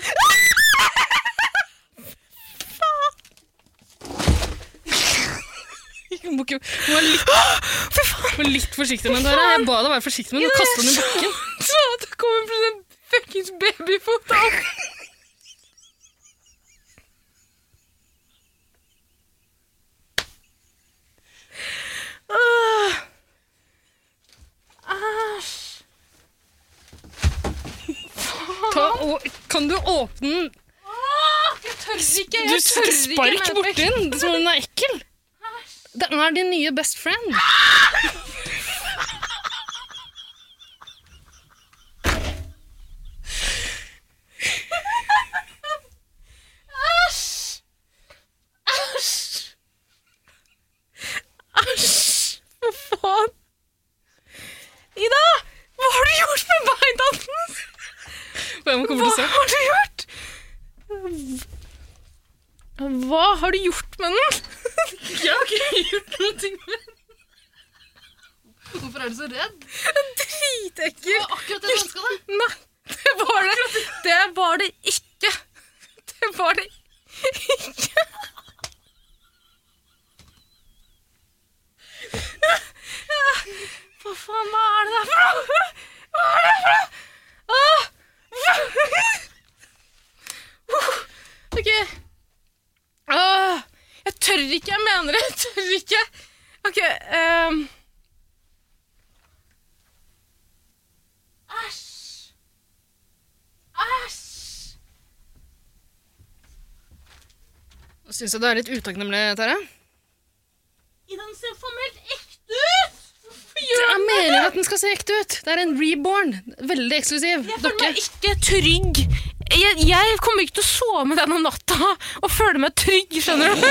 Speaker 4: Du må, ikke, du må være litt, må være litt forsiktig med den. Tara. Jeg ba deg være forsiktig med den. Du kastet den
Speaker 3: (laughs)
Speaker 4: i bakken.
Speaker 3: Så at det kommer til en fuckings babyfot av (laughs) Åh. Æsj.
Speaker 4: Ta, og, kan du åpne den?
Speaker 3: Jeg tør ikke.
Speaker 4: Du
Speaker 3: Jeg tør ikke.
Speaker 4: spark
Speaker 3: mer.
Speaker 4: borti den det er som om den er ekkel. Den er din nye best friend.
Speaker 3: Æsj! Hva faen? Ida! Hva har du gjort med beina hans?
Speaker 4: Og jeg må komme
Speaker 3: Hva
Speaker 4: til å se.
Speaker 3: har du gjort? Hva har du gjort med den?
Speaker 4: Jeg har ikke gjort noe med den. Hvorfor er du så redd?
Speaker 3: Dritekkel.
Speaker 4: Akkurat det du ønska deg.
Speaker 3: Nei, det var det. Det var det ikke. Det var det ikke. Hva faen, hva er det der for noe? Hva er det for noe? Åh! Uh, Ok. Åh, jeg tør ikke, jeg mener det. Jeg tør ikke. Ok, ehm... Æsj! Æsj!
Speaker 4: Syns du det er litt utakknemlig, Tara?
Speaker 3: Ida, den ser formelt ekte ut! Hvorfor
Speaker 4: Det
Speaker 3: gjør
Speaker 4: er
Speaker 3: den det?
Speaker 4: meningen at den skal se ekte ut. Det er en reborn. Veldig eksklusiv.
Speaker 3: Jeg føler
Speaker 4: Dokke.
Speaker 3: meg ikke trygg. Jeg, jeg kommer ikke til å sove med den om natta og føle meg trygg, skjønner du?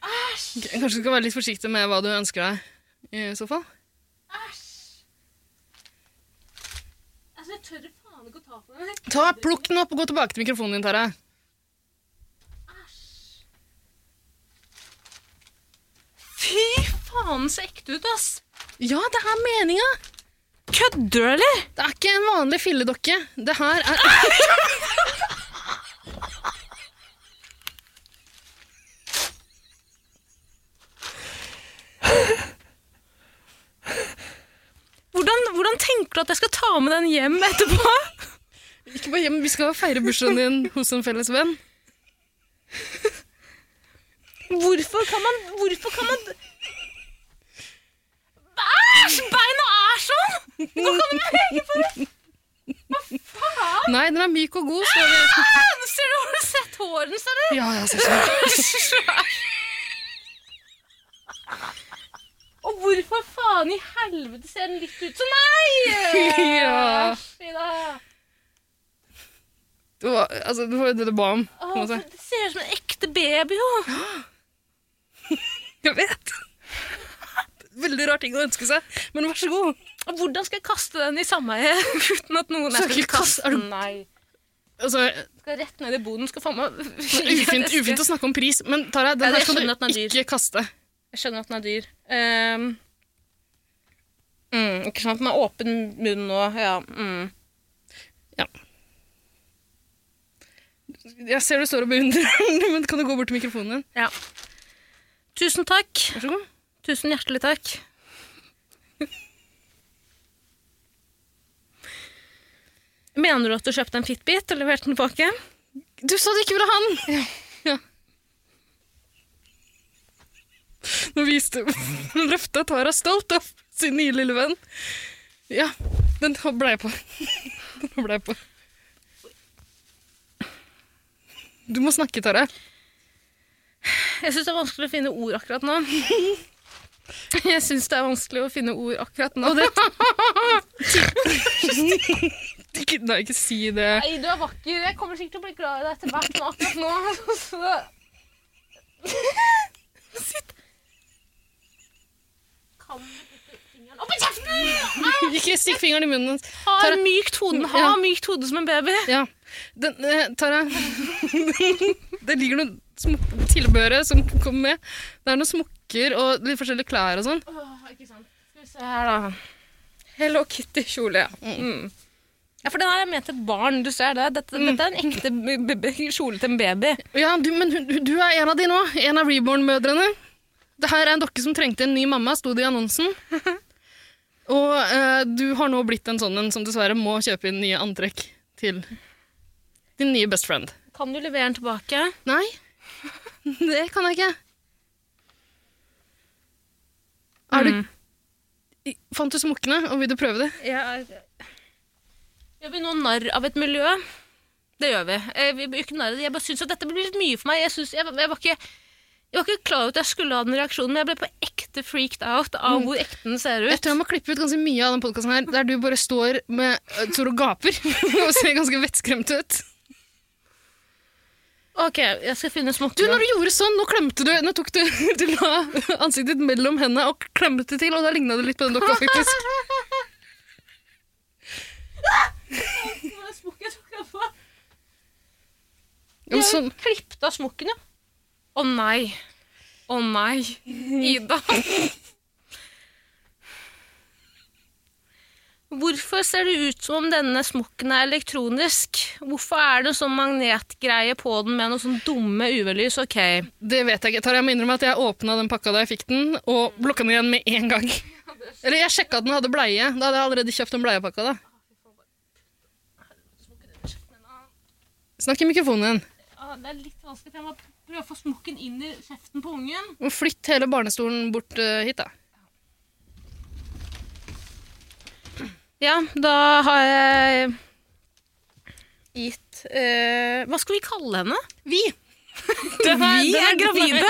Speaker 4: Kanskje du skal være litt forsiktig med hva du ønsker deg. I så fall.
Speaker 3: Altså, jeg tør faen ikke å ta på den.
Speaker 4: Ta, Plukk den opp og gå tilbake til mikrofonen din, Tara.
Speaker 3: Fy faen, den ser ekte ut, ass.
Speaker 4: Ja, det er meninga!
Speaker 3: Kødder du, eller?
Speaker 4: Det er ikke en vanlig filledokke. Det her er
Speaker 3: Hvordan, hvordan tenker foreslå at jeg skal ta med den hjem etterpå.
Speaker 4: Ikke bare hjem, vi skal feire bursdagen din hos en felles venn.
Speaker 3: Hvorfor kan man Hvorfor kan man Æsj! Beina er sånn!
Speaker 4: Nei, den er myk og god, står det.
Speaker 3: Nå Ser du, har du sett håret hennes, eller?
Speaker 4: Ja, ja, selvfølgelig.
Speaker 3: Og hvorfor faen i helvete ser den litt ut som meg?
Speaker 4: (laughs) Ja.
Speaker 3: Æsj, Ida.
Speaker 4: Det var, altså, det var jo det du ba om. på
Speaker 3: Å,
Speaker 4: en måte.
Speaker 3: Det ser ut som en ekte baby, jo.
Speaker 4: Jeg vet. Veldig rar ting å ønske seg, men vær så god.
Speaker 3: Og Hvordan skal jeg kaste den i sameiet (laughs) uten at noen
Speaker 4: Skal ikke kaste- er du-
Speaker 3: Nei.
Speaker 4: Altså,
Speaker 3: Skal rett ned i boden. Skal faen meg (laughs)
Speaker 4: ufint, ufint å snakke om pris, men Tara, den
Speaker 3: Ja,
Speaker 4: her
Speaker 3: jeg skjønner at
Speaker 4: skal
Speaker 3: den er
Speaker 4: du
Speaker 3: dyr.
Speaker 4: ikke kaste.
Speaker 3: Jeg skjønner at den er dyr. Ehm, mm, ikke sant? Den har åpen munn nå. Ja. Mm.
Speaker 4: Jeg ser du står og beundrer den, men kan du gå bort til mikrofonen din?
Speaker 3: Tusen takk.
Speaker 4: Vær så god.
Speaker 3: Tusen hjertelig takk. Mener du at du kjøpte en Fitbit og leverte den tilbake?
Speaker 4: Du sa du ikke ville ha den! Ja. Nå viste Nå løfta Tara stolt opp sin nye lille venn. Ja, den blei på. Den blei på. Du må snakke, Tara.
Speaker 3: Jeg syns det er vanskelig å finne ord akkurat nå. Jeg syns det er vanskelig å finne ord akkurat nå.
Speaker 4: Ikke, nei, ikke si det.
Speaker 3: Nei, du er vakker. Jeg kommer sikkert til å bli glad i deg etter hvert, men akkurat nå så... Sitt. Kan du putte fingeren opp i kjeften?
Speaker 4: Ikke stikk fingeren i munnen hans.
Speaker 3: Ha
Speaker 4: Tara-
Speaker 3: mykt hode. Ha mykt hode som en baby.
Speaker 4: Ja. Den, eh, Tara, (laughs) det ligger noe smuk- tilbehøret som kommer med. Det er noen smokker og litt forskjellige klær og sånn.
Speaker 3: ikke sant. Skal vi se her, da. Hello Kitty-kjole, ja. Mm. Ja, for den her er ment til barn, du ser det. Dette, dette er en ekte b- b- kjole til en baby.
Speaker 4: Ja, du, men hun- du er en av de nå. En av Reborn-mødrene. Det her er en dokke som trengte en ny mamma, sto det i
Speaker 3: (laughs)
Speaker 4: annonsen. Og eh, du har nå blitt en sånn en som dessverre må kjøpe inn nye antrekk til din nye best friend.
Speaker 3: Kan du levere den tilbake?
Speaker 4: Nei, (laughs) det kan jeg ikke. Er du, I- fant du smokkene, og vil du prøve det?
Speaker 3: Gjør vi noe narr av et miljø? Det gjør vi. Eh, vi blir ikke narr av det. Jeg bare synes at dette blir litt mye for meg. Jeg, synes, jeg, jeg, var ikke, jeg var ikke klar over at jeg skulle ha den reaksjonen, men jeg ble på ekte freaked out av hvor ekte den ser
Speaker 4: Mm. Jeg
Speaker 3: ut.
Speaker 4: tror jeg må klippe ut ganske mye av den podkasten her, der du bare står, med, eh, står og gaper (laughs) og ser ganske vettskremt ut.
Speaker 3: Ok, jeg skal finne
Speaker 4: Du, når
Speaker 3: smokkene.
Speaker 4: du gjorde sånn, nå klemte du, nå tok du, du la ansiktet ditt mellom hendene og klemte til, og da ligna det litt på den dokka, faktisk.
Speaker 3: Hva er smokken jeg tok den på?
Speaker 4: (laughs) Ja, men sånn.
Speaker 3: Klippet av smokken, ja. Å nei. Å nei. Ida. Hvorfor ser det ut som om denne smokken er elektronisk? Hvorfor er det en sånn magnetgreie på den med noe sånn dumme UV-lys? Ok.
Speaker 4: Det vet jeg ikke. Tara, jeg må innrømme at jeg åpna den pakka da jeg fikk den, og blokka den igjen med en gang. Eller jeg sjekka at den hadde bleie. Da hadde jeg allerede kjøpt den bleiepakka, da. Snakk i mikrofonen din.
Speaker 3: Ah, Det er litt vanskelig, for jeg må prøve å få smokken inn i kjeften på ungen.
Speaker 4: Og Flytt hele barnestolen bort eh, hit, da.
Speaker 3: Ja, da har jeg gitt eh, Hva skal vi kalle henne?
Speaker 4: Vi!
Speaker 3: vi er gravide.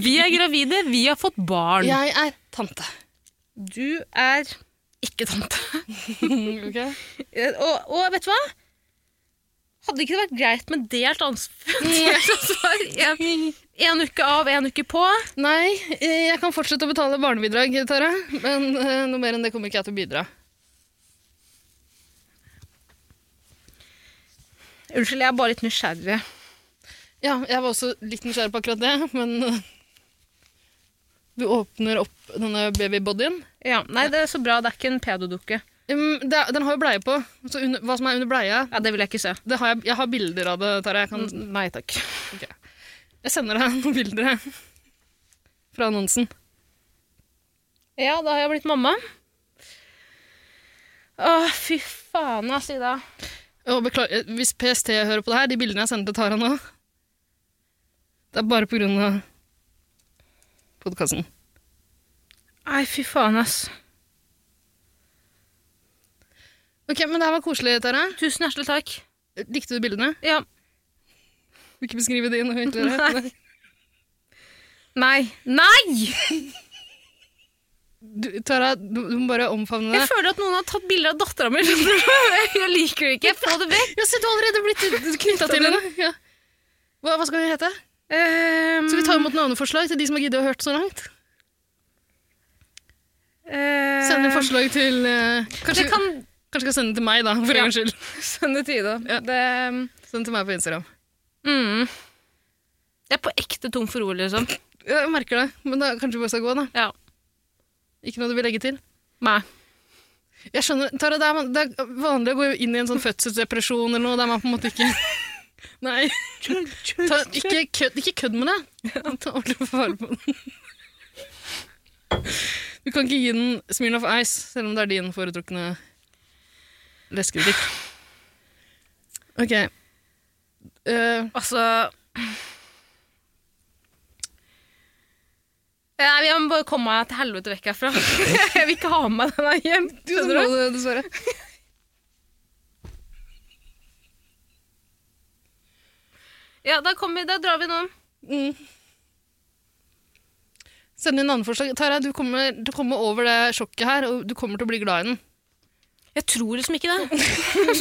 Speaker 3: Vi er gravide, vi har fått barn.
Speaker 4: Jeg er tante.
Speaker 3: Du er ikke tante.
Speaker 4: Ok?
Speaker 3: Eh, Og, og vet du hva? Hadde ikke det vært greit med delt (laughs) ansvar? Delt ansvar. En, en uke av, en uke på.
Speaker 4: Nei, eh, jeg kan fortsette å betale barnebidrag, Tara. Men eh, noe mer enn det kommer ikke jeg til å bidra.
Speaker 3: Unnskyld, jeg er bare litt nysgjerrig.
Speaker 4: Ja, jeg var også litt nysgjerrig på akkurat det, men eh, Du åpner opp denne babybodyen.
Speaker 3: Ja, nei, det er så bra. Det er ikke en pedodukke.
Speaker 4: Um, det, er- den har jo bleie på. Så under, hva som er under bleia
Speaker 3: Ja, det vil jeg ikke se.
Speaker 4: det har jeg, jeg har bilder av det, Tara. Jeg, kan,
Speaker 3: Nei takk.
Speaker 4: jeg sender deg (laughs) noen bilder jeg. fra annonsen.
Speaker 3: Ja, da har jeg blitt mamma. Å, fy faen, ass, Ida.
Speaker 4: Og beklager, eh, hvis PST hører på det her, de bildene jeg sender til Tara nå Det er bare på grunn av podkasten.
Speaker 3: Nei, fy faen, ass.
Speaker 4: Ok, men det her var koselig, Tara.
Speaker 3: Tusen hjertelig takk.
Speaker 4: Likte du bildene?
Speaker 3: Ja.
Speaker 4: Vil ikke beskrive de noe ytterligere. (laughs) Nei.
Speaker 3: Nei. Nei!
Speaker 4: Du, Tara, du, du må bare omfavne
Speaker 3: Jeg
Speaker 4: det.
Speaker 3: føler at noen har tatt bilder av dattera mi. (laughs) Jeg liker det ikke. Få det (laughs) vekk.
Speaker 4: Ja, se, du har allerede blitt knytta til henne. Ja. Hva, hva skal hun hete?
Speaker 3: Um,
Speaker 4: Skal vi ta imot navneforslag til de som har giddet å hørt så langt? Send inn forslag til eh,
Speaker 3: eh, Kanskje
Speaker 4: kanskje,
Speaker 3: kan
Speaker 4: kanskje jeg skal sende det til meg, da, for
Speaker 3: Ja.
Speaker 4: en gangs skyld.
Speaker 3: sende til Ida. Det, ehm,
Speaker 4: Send det til meg på Instagram.
Speaker 3: mm. Jeg er på ekte tom for ord, liksom.
Speaker 4: Jeg merker det, men da kanskje vi bare skal gå, da.
Speaker 3: Ja.
Speaker 4: Ikke noe du vil legge til?
Speaker 3: Nei.
Speaker 4: Jeg skjønner, Tara, det er, man- det er vanlig å gå inn i en sånn fødselsdepresjon eller noe, der man på en måte ikke (laughs) Nei. Ta, ikke, kødd, ikke kødd med det. Ta ordentlig vare på den. Du kan ikke gi den Smirnoff Ice, selv om det er din foretrukne leskebutikk. Ok. Eh,
Speaker 3: Altså Nei, Jeg må bare komme meg til helvete vekk herfra. (laughs) Jeg vil ikke ha med meg den her hjem.
Speaker 4: du som må det, dessverre.
Speaker 3: Ja, da, kommer vi, da drar vi nå.
Speaker 4: Mm. Send inn navneforslag. Tara, du kommer, du kommer over det sjokket her, og du kommer til å bli glad i den.
Speaker 3: Jeg tror liksom ikke (laughs) det.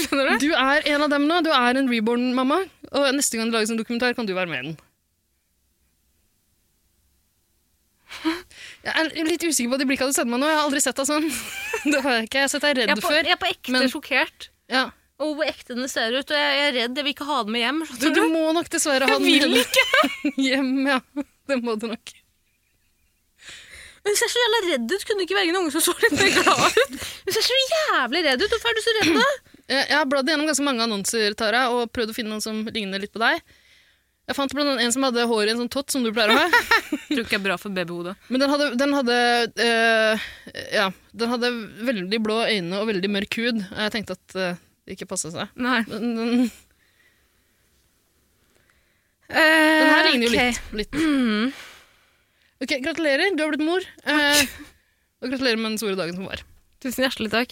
Speaker 3: Skjønner du?
Speaker 4: Du er en av dem nå. Du er en reborn-mamma. Og neste gang det lages en dokumentar, kan du være med i den.
Speaker 3: (laughs)
Speaker 4: Jeg er litt usikker på de blikkene du sender meg nå. Jeg har aldri sett deg sånn. (laughs) Det har jeg ikke. Jeg har sett deg
Speaker 3: Jeg
Speaker 4: redd
Speaker 3: er på,
Speaker 4: før.
Speaker 3: jeg er på ekte
Speaker 4: men-
Speaker 3: sjokkert.
Speaker 4: Ja.
Speaker 3: Og hvor ekte den ser ut. Og jeg, jeg er redd jeg vil ikke ha den med hjem. skjønner
Speaker 4: Så du må nok dessverre ha
Speaker 3: Jeg vil
Speaker 4: ikke! Hjem, ja. (laughs) Det må du nok.
Speaker 3: Hun ser så jævla redd ut. Kunne det ikke være en unge som så litt mer glad ut? Hun ser så jævlig redd ut. Hvorfor er du så redd, da?
Speaker 4: Eh, Jeg har bladd gjennom ganske mange annonser, Tara, og prøvd å finne noen som ligner litt på deg. Jeg fant blant annet en som hadde hår i en sånn tott, som du pleier å ha.
Speaker 3: Tror ikke jeg er bra for babyhodet.
Speaker 4: Men den hadde, den hadde eh, Ja, den hadde veldig blå øyne og veldig mørk hud. og Jeg tenkte at eh, det ikke passa seg.
Speaker 3: Nei.
Speaker 4: Men den, den
Speaker 3: Den
Speaker 4: her ligner jo litt. litt. Ok, gratulerer. Du har blitt mor. Eh, og gratulerer med den store dagen som var.
Speaker 3: Tusen hjertelig takk.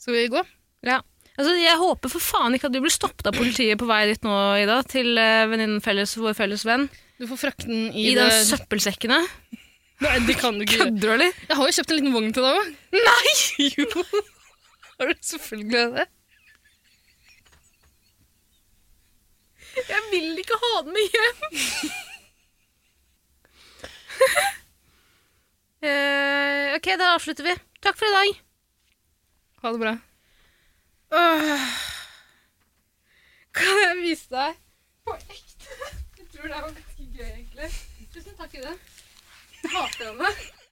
Speaker 4: Skal vi gå?
Speaker 3: Ja. Altså, jeg håper for faen ikke at du blir stoppet av politiet på vei dit nå, Ida, til eh, venninnen felles, vår felles venn.
Speaker 4: Du får frakte den i,
Speaker 3: I de
Speaker 4: det
Speaker 3: søppelsekkene.
Speaker 4: Nei, det kan
Speaker 3: (laughs)
Speaker 4: du ikke gjøre.
Speaker 3: Kødder du, eller?
Speaker 4: Jeg har jo kjøpt en liten vogn til deg òg. Nei! Jo. Har du selvfølgelig det?
Speaker 3: Jeg vil ikke ha den med hjem! (laughs) Eh, ok, da avslutter vi. Takk for i dag.
Speaker 4: Ha det bra.
Speaker 3: Åh. Kan jeg vise deg? På ekte. Jeg tror det var ganske gøy, egentlig. Tusen takk, Ida. Jeg hater henne.